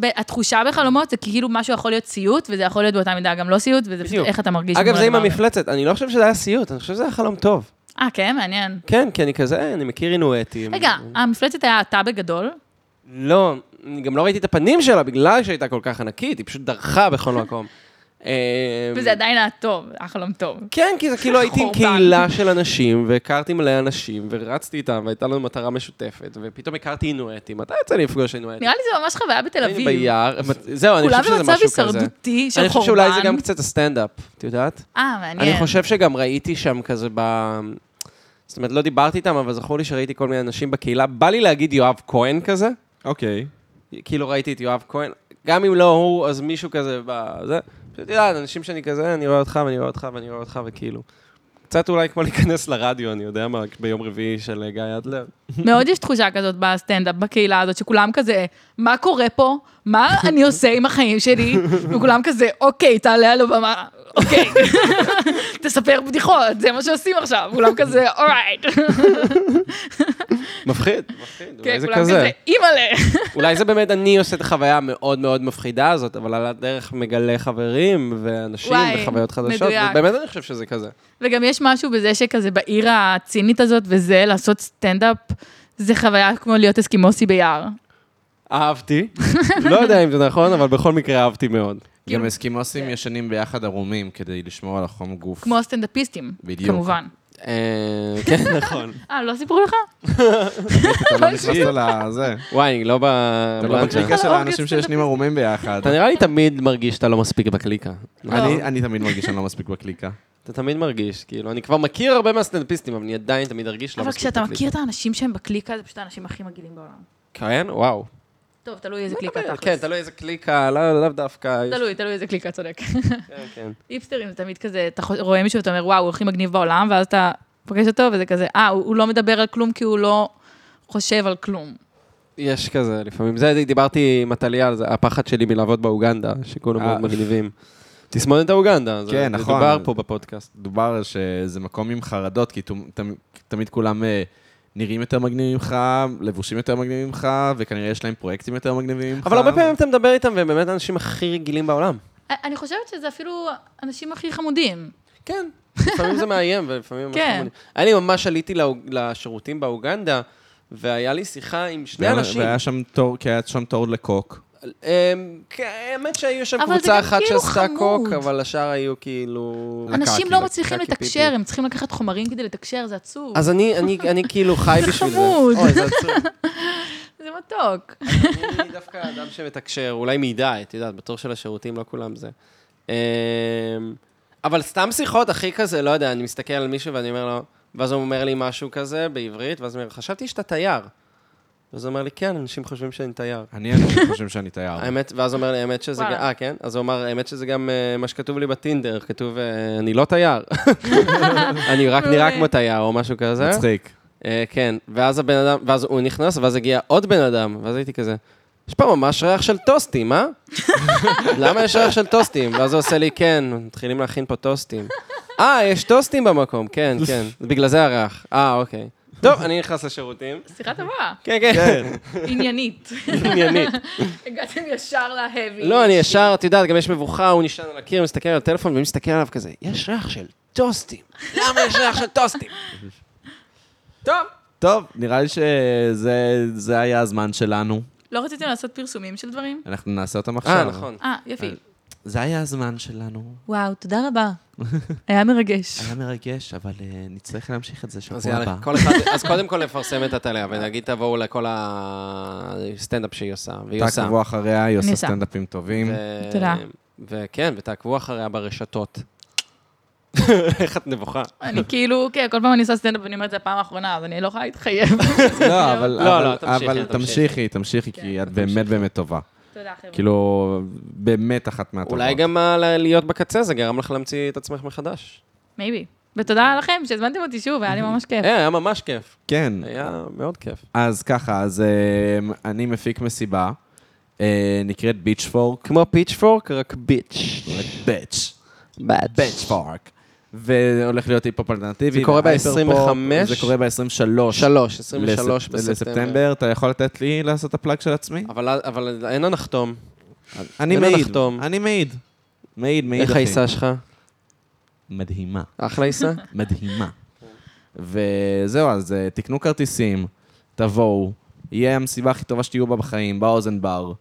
S4: ב- התחושה בחלומות זה כאילו משהו יכול להיות סיוט, וזה יכול להיות באותה מידה גם לא סיוט, וזה פשוט
S3: בדיוק.
S4: איך אתה מרגיש.
S3: אגב,
S4: מול
S3: זה עם
S4: הדבר הזה.
S3: המפלצת, אני לא חושב שזה היה סיוט, אני חושב שזה היה חלום טוב.
S4: אה, כן, מעניין.
S3: כן, כי אני כזה, "אה, אני מכיר אינואטים.
S4: רגע, המפלצת היה אתה בגדול?
S3: לא, אני גם לא ראיתי את הפנים שלה, בגלל שהייתה כל כך ענקית, היא פשוט דרכה בכל מקום. אמ,
S4: וזה עדיין היה טוב, היה חלום טוב.
S3: כן, כי זה כאילו הייתי עם
S4: חורבן.
S3: קהילה של אנשים, והכרתי מלא אנשים, ורצתי איתם, והייתה לנו מטרה משותפת, ופתאום הכרתי אינואטים. מתי יצא לי לפגוש אינואטים?
S4: נראה לי זה ממש חוויה בתל
S3: היינו
S4: אביב.
S3: ביער, זהו, אני
S4: כולם
S3: חושב שזה
S4: במצב
S3: משהו כזה.
S4: הישרדותי של
S3: אני חושב
S4: חורבן.
S3: שאולי זה גם קצת הסטנדאפ, את יודעת?
S4: אה, מעניין.
S3: אני חושב שגם ראיתי שם כזה ב... זאת אומרת, לא דיברתי איתם, אבל זכור לי שראיתי כל מיני אנשים בקהילה. בא לי להגיד יואב כהן כזה,
S2: אוקיי.
S3: כאילו ראיתי את יואב כהן, גם אם לא הוא, אז מישהו כזה בזה. פשוט יודעת, אנשים שאני כזה, אני רואה אותך ואני רואה אותך ואני רואה אותך, וכאילו. קצת אולי כמו להיכנס לרדיו, אני יודע מה, ביום רביעי של אה, גיא אדלר.
S4: מאוד יש תחושה כזאת בסטנדאפ, בקהילה הזאת, שכולם כזה, מה קורה פה? מה אני עושה עם החיים שלי? וכולם כזה, אוקיי, תעלה על הבמה, אוקיי. תספר בדיחות, זה מה שעושים עכשיו. כולם כזה, אורייט.
S3: מפחיד, מפחיד,
S4: כן,
S3: אולי זה
S4: כולם
S3: כזה.
S4: כזה, אימא'לה.
S3: אולי זה באמת אני עושה את החוויה המאוד מאוד מפחידה הזאת, אבל על הדרך מגלה חברים ואנשים
S4: וואי,
S3: וחוויות חדשות.
S4: מדויק.
S3: באמת אני חושב שזה כזה.
S4: וגם יש משהו בזה שכזה בעיר הצינית הזאת וזה, לעשות סטנדאפ, זה חוויה כמו להיות אסקימוסי ביער.
S3: אהבתי. לא יודע אם זה נכון, אבל בכל מקרה אהבתי מאוד.
S2: גם
S3: אה.
S2: אסקימוסים ישנים ביחד ערומים כדי לשמור על החום גוף.
S4: כמו הסטנדאפיסטים,
S2: בדיוק.
S4: כמובן.
S3: אה, כן, נכון.
S4: אה, לא סיפרו לך?
S1: אתה לא נכנסת לזה.
S3: וואי, אני לא ב...
S1: אתה לא בקליקה של
S4: לא,
S1: האנשים
S4: אוקיי,
S1: שישנים ערומים ביחד.
S3: אתה נראה לי תמיד מרגיש שאתה לא מספיק בקליקה.
S2: אני- אני תמיד מרגיש שאני לא מספיק בקליקה.
S3: אתה תמיד מרגיש, כאילו, אני כבר מכיר הרבה מהסטנדאפיסטים, אבל אני עדיין תמיד ארגיש לא
S4: אבל
S3: מספיק
S4: כשאתה
S3: בקליקה.
S4: מכיר את האנשים שהם בקליקה, זה פשוט האנשים הכי מגעילים בעולם.
S3: כן, וואו.
S4: טוב, תלוי איזה קליקה
S3: כן,
S4: תכלס.
S3: תלוי איזה קליקה, לא- לאו דווקא. יש-
S4: תלוי, תלוי איזה קליקה, צודק.
S3: כן, כן.
S4: היפסטרים זה תמיד כזה, אתה חו- רואה מישהו ואתה אומר, וואו, הוא הכי מגניב בעולם, ואז אתה פוגש אותו וזה כזה, אה, הוא הוא לא מדבר על כלום כי הוא לא חושב על כלום.
S3: יש כזה, לפעמים. זה, דיברתי עם עתליה על זה, הפחד שלי מלעבוד באוגנדה, שכולם
S2: אה.
S3: מאוד מגניבים. תסמונת האוגנדה, זה
S2: כן,
S3: זה
S2: נכון.
S3: דובר פה בפודקאסט.
S2: דובר שזה מקום עם חרדות, כי תומ- תמ- תמיד כולם אה, נראים יותר מגניבים ממך, לבושים יותר מגניבים ממך, וכנראה יש להם פרויקטים יותר מגניבים ממך.
S3: אבל הרבה פעמים אתה מדבר איתם, והם באמת האנשים הכי רגילים בעולם.
S4: א- אני חושבת שזה אפילו אנשים הכי חמודים.
S3: כן. לפעמים זה מאיים, ולפעמים...
S4: כן.
S3: כן. אני ממש עליתי לאוג- לשירותים באוגנדה, והיה לי שיחה עם שני
S2: והיה-
S3: אנשים.
S2: והיה שם תור, כי היה שם תור לקוק.
S3: אמ, כן, האמת שהיו שם
S4: אבל זה
S3: קבוצה
S4: גם
S3: אחת
S4: כאילו
S3: שעשתה
S4: חמוד.
S3: קוק, אבל השאר היו כאילו...
S4: אנשים
S2: לקקי,
S4: לא מצליחים
S3: לקקי
S4: לתקשר,
S3: פיפי.
S4: הם צריכים לקחת חומרים כדי לתקשר, זה עצוב.
S3: אז אני, אני, אני כאילו חי בשביל זה.
S4: חמוד.
S3: אוי, זה עצוב.
S4: זה מתוק.
S3: אני דווקא אדם שמתקשר, אולי מדי, את יודעת, בתור של השירותים לא כולם זה. אמ, אבל סתם שיחות, הכי כזה, לא יודע, אני מסתכל על מישהו ואני אומר לו, ואז הוא אומר לי משהו כזה בעברית, ואז הוא אומר, חשבתי שאתה תייר. ואז הוא אומר לי, כן, אנשים חושבים שאני תייר.
S2: אני אנשים חושבים שאני תייר.
S3: האמת, ואז הוא אומר לי, האמת שזה גם,
S4: וואלה.
S3: אה, כן? אז הוא אמר, האמת שזה גם אה, מה שכתוב לי בטינדר, כתוב, אה, אני לא תייר. אני רק נראה
S4: מעולה.
S3: כמו תייר או משהו כזה.
S2: מצחיק.
S3: אה, כן, ואז הבן אדם, ואז הוא נכנס, ואז הגיע עוד בן אדם, ואז הייתי כזה, יש פה ממש ריח של טוסטים, אה? למה יש ריח של טוסטים? ואז הוא עושה לי, כן, מתחילים להכין פה טוסטים. אה, יש טוסטים במקום, כן, כן, בגלל זה הריח. אה, אוקיי. טוב, אני נכנס לשירותים.
S4: שיחה טובה,
S3: כן, כן,
S4: עניינית.
S3: עניינית.
S4: הגעתם ישר להאבי.
S3: לא, אני ישר, את יודעת, גם יש מבוכה, הוא נשען על הקיר, מסתכל על הטלפון, ואני מסתכל עליו כזה, יש ריח של טוסטים. למה יש ריח של טוסטים? טוב.
S2: טוב, נראה לי שזה זה היה הזמן שלנו.
S4: לא רציתם לעשות פרסומים של דברים?
S2: אנחנו נעשה אותם עכשיו.
S3: אה, נכון.
S4: אה, יפי.
S2: זה היה הזמן שלנו.
S4: וואו, תודה רבה. היה מרגש.
S2: היה מרגש, אבל אה, נצטרך להמשיך את זה שבוע
S3: אז יאללה,
S2: הבא.
S3: כל אחד, אז קודם כל לפרסם את הטליה, ולהגיד תבואו לכל הסטנדאפ שהיא עושה, והיא עושה.
S2: תעקבו אחריה, היא עושה
S4: ניסה.
S2: סטנדאפים טובים.
S3: ו-
S4: תודה.
S3: וכן, ותעקבו אחריה ברשתות. איך את נבוכה.
S4: אני כאילו, כן, כל פעם אני עושה סטנדאפ ואני אומרת, זה הפעם האחרונה, אז אני לא יכולה להתחייב.
S2: לא, אבל,
S3: לא,
S2: אבל,
S3: לא, תמשיכי,
S2: אבל
S3: תמשיכי. כן,
S2: תמשיכי, תמשיכי, כי את באמת באמת טובה.
S4: תודה, חבר'ה.
S2: כאילו, באמת אחת מהטובות.
S3: אולי גם ה- ל- להיות בקצה, זה גרם לך להמציא את עצמך מחדש.
S4: מייבי. ותודה לכם שהזמנתם אותי שוב, היה לי ממש כיף.
S3: אה, היה ממש כיף.
S2: כן.
S3: היה מאוד כיף.
S2: אז ככה, אז אמ, אני מפיק מסיבה, אה, נקראת ביצ'פורק.
S3: כמו פיצ'פורק, רק ביץ'.
S2: ביץ'.
S3: ביץ'.
S2: ביצ'פורק. והולך להיות היפ-הופ אלטרנטיבי.
S3: זה קורה
S2: והייפר-פופ.
S3: ב-
S2: זה קורה ב-23.
S3: שלוש, 23 בספטמבר.
S2: לספטמבר, אתה יכול לתת לי לעשות את הפלאג של עצמי?
S3: אבל אבל אין הנחתום. אה,
S2: אני
S3: ולא
S2: מעיד.
S3: לחתום.
S2: אני מעיד. מעיד, מעיד,
S3: לא איך
S2: אחי.
S3: העיסה שלך?
S2: מדהימה.
S3: אחלה עיסה?
S2: מדהימה. וזהו, אז אה, תקנו כרטיסים, תבואו, יהיה המסיבה הכי טובה שתהיו בה בחיים, באוזן בר,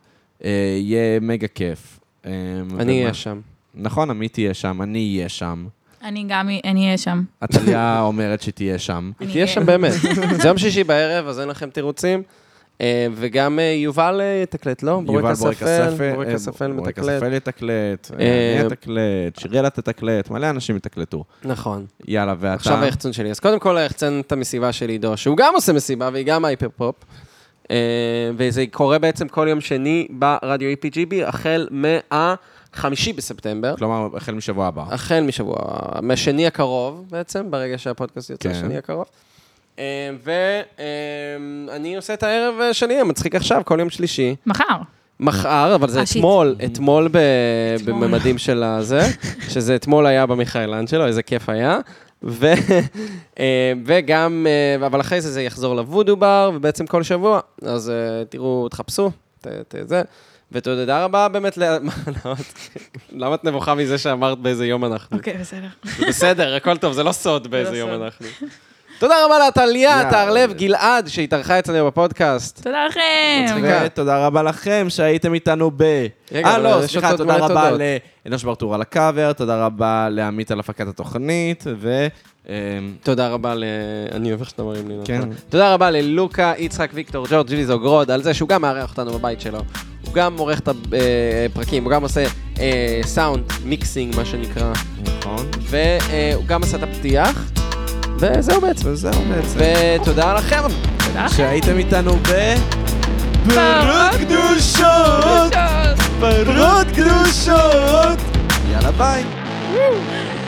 S2: אה, יהיה מגה כיף. אה,
S3: אני
S2: ומה-
S3: אהיה שם.
S2: נכון, עמית תהיה שם, אני אהיה שם.
S4: אני גם, אני אהיה שם.
S2: עתליה אומרת שתהיה שם.
S4: אני
S3: תהיה
S4: אהיה.
S3: שם באמת. זה יום שישי בערב, אז אין לכם תירוצים. אה, וגם אה, יובל אה, יתקלט, לא?
S2: יובל
S3: בורק אספל,
S2: אה,
S3: בורק אספל
S2: בורק
S3: מתקלט.
S2: אספל יתקלט, אה,
S3: אה,
S2: אני אתקלט, שיריאלה תתקלט, מלא אנשים יתקלטו.
S3: נכון.
S2: יאללה, ואתה?
S3: עכשיו היחצון שלי. אז קודם כל היחצן את המסיבה של עידו, שהוא גם עושה מסיבה והיא גם הייפר פופ. אה, וזה קורה בעצם כל יום שני ברדיו EPGB, החל מהחמישי בספטמבר.
S2: כלומר, החל משבוע הבא.
S3: החל משבוע, מהשני הקרוב בעצם, ברגע שהפודקאסט יוצא,
S2: כן.
S3: השני הקרוב. אה, ואני עושה את הערב אה, שלי המצחיק עכשיו, כל יום שלישי.
S4: מחר.
S3: אוקיי. מחר, אבל זה
S4: אה, שיט.
S3: אתמול, אתמול ב-
S4: אתמול.
S3: בממדים של הזה, שזה אתמול היה במיכאלן שלו, איזה כיף היה. ו, אה, וגם, אה, אבל אחרי זה זה יחזור לוודו בר, ובעצם כל שבוע, אז אה, תראו, תחפשו, ת, ת, זה. ותודה רבה באמת, ל- מה, למה את- למה את נבוכה מזה שאמרת באיזה יום אנחנו?
S4: אוקיי, בסדר.
S3: זה בסדר, הכל טוב, זה לא סוד באיזה
S4: לא
S3: יום
S4: סוד.
S3: אנחנו. תודה רבה לטליה,
S2: יאללה.
S3: תהרלב, גלעד, שהתארחה אצלנו בפודקאסט.
S4: תודה לכם.
S3: מצחיק. רגע.
S2: ותודה רבה לכם שהייתם איתנו ב...
S3: רגע,
S2: אה,
S3: אבל
S2: לא,
S3: יש
S2: סליחה,
S3: עוד
S2: תודה
S3: מלא
S2: רבה
S3: תודות.
S2: לאנוש ברטור על הקאבר, תודה רבה לעמית על הפקת התוכנית, ו... אמ,
S3: תודה רבה ל... אני אוהב איך שאתה מרים לי.
S2: כן.
S3: נכון. תודה רבה ללוקה, יצחק, ויקטור, ג'ורג' ויזוגרוד, על זה שהוא גם מארח אותנו בבית שלו. הוא גם עורך את הפרקים, הוא גם עושה אה, סאונד מיקסינג, מה שנקרא,
S2: נכון.
S3: והוא גם עשה את הפתיח, וזהו בעצם.
S2: וזהו בעצם.
S3: ותודה לכם.
S2: שהייתם איתנו ב...
S4: פרות
S2: קדושות!
S4: קדושות.
S2: פרות קדושות! יאללה ביי!